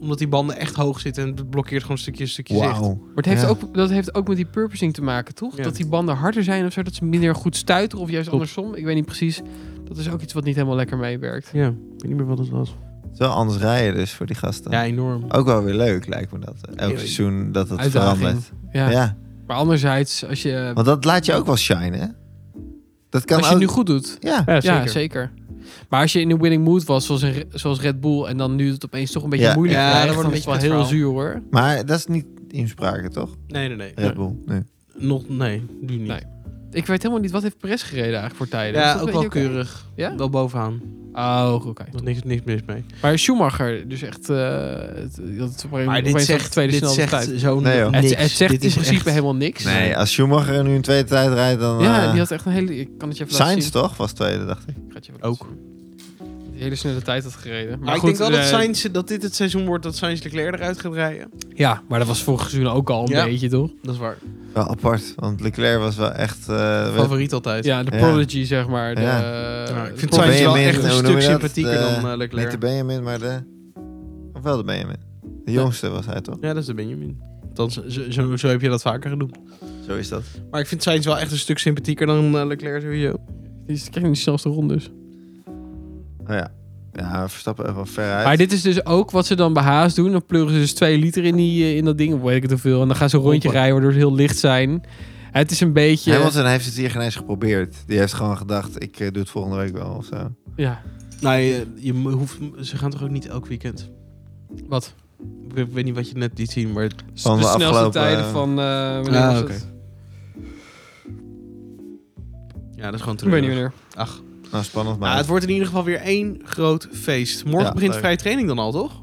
Speaker 1: Omdat die banden echt hoog zitten en het blokkeert gewoon stukje stukje zicht.
Speaker 2: Wauw.
Speaker 3: Maar het heeft
Speaker 2: Ja.
Speaker 3: ook, dat heeft ook met die purposing te maken, toch?
Speaker 1: Ja.
Speaker 3: Dat die banden harder zijn of zo, dat ze minder goed stuiten of juist
Speaker 1: Klopt.
Speaker 3: andersom. Ik weet niet precies. Dat is ook iets wat niet helemaal lekker meewerkt.
Speaker 1: Ja, ik weet niet meer wat het was.
Speaker 2: Het is wel anders rijden dus voor die gasten.
Speaker 1: Ja, enorm.
Speaker 2: Ook wel weer leuk lijkt me dat. eh, Elk
Speaker 1: Ja,
Speaker 2: seizoen dat het
Speaker 3: uitdaging.
Speaker 2: verandert.
Speaker 3: Ja.
Speaker 2: Ja.
Speaker 3: Maar anderzijds, als je,
Speaker 2: Want dat laat je ook wel shine, hè? Dat kan
Speaker 3: als je het
Speaker 2: ook...
Speaker 3: nu goed doet.
Speaker 2: Ja.
Speaker 1: Ja,
Speaker 3: Ja, zeker. Maar als je in een winning mood was, zoals, een, zoals Red Bull, en dan nu het opeens toch een beetje
Speaker 2: Ja.
Speaker 3: moeilijk
Speaker 1: Ja,
Speaker 3: krijgt,
Speaker 1: dat wordt
Speaker 3: dan
Speaker 1: een
Speaker 3: is het wel
Speaker 1: beetje
Speaker 3: heel
Speaker 1: kut
Speaker 3: zuur hoor.
Speaker 2: Maar dat is niet inspraken, toch?
Speaker 1: Nee, nee, nee.
Speaker 2: Red Bull. Nee.
Speaker 1: Nog, nee, nu niet.
Speaker 3: Nee. Ik weet helemaal niet, wat heeft Perez gereden eigenlijk voor tijden? Is
Speaker 1: Ja,
Speaker 3: dat
Speaker 1: ook
Speaker 3: een
Speaker 1: wel
Speaker 3: beetje oké?
Speaker 1: keurig.
Speaker 3: Ja?
Speaker 1: Wel bovenaan.
Speaker 3: Oh, oké.
Speaker 1: Nog niks, niks mis mee.
Speaker 3: Maar Schumacher, dus echt... eh het, dat is op een
Speaker 1: Maar dit
Speaker 3: opeens
Speaker 1: zegt,
Speaker 3: de tweede
Speaker 1: dit
Speaker 3: snelste
Speaker 1: zegt dus
Speaker 3: tijd.
Speaker 1: zo
Speaker 2: Nee, joh.
Speaker 1: niks.
Speaker 3: Het, het zegt
Speaker 1: Dit
Speaker 3: in
Speaker 1: is
Speaker 3: principe
Speaker 1: echt-
Speaker 3: helemaal niks.
Speaker 2: Nee, als Schumacher nu een tweede tijd rijdt, dan...
Speaker 3: Ja,
Speaker 2: eh,
Speaker 3: die had echt een hele... Ik kan het je even laten
Speaker 2: Sainz
Speaker 3: zien.
Speaker 2: toch? Was tweede, dacht ik.
Speaker 3: Ik ga het je even
Speaker 1: Ook.
Speaker 3: laten zien. Die hele snelle tijd had gereden. Maar,
Speaker 1: Maar ik
Speaker 3: goed,
Speaker 1: denk wel dat,
Speaker 3: eh,
Speaker 1: Sainz, dat dit het seizoen wordt dat Sainz Leclerc eruit gaat rijden.
Speaker 3: Ja, maar dat was vorig seizoen ook al een
Speaker 1: Ja.
Speaker 3: beetje, toch?
Speaker 1: Dat is waar.
Speaker 2: Wel apart, want Leclerc was wel echt... eh,
Speaker 1: Favoriet altijd.
Speaker 3: Ja, de
Speaker 2: Ja.
Speaker 3: prodigy, zeg maar. De,
Speaker 2: Ja.
Speaker 1: Ja, ik
Speaker 3: de
Speaker 1: vind
Speaker 2: Of
Speaker 1: Sainz
Speaker 3: prodigy.
Speaker 1: wel
Speaker 2: Benjamin,
Speaker 1: echt een
Speaker 2: hoe noem
Speaker 1: stuk
Speaker 2: je dat?
Speaker 1: sympathieker
Speaker 2: De-
Speaker 1: dan eh,
Speaker 2: Niet
Speaker 1: Leclerc.
Speaker 2: de Benjamin, maar de... Of wel de Benjamin. De
Speaker 1: Ja.
Speaker 2: jongste was hij, toch?
Speaker 1: Ja, dat is de Benjamin. Althans, zo, zo, zo heb je dat vaker gedaan.
Speaker 2: Zo is dat.
Speaker 1: Maar ik vind Sainz wel echt een stuk sympathieker dan eh, Leclerc sowieso.
Speaker 3: Die is- krijgt niet dus. de snelste rondes.
Speaker 2: Nou ja. ja, Verstappen echt wel ver uit.
Speaker 3: Maar dit is dus ook wat ze dan bij Haas doen. Dan pleuren ze dus twee liter in, die, eh, in dat ding. Of weet ik het hoeveel. En dan gaan ze een rondje
Speaker 1: Hoppa.
Speaker 3: rijden waardoor ze heel licht zijn. Het is een beetje...
Speaker 2: Hamilton heeft het hier geen eens geprobeerd. Die heeft gewoon gedacht, ik eh, doe het volgende week wel of zo.
Speaker 3: Ja,
Speaker 1: Nou, je, je mo- hoeft, ze gaan toch ook niet elk weekend?
Speaker 3: wat?
Speaker 1: Ik weet- weet niet wat je net liet zien, maar...
Speaker 2: Van
Speaker 3: de,
Speaker 2: de
Speaker 3: snelste
Speaker 2: afgelopen,
Speaker 3: tijden
Speaker 2: eh,
Speaker 3: van... eh, wanneer
Speaker 1: Ah,
Speaker 3: was
Speaker 1: oké.
Speaker 3: het?
Speaker 1: Ja, dat is gewoon
Speaker 3: Ik weet niet
Speaker 1: terug.
Speaker 3: wanneer.
Speaker 1: Ach,
Speaker 2: Nou, spannend maar.
Speaker 1: nou, het wordt in ieder geval weer één groot feest. Morgen
Speaker 2: Ja,
Speaker 1: begint
Speaker 2: leuk.
Speaker 1: vrije training dan al, toch?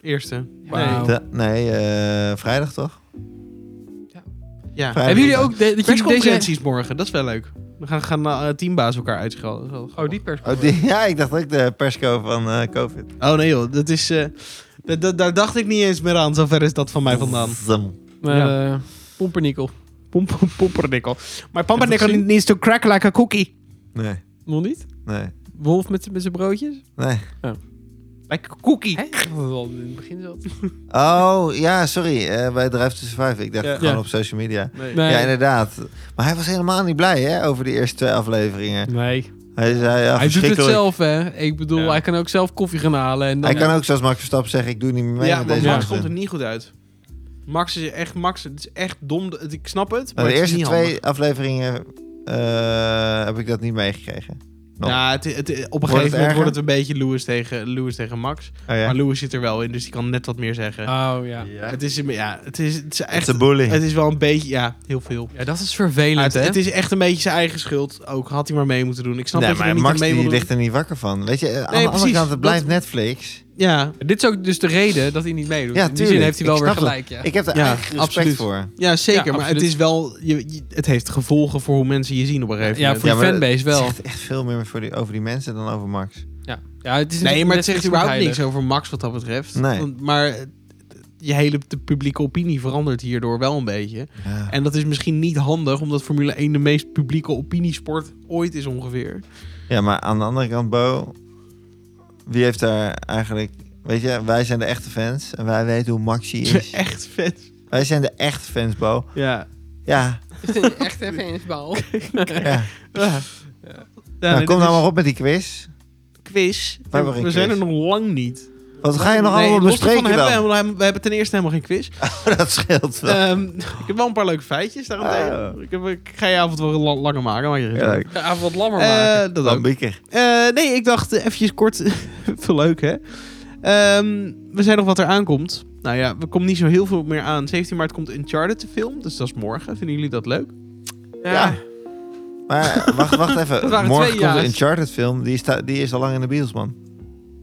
Speaker 1: Eerste.
Speaker 3: Wauw.
Speaker 2: Da- nee, eh, vrijdag toch?
Speaker 1: Ja.
Speaker 2: Vrijdag.
Speaker 3: Hebben jullie ook... De, dat jullie deze...
Speaker 1: Persconferenties morgen, dat is wel leuk. We gaan, gaan eh, teambaas elkaar uitschelden. Dat is wel
Speaker 3: Oh,
Speaker 1: grappig.
Speaker 3: die persconferentie.
Speaker 2: Oh, die- ja, ik dacht ook de persco van eh, COVID.
Speaker 1: Oh nee joh, dat is... eh, dat- dat- daar dacht ik niet eens meer aan, zover is dat van mij vandaan.
Speaker 2: Zem.
Speaker 3: Maar,
Speaker 1: Ja.
Speaker 3: eh, Pompernikkel.
Speaker 1: Pomp, pompernikkel. Maar pompernikkel
Speaker 3: gezien?
Speaker 1: needs to crack like a cookie.
Speaker 2: Nee,
Speaker 3: Nog niet?
Speaker 2: nee,
Speaker 3: Wolf met, met zijn broodjes?
Speaker 2: nee.
Speaker 1: Like a cookie.
Speaker 3: Hè? Dat was al in het begin zo.
Speaker 2: Oh, ja, sorry. eh, bij Drive to Survive. Ik dacht
Speaker 1: Ja.
Speaker 2: gewoon
Speaker 3: Ja.
Speaker 2: op social media.
Speaker 1: Nee.
Speaker 3: Nee.
Speaker 2: Ja, inderdaad. Maar hij was helemaal niet blij hè, over de eerste twee afleveringen.
Speaker 3: Nee.
Speaker 2: Hij zei, ja,
Speaker 3: hij doet het
Speaker 2: verschrikkelijk.
Speaker 3: zelf, hè. Ik bedoel,
Speaker 1: Ja.
Speaker 3: hij kan ook zelf koffie gaan halen. En dan,
Speaker 2: Hij kan ook, zoals Max Verstappen zeggen, ik doe niet meer mee
Speaker 1: ja,
Speaker 2: met
Speaker 1: maar
Speaker 2: deze
Speaker 1: Max
Speaker 3: mensen.
Speaker 1: komt er niet goed uit. Max is echt, Max, het is echt dom. Het- Ik snap het, maar
Speaker 2: Nou,
Speaker 1: het
Speaker 2: de
Speaker 1: is
Speaker 2: eerste
Speaker 1: niet
Speaker 2: twee
Speaker 1: handig.
Speaker 2: afleveringen eh, heb ik dat niet meegekregen. nog.
Speaker 1: Ja, Nou, het, het, op een
Speaker 2: Oh. het
Speaker 1: gegeven moment
Speaker 2: erger?
Speaker 1: wordt het een beetje Lewis tegen, Lewis tegen Max.
Speaker 2: Oh, ja.
Speaker 1: Maar Lewis zit er wel in, dus die kan net wat meer zeggen.
Speaker 3: Oh, ja.
Speaker 1: Het, is, een- ja, het, is, het is
Speaker 2: Echt
Speaker 1: echt...
Speaker 2: een bully.
Speaker 1: Het is wel een beetje... Ja, heel veel.
Speaker 3: Ja, dat is
Speaker 1: Maar
Speaker 3: vervelend,
Speaker 1: het,
Speaker 3: hè.
Speaker 1: het is echt een beetje zijn eigen schuld. Ook had hij maar mee moeten doen. Ik snap
Speaker 2: nee,
Speaker 1: dat je er
Speaker 2: maar
Speaker 1: niet
Speaker 2: Max
Speaker 1: aan mee wil
Speaker 2: die
Speaker 1: doen.
Speaker 2: ligt er niet wakker van. Weet je, eh, aan de andere
Speaker 1: precies.
Speaker 2: kant, het blijft
Speaker 1: Dat-
Speaker 2: Netflix.
Speaker 1: Ja,
Speaker 3: Dit is ook dus de reden dat hij niet meedoet.
Speaker 2: Ja,
Speaker 3: In die zin
Speaker 2: tuurlijk.
Speaker 3: heeft hij wel
Speaker 2: Ik
Speaker 3: weer
Speaker 2: snap dat.
Speaker 3: gelijk, ja.
Speaker 2: Ik heb daar
Speaker 1: Ja,
Speaker 2: eigenlijk respect
Speaker 3: absoluut.
Speaker 2: voor.
Speaker 1: ja zeker.
Speaker 3: Ja,
Speaker 1: maar het
Speaker 3: absoluut.
Speaker 1: is wel... Je, je- het heeft gevolgen voor hoe mensen je zien op een gegeven
Speaker 3: Ja,
Speaker 1: moment.
Speaker 3: voor de
Speaker 2: maar dat-
Speaker 3: fanbase wel.
Speaker 2: Het zegt echt veel meer voor die, over die mensen dan over Max.
Speaker 3: Ja. Ja, het is
Speaker 1: nee,
Speaker 3: niet-
Speaker 1: maar
Speaker 3: net
Speaker 1: het zegt
Speaker 3: niet
Speaker 1: überhaupt
Speaker 3: heilig.
Speaker 1: niks over Max wat dat betreft.
Speaker 2: Nee.
Speaker 1: Want- maar eh, je hele de publieke opinie verandert hierdoor wel een beetje.
Speaker 2: Ja.
Speaker 1: En dat is misschien niet handig, omdat Formule 1 de meest publieke opiniesport ooit is ongeveer.
Speaker 2: Ja, maar aan de andere kant, Bo, wie heeft daar eigenlijk... Weet je, wij zijn de echte fans en wij weten hoe Maxi is.
Speaker 1: Echt vet.
Speaker 2: wij zijn de echte fans, Bo.
Speaker 1: Ja.
Speaker 2: Ja,
Speaker 3: Echt even eens bal.
Speaker 2: ja.
Speaker 1: ja. nee,
Speaker 2: nou, kom
Speaker 1: dit
Speaker 2: nou
Speaker 1: is
Speaker 2: maar op met die quiz.
Speaker 1: een quiz.
Speaker 2: hebben geen
Speaker 1: We
Speaker 2: quiz.
Speaker 1: zijn er nog lang niet.
Speaker 2: Wat ga je nog
Speaker 1: Nee,
Speaker 2: allemaal
Speaker 1: los daarvan
Speaker 2: bespreken
Speaker 1: hebben we,
Speaker 2: dan?
Speaker 1: helemaal- we hebben ten eerste helemaal geen quiz.
Speaker 2: dat scheelt wel.
Speaker 1: Ehm, ik heb wel een paar leuke feitjes daaromheen.
Speaker 2: Ah.
Speaker 1: Ik, heb, ik ga je avond wel la- langer maken. Maar je
Speaker 2: Ja, ik-
Speaker 3: De avond lammer maken.
Speaker 1: Eh, dat ook.
Speaker 2: Lambieker.
Speaker 1: Eh, nee, ik dacht eh, eventjes kort. veel leuk, hè? Ehm, we zijn nog wat er aankomt. Nou ja, we komen niet zo heel veel meer aan. 17 maart komt Uncharted te film, dus dat is morgen. Vinden jullie dat leuk?
Speaker 2: ja. Maar wacht, wacht
Speaker 3: Dat
Speaker 2: even.
Speaker 3: waren
Speaker 2: Morgen
Speaker 3: twee
Speaker 2: komt de
Speaker 3: ja's.
Speaker 2: Uncharted film. Die, sta, die is al lang in de Beatles, man.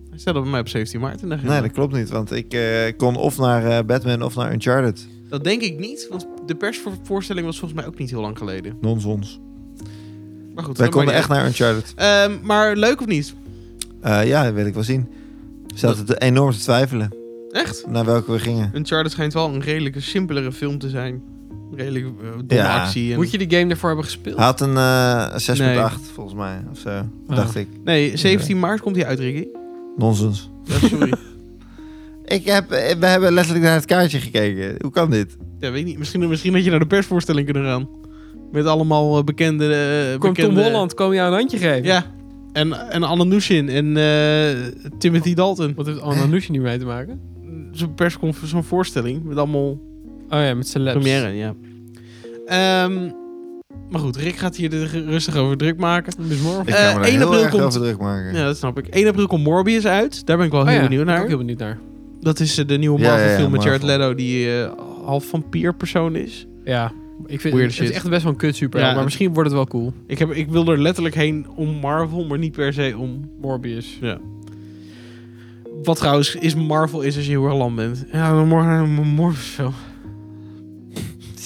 Speaker 1: Hij staat op mij op 17 maart. En dan gaan
Speaker 2: Nee,
Speaker 1: we.
Speaker 2: dat klopt niet. Want ik eh, kon of naar eh, Batman of naar Uncharted.
Speaker 1: dat denk ik niet, want de persvoorstelling was volgens mij ook niet heel lang geleden.
Speaker 2: Nonsens.
Speaker 1: Maar goed,
Speaker 2: Wij
Speaker 1: dat maakt
Speaker 2: konden
Speaker 1: niet
Speaker 2: echt naar Uncharted.
Speaker 1: uit. Ehm, maar leuk of niet?
Speaker 2: Eh, ja, dat wil ik wel zien. Ze zaten te- enorm te twijfelen
Speaker 1: Echt?
Speaker 2: naar welke we gingen.
Speaker 1: Uncharted schijnt wel een redelijke simpelere film te zijn. Redelijk eh, domme
Speaker 2: Ja.
Speaker 1: actie. En...
Speaker 3: Moet je die game daarvoor hebben gespeeld?
Speaker 2: Hij had een eh 6.8 volgens mij of zo.
Speaker 1: Oh.
Speaker 2: Dacht ik.
Speaker 1: Nee, 17 maart komt die uit, Ricky.
Speaker 2: Nonsens.
Speaker 1: Ja, sorry.
Speaker 2: Ik heb, eh, we hebben letterlijk naar het kaartje gekeken. Hoe kan dit?
Speaker 1: Ja, weet ik niet. Misschien, misschien had je naar de persvoorstelling kunnen gaan. Met allemaal eh, bekende... eh,
Speaker 3: Komt Tom
Speaker 1: bekende-
Speaker 3: Holland, kom je een handje geven?
Speaker 1: Ja. En, en Anna Nushin en eh, Timothy Dalton.
Speaker 3: Wat heeft oh, Anna Nusje niet mee te maken?
Speaker 1: Zo'n persconf, zo'n voorstelling. Met allemaal
Speaker 3: Oh ja, met zijn labs.
Speaker 1: première, ja. Ehm, maar goed, Rick gaat hier er rustig over druk maken.
Speaker 3: Dus morgen.
Speaker 2: Ik
Speaker 1: Eh,
Speaker 2: ga me daar
Speaker 1: 1
Speaker 2: heel
Speaker 1: april
Speaker 2: erg
Speaker 1: komt-
Speaker 2: over druk maken.
Speaker 1: Ja, dat snap ik. 1 april komt Morbius uit. Daar ben ik wel heel
Speaker 3: oh ja,
Speaker 1: benieuwd
Speaker 3: ben ik
Speaker 1: naar.
Speaker 3: ook heel benieuwd naar.
Speaker 1: Dat is eh, de nieuwe
Speaker 2: Ja, ja, ja,
Speaker 1: Marvel-film met Jared
Speaker 2: Marvel.
Speaker 1: Leto... die eh, half vampier persoon is.
Speaker 3: Ja, ik vind
Speaker 1: Weird
Speaker 3: het
Speaker 1: shit.
Speaker 3: is echt best wel een kut super.
Speaker 1: Ja,
Speaker 3: maar
Speaker 1: het-
Speaker 3: misschien wordt het wel cool.
Speaker 1: Ik, heb, ik wil er letterlijk heen om Marvel, maar niet per se om
Speaker 3: Morbius.
Speaker 1: Wat trouwens is Marvel is als je heel erg lam bent. Ja, dan morgen een Morbius film.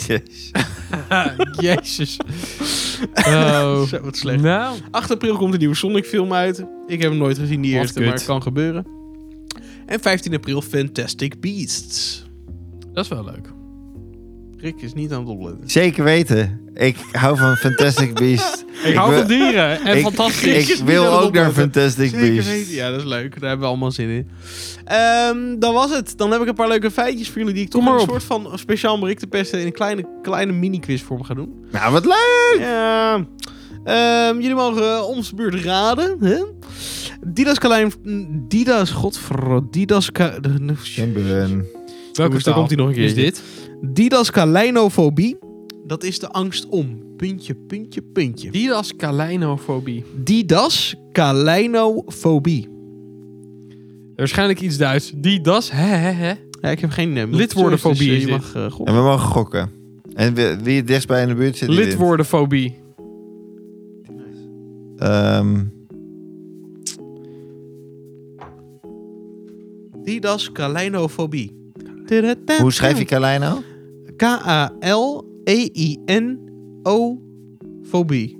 Speaker 2: Jezus.
Speaker 3: Jezus. Oh.
Speaker 1: Zo, wat slecht.
Speaker 3: Nou,
Speaker 1: 8 april komt de nieuwe Sonic film uit. Ik heb hem nooit gezien, die
Speaker 3: Wat
Speaker 1: eerste,
Speaker 3: kut.
Speaker 1: maar het kan gebeuren. En 15 april Fantastic Beasts.
Speaker 3: dat is wel leuk.
Speaker 1: Rick is niet aan het opletten.
Speaker 2: Zeker weten. Ik hou van Fantastic Beast.
Speaker 3: Ik, hou
Speaker 2: wil-
Speaker 3: van dieren en
Speaker 2: ik-
Speaker 3: fantastisch.
Speaker 2: Ik
Speaker 1: Jezus, niet aan
Speaker 2: wil
Speaker 1: het
Speaker 2: ook naar
Speaker 1: opletten.
Speaker 2: Fantastic
Speaker 1: Zeker
Speaker 2: Beast.
Speaker 1: weten. Ja, dat is leuk. Daar hebben we allemaal zin in. Ehm, dan was het. Dan heb ik een paar leuke feitjes voor jullie die ik
Speaker 3: Kom
Speaker 1: toch een
Speaker 3: maar
Speaker 1: soort van speciaal om Rick te pesten in een kleine, kleine mini-quiz vorm ga doen.
Speaker 2: Nou, wat leuk!
Speaker 1: Ja. Ehm, jullie mogen eh, om zijn beurt raden. Hè? Didas Kalijn... Didas, godverdomme. Didas... Ka-
Speaker 2: Chamberlain.
Speaker 1: Welke
Speaker 3: taal
Speaker 1: komt hij nog een keer?
Speaker 3: Is dit?
Speaker 1: Didascaleinofobie. Dat is de angst om. Puntje, puntje, puntje.
Speaker 3: Didascalinofobie.
Speaker 1: Didascaleinofobie.
Speaker 3: Waarschijnlijk iets Duits. Didas, hè, hè, hè.
Speaker 1: Ja, ik heb geen naam.
Speaker 3: Lidwoordenfobie
Speaker 1: Dus, eh,
Speaker 3: is
Speaker 1: je
Speaker 3: dit.
Speaker 1: mag eh, gokken.
Speaker 2: En we mogen gokken. En wie, wie het dichtst bij in de buurt zit. die wint.
Speaker 3: Lidwoordenfobie.
Speaker 2: Ehm,
Speaker 1: Didascaleinofobie.
Speaker 2: hoe schrijf je Carlijn nou?
Speaker 1: E K-A-L-E-I-N-O-fobie.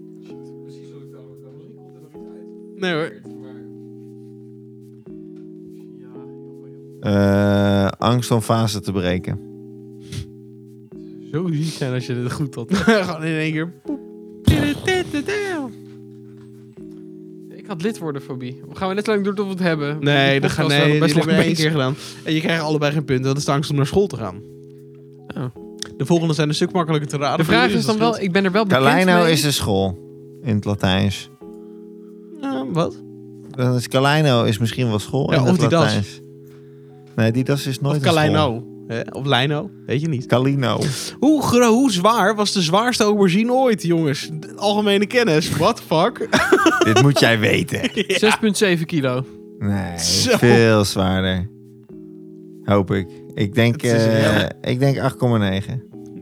Speaker 1: Nee hoor.
Speaker 2: Eh, angst om fasen te breken.
Speaker 3: Zo ziek zijn als je dit goed had.
Speaker 1: Gewoon in één keer. poep.
Speaker 3: Ik had lidwoordenfobie. We gaan we net zo lang door tot we het hebben.
Speaker 1: Nee, dat gaat
Speaker 3: gaan we
Speaker 1: nee,
Speaker 3: best
Speaker 1: best
Speaker 3: lang
Speaker 1: hebben
Speaker 3: mee
Speaker 1: één keer
Speaker 3: eens.
Speaker 1: gedaan. En je krijgt allebei geen punten. Dat is de angst om naar school te gaan.
Speaker 3: Oh.
Speaker 1: De volgende zijn een stuk makkelijker te raden.
Speaker 3: De
Speaker 1: voor
Speaker 3: vraag
Speaker 1: jullie,
Speaker 3: is
Speaker 1: dus
Speaker 3: dan wel, ik ben er wel bekend
Speaker 1: nou
Speaker 2: Carlino
Speaker 3: mee.
Speaker 2: is een school. In het Latijns.
Speaker 1: scheelt. Eh, wat?
Speaker 2: Dan is Carlino is misschien wel school.
Speaker 1: Ja,
Speaker 2: in
Speaker 1: of
Speaker 2: het
Speaker 1: die das.
Speaker 2: Latijns. Nee, die das is nooit
Speaker 1: Of
Speaker 2: een school.
Speaker 1: Kalino. Hè? Of Lino. Weet je niet.
Speaker 2: Calino.
Speaker 1: Hoe, gro- hoe zwaar was de zwaarste aubergine ooit, jongens? De algemene kennis. What the fuck?
Speaker 2: Dit moet jij weten.
Speaker 3: 6,7 kilo.
Speaker 2: Nee,
Speaker 1: Zo.
Speaker 2: veel zwaarder. Hoop ik. Ik denk,
Speaker 1: Het is een
Speaker 2: eh,
Speaker 1: hele-
Speaker 2: ik denk 8,9.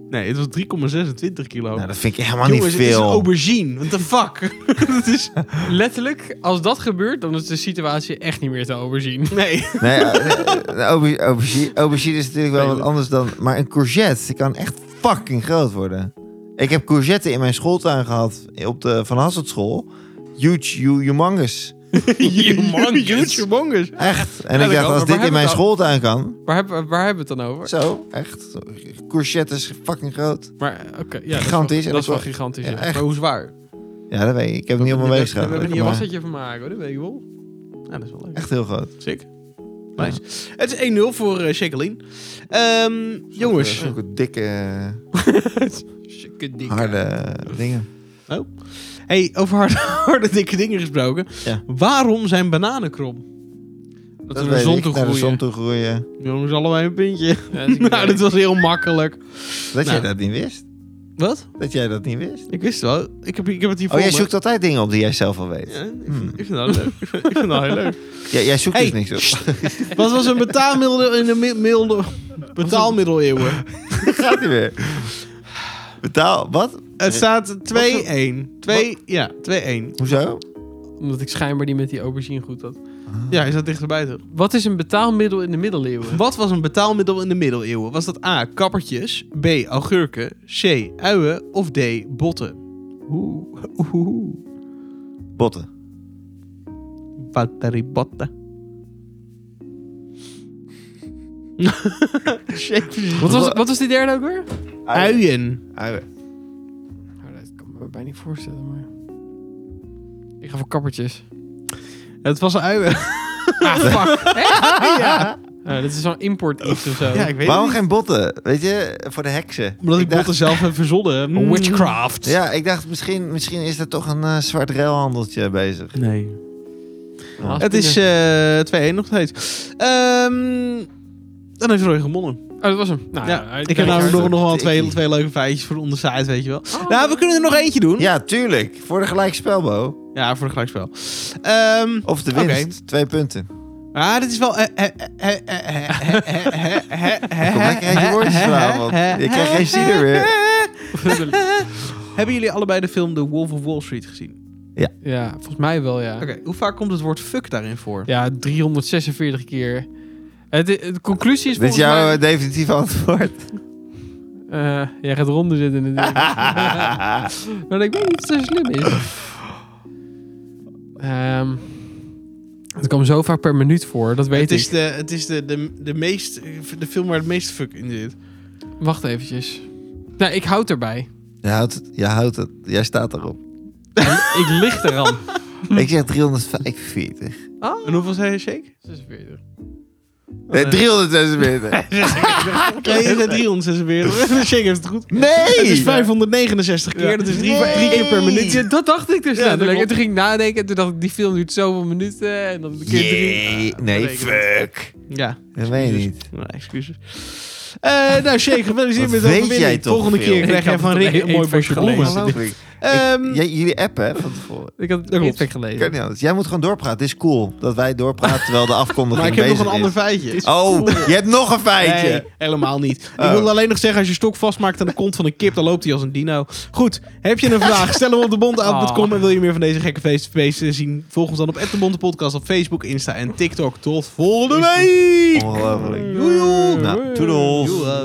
Speaker 1: Nee, het was 3,26 kilo.
Speaker 2: Nou, dat vind ik helemaal
Speaker 1: Oh. jongens,
Speaker 2: niet
Speaker 1: het is een
Speaker 2: veel.
Speaker 1: aubergine. What the fuck? dat is...
Speaker 3: Letterlijk, als dat gebeurt, dan is de situatie echt niet meer te overzien.
Speaker 1: Nee.
Speaker 2: Nee, eh, eh, auber- aubergine, aubergine is natuurlijk wel
Speaker 1: Nee,
Speaker 2: wat
Speaker 1: dat-
Speaker 2: anders dan... Maar een courgette die kan echt fucking groot worden. Ik heb courgetten in mijn schooltuin gehad. Op de Van Hasselt school. Huge, hu- humongous.
Speaker 3: Humongous.
Speaker 1: Huge humongous.
Speaker 2: Echt. En
Speaker 3: Ja,
Speaker 2: ik dacht, als
Speaker 3: dat kan, maar waar
Speaker 2: dit in
Speaker 3: hebben
Speaker 2: mijn
Speaker 3: we het
Speaker 2: schooltuin kan...
Speaker 3: Waar hebben, waar hebben we het dan over?
Speaker 2: Zo, echt. Courgette is fucking groot.
Speaker 3: Maar oké, ja, dat is
Speaker 2: Gigantisch,
Speaker 3: wel-
Speaker 2: en
Speaker 3: Dat
Speaker 2: dat
Speaker 3: is wel
Speaker 2: wel-
Speaker 3: gigantisch.
Speaker 2: ja,
Speaker 3: ja.
Speaker 2: echt.
Speaker 1: Maar hoe zwaar?
Speaker 2: Ja, dat weet ik. Ik heb het niet op mijn weeg
Speaker 1: We hebben
Speaker 2: gehouden.
Speaker 3: Hier
Speaker 2: maar
Speaker 3: was dat je van maken, hoor, dat weet ik wel.
Speaker 1: Ja, dat is wel leuk.
Speaker 2: Echt heel groot.
Speaker 1: Sick. Nice. Het is 1-0 voor eh Jacqueline. Ehm, jongens.
Speaker 2: Zulke dikke,
Speaker 3: Harde.
Speaker 2: harde dingen.
Speaker 1: Hey, over harde, harde dikke dingen gesproken.
Speaker 2: Ja.
Speaker 1: Waarom zijn bananen krom?
Speaker 3: Dat we naar de zon toe
Speaker 2: Naar de zon
Speaker 3: groeien.
Speaker 2: toe groeien.
Speaker 1: Jongens, allebei een puntje.
Speaker 3: Ja, dat is een
Speaker 1: nou, dit was heel makkelijk.
Speaker 2: Dat jij
Speaker 1: Nou.
Speaker 2: dat niet wist.
Speaker 1: Wat?
Speaker 2: Dat jij dat niet wist.
Speaker 1: Ik wist wel. Ik heb, ik heb het hier
Speaker 2: Oh,
Speaker 1: voor
Speaker 2: jij
Speaker 1: me.
Speaker 2: zoekt altijd dingen op die jij zelf al weet.
Speaker 1: Ja, ik, vind-
Speaker 2: Hmm.
Speaker 1: ik vind dat leuk. ik vind dat heel leuk.
Speaker 2: Ja, jij zoekt
Speaker 1: Hey,
Speaker 2: dus niks op.
Speaker 1: Wat was een betaalmiddel in de mi- milde- betaalmiddeleeuwen?
Speaker 2: Dat gaat niet meer. Betaal, wat?
Speaker 1: Het staat 2-1. 2, ja, 2-1.
Speaker 2: Hoezo?
Speaker 3: Omdat ik schijnbaar die met die aubergine goed had.
Speaker 2: Ah.
Speaker 1: Ja, is dat dichterbij toch?
Speaker 3: Wat is een betaalmiddel in de middeleeuwen?
Speaker 1: Wat was een betaalmiddel in de middeleeuwen? Was dat A. kappertjes, B. augurken, C. uien of D. botten? Oeh, oeh, oeh.
Speaker 2: Botten.
Speaker 1: Valtteri Botten.
Speaker 3: Wat was, wat was die derde ook weer?
Speaker 1: Uien.
Speaker 2: Uien.
Speaker 3: Nou, dat kan ik me bijna niet voorstellen, maar... Ik ga voor kappertjes.
Speaker 1: Het was een uien.
Speaker 3: Ah, fuck. ja. dit is zo'n import iets of zo.
Speaker 1: Ja, ik weet het
Speaker 2: Waarom
Speaker 1: niet.
Speaker 2: geen botten? Weet je, voor de heksen.
Speaker 1: Omdat ik
Speaker 2: dacht,
Speaker 1: botten zelf heb verzonnen. Mm.
Speaker 3: Witchcraft.
Speaker 2: Ja, ik dacht misschien, misschien is er toch een eh, zwart ruilhandeltje bezig.
Speaker 1: Nee.
Speaker 2: Oh.
Speaker 1: Het is eh 2-1 nog steeds. Ehm, dan heeft Roy gewonnen.
Speaker 3: Oh, dat was hem. Nou,
Speaker 1: eh, ja,
Speaker 3: hij-
Speaker 1: ik
Speaker 3: hij-
Speaker 1: heb namelijk nog,
Speaker 2: hard.
Speaker 1: nog wel twee,
Speaker 2: Ik-
Speaker 1: twee leuke feitjes voor de ondersite, weet je wel.
Speaker 3: Oh.
Speaker 1: Nou, we kunnen er nog eentje doen.
Speaker 2: Ja, tuurlijk. Voor de gelijkspel, Bo.
Speaker 1: Ja, voor de gelijkspel. Ehm
Speaker 2: Of de
Speaker 1: Oké.
Speaker 2: winst. Twee punten.
Speaker 1: ah, dit is wel... eh,
Speaker 2: Kom lekker uit je
Speaker 1: eh,
Speaker 2: woordjes vanavond. Je krijgt geen zier weer.
Speaker 1: Hebben jullie allebei de film The Wolf of Wall Street gezien?
Speaker 3: Ja, volgens mij wel, ja.
Speaker 1: Oké, hoe vaak komt het woord fuck daarin voor?
Speaker 3: Ja, 346 keer. Het, de conclusie is
Speaker 2: Dit is
Speaker 3: volgens
Speaker 2: jouw
Speaker 3: mij...
Speaker 2: eh, definitief antwoord.
Speaker 3: Eh, jij gaat ronden zitten in het Maar ik weet niet of het zo slim is. Ehm, het kwam zo vaak per minuut voor, dat weet
Speaker 1: het is,
Speaker 3: ik.
Speaker 1: de, het is de, de, de, meest, de film waar het meest fuck in zit.
Speaker 3: Wacht eventjes. Nou, ik houd erbij.
Speaker 2: Je houdt het. Je houdt het. Jij staat erop.
Speaker 3: En ik lig eraan.
Speaker 2: Ik zeg 345.
Speaker 1: En hoeveel zei je, Shake?
Speaker 3: 46.
Speaker 1: Oh,
Speaker 2: Nee, 346.
Speaker 1: Nee, is het 346. Dan check even het goed.
Speaker 2: Nee!
Speaker 1: Het is 569 keer.
Speaker 3: Ja.
Speaker 1: Dat is drie,
Speaker 2: Nee.
Speaker 1: drie keer per minuut.
Speaker 3: Ja, dat dacht ik dus
Speaker 1: Ja, dat
Speaker 3: letterlijk.
Speaker 1: klopt.
Speaker 3: En toen ging ik nadenken en toen dacht ik, die film duurt zoveel minuten. En dan een keer drie.
Speaker 2: Jee, nee,
Speaker 1: Ah, dat weet
Speaker 2: fuck.
Speaker 1: Ja,
Speaker 2: Dat weet je niet.
Speaker 1: nou, excuses. Eh, nou, Shake, gefeliciteerd met
Speaker 2: Wat
Speaker 1: de
Speaker 2: weet
Speaker 1: overwinning.
Speaker 2: jij toch
Speaker 1: Volgende
Speaker 2: veel?
Speaker 1: keer krijg
Speaker 3: Ik
Speaker 1: jij
Speaker 3: had
Speaker 1: van
Speaker 3: het
Speaker 1: Rick
Speaker 3: op
Speaker 1: een
Speaker 3: één
Speaker 1: mooi
Speaker 3: van
Speaker 1: pakje
Speaker 3: gelezen.
Speaker 1: bloemen.
Speaker 2: Ongelooflijk.
Speaker 1: Ehm,
Speaker 2: Jij- jullie appen, hè, van tevoren.
Speaker 3: Ik had het
Speaker 1: Dat klopt.
Speaker 3: perfect
Speaker 2: Kan
Speaker 3: gelezen.
Speaker 2: niet anders. Jij moet gewoon doorpraten. Het is cool dat wij doorpraten terwijl de afkondiging
Speaker 1: Maar ik heb
Speaker 2: bezig
Speaker 1: nog een ander
Speaker 2: is.
Speaker 1: feitje.
Speaker 2: Oh, je hebt nog een feitje.
Speaker 1: Nee, helemaal niet.
Speaker 2: Oh.
Speaker 1: Ik wilde alleen nog zeggen, als je stok vastmaakt aan de kont van een kip, dan loopt hij als een dino. Goed, heb je een vraag? Stel hem op de bonteavond.com en wil je meer van deze gekke feestfeesten zien? Volg ons dan op de Bonte Podcast op Facebook, Insta en TikTok. Tot volgende week!
Speaker 2: Ongelooflijk.
Speaker 1: Doei, doei.
Speaker 2: Nou, toedels.
Speaker 1: Doei.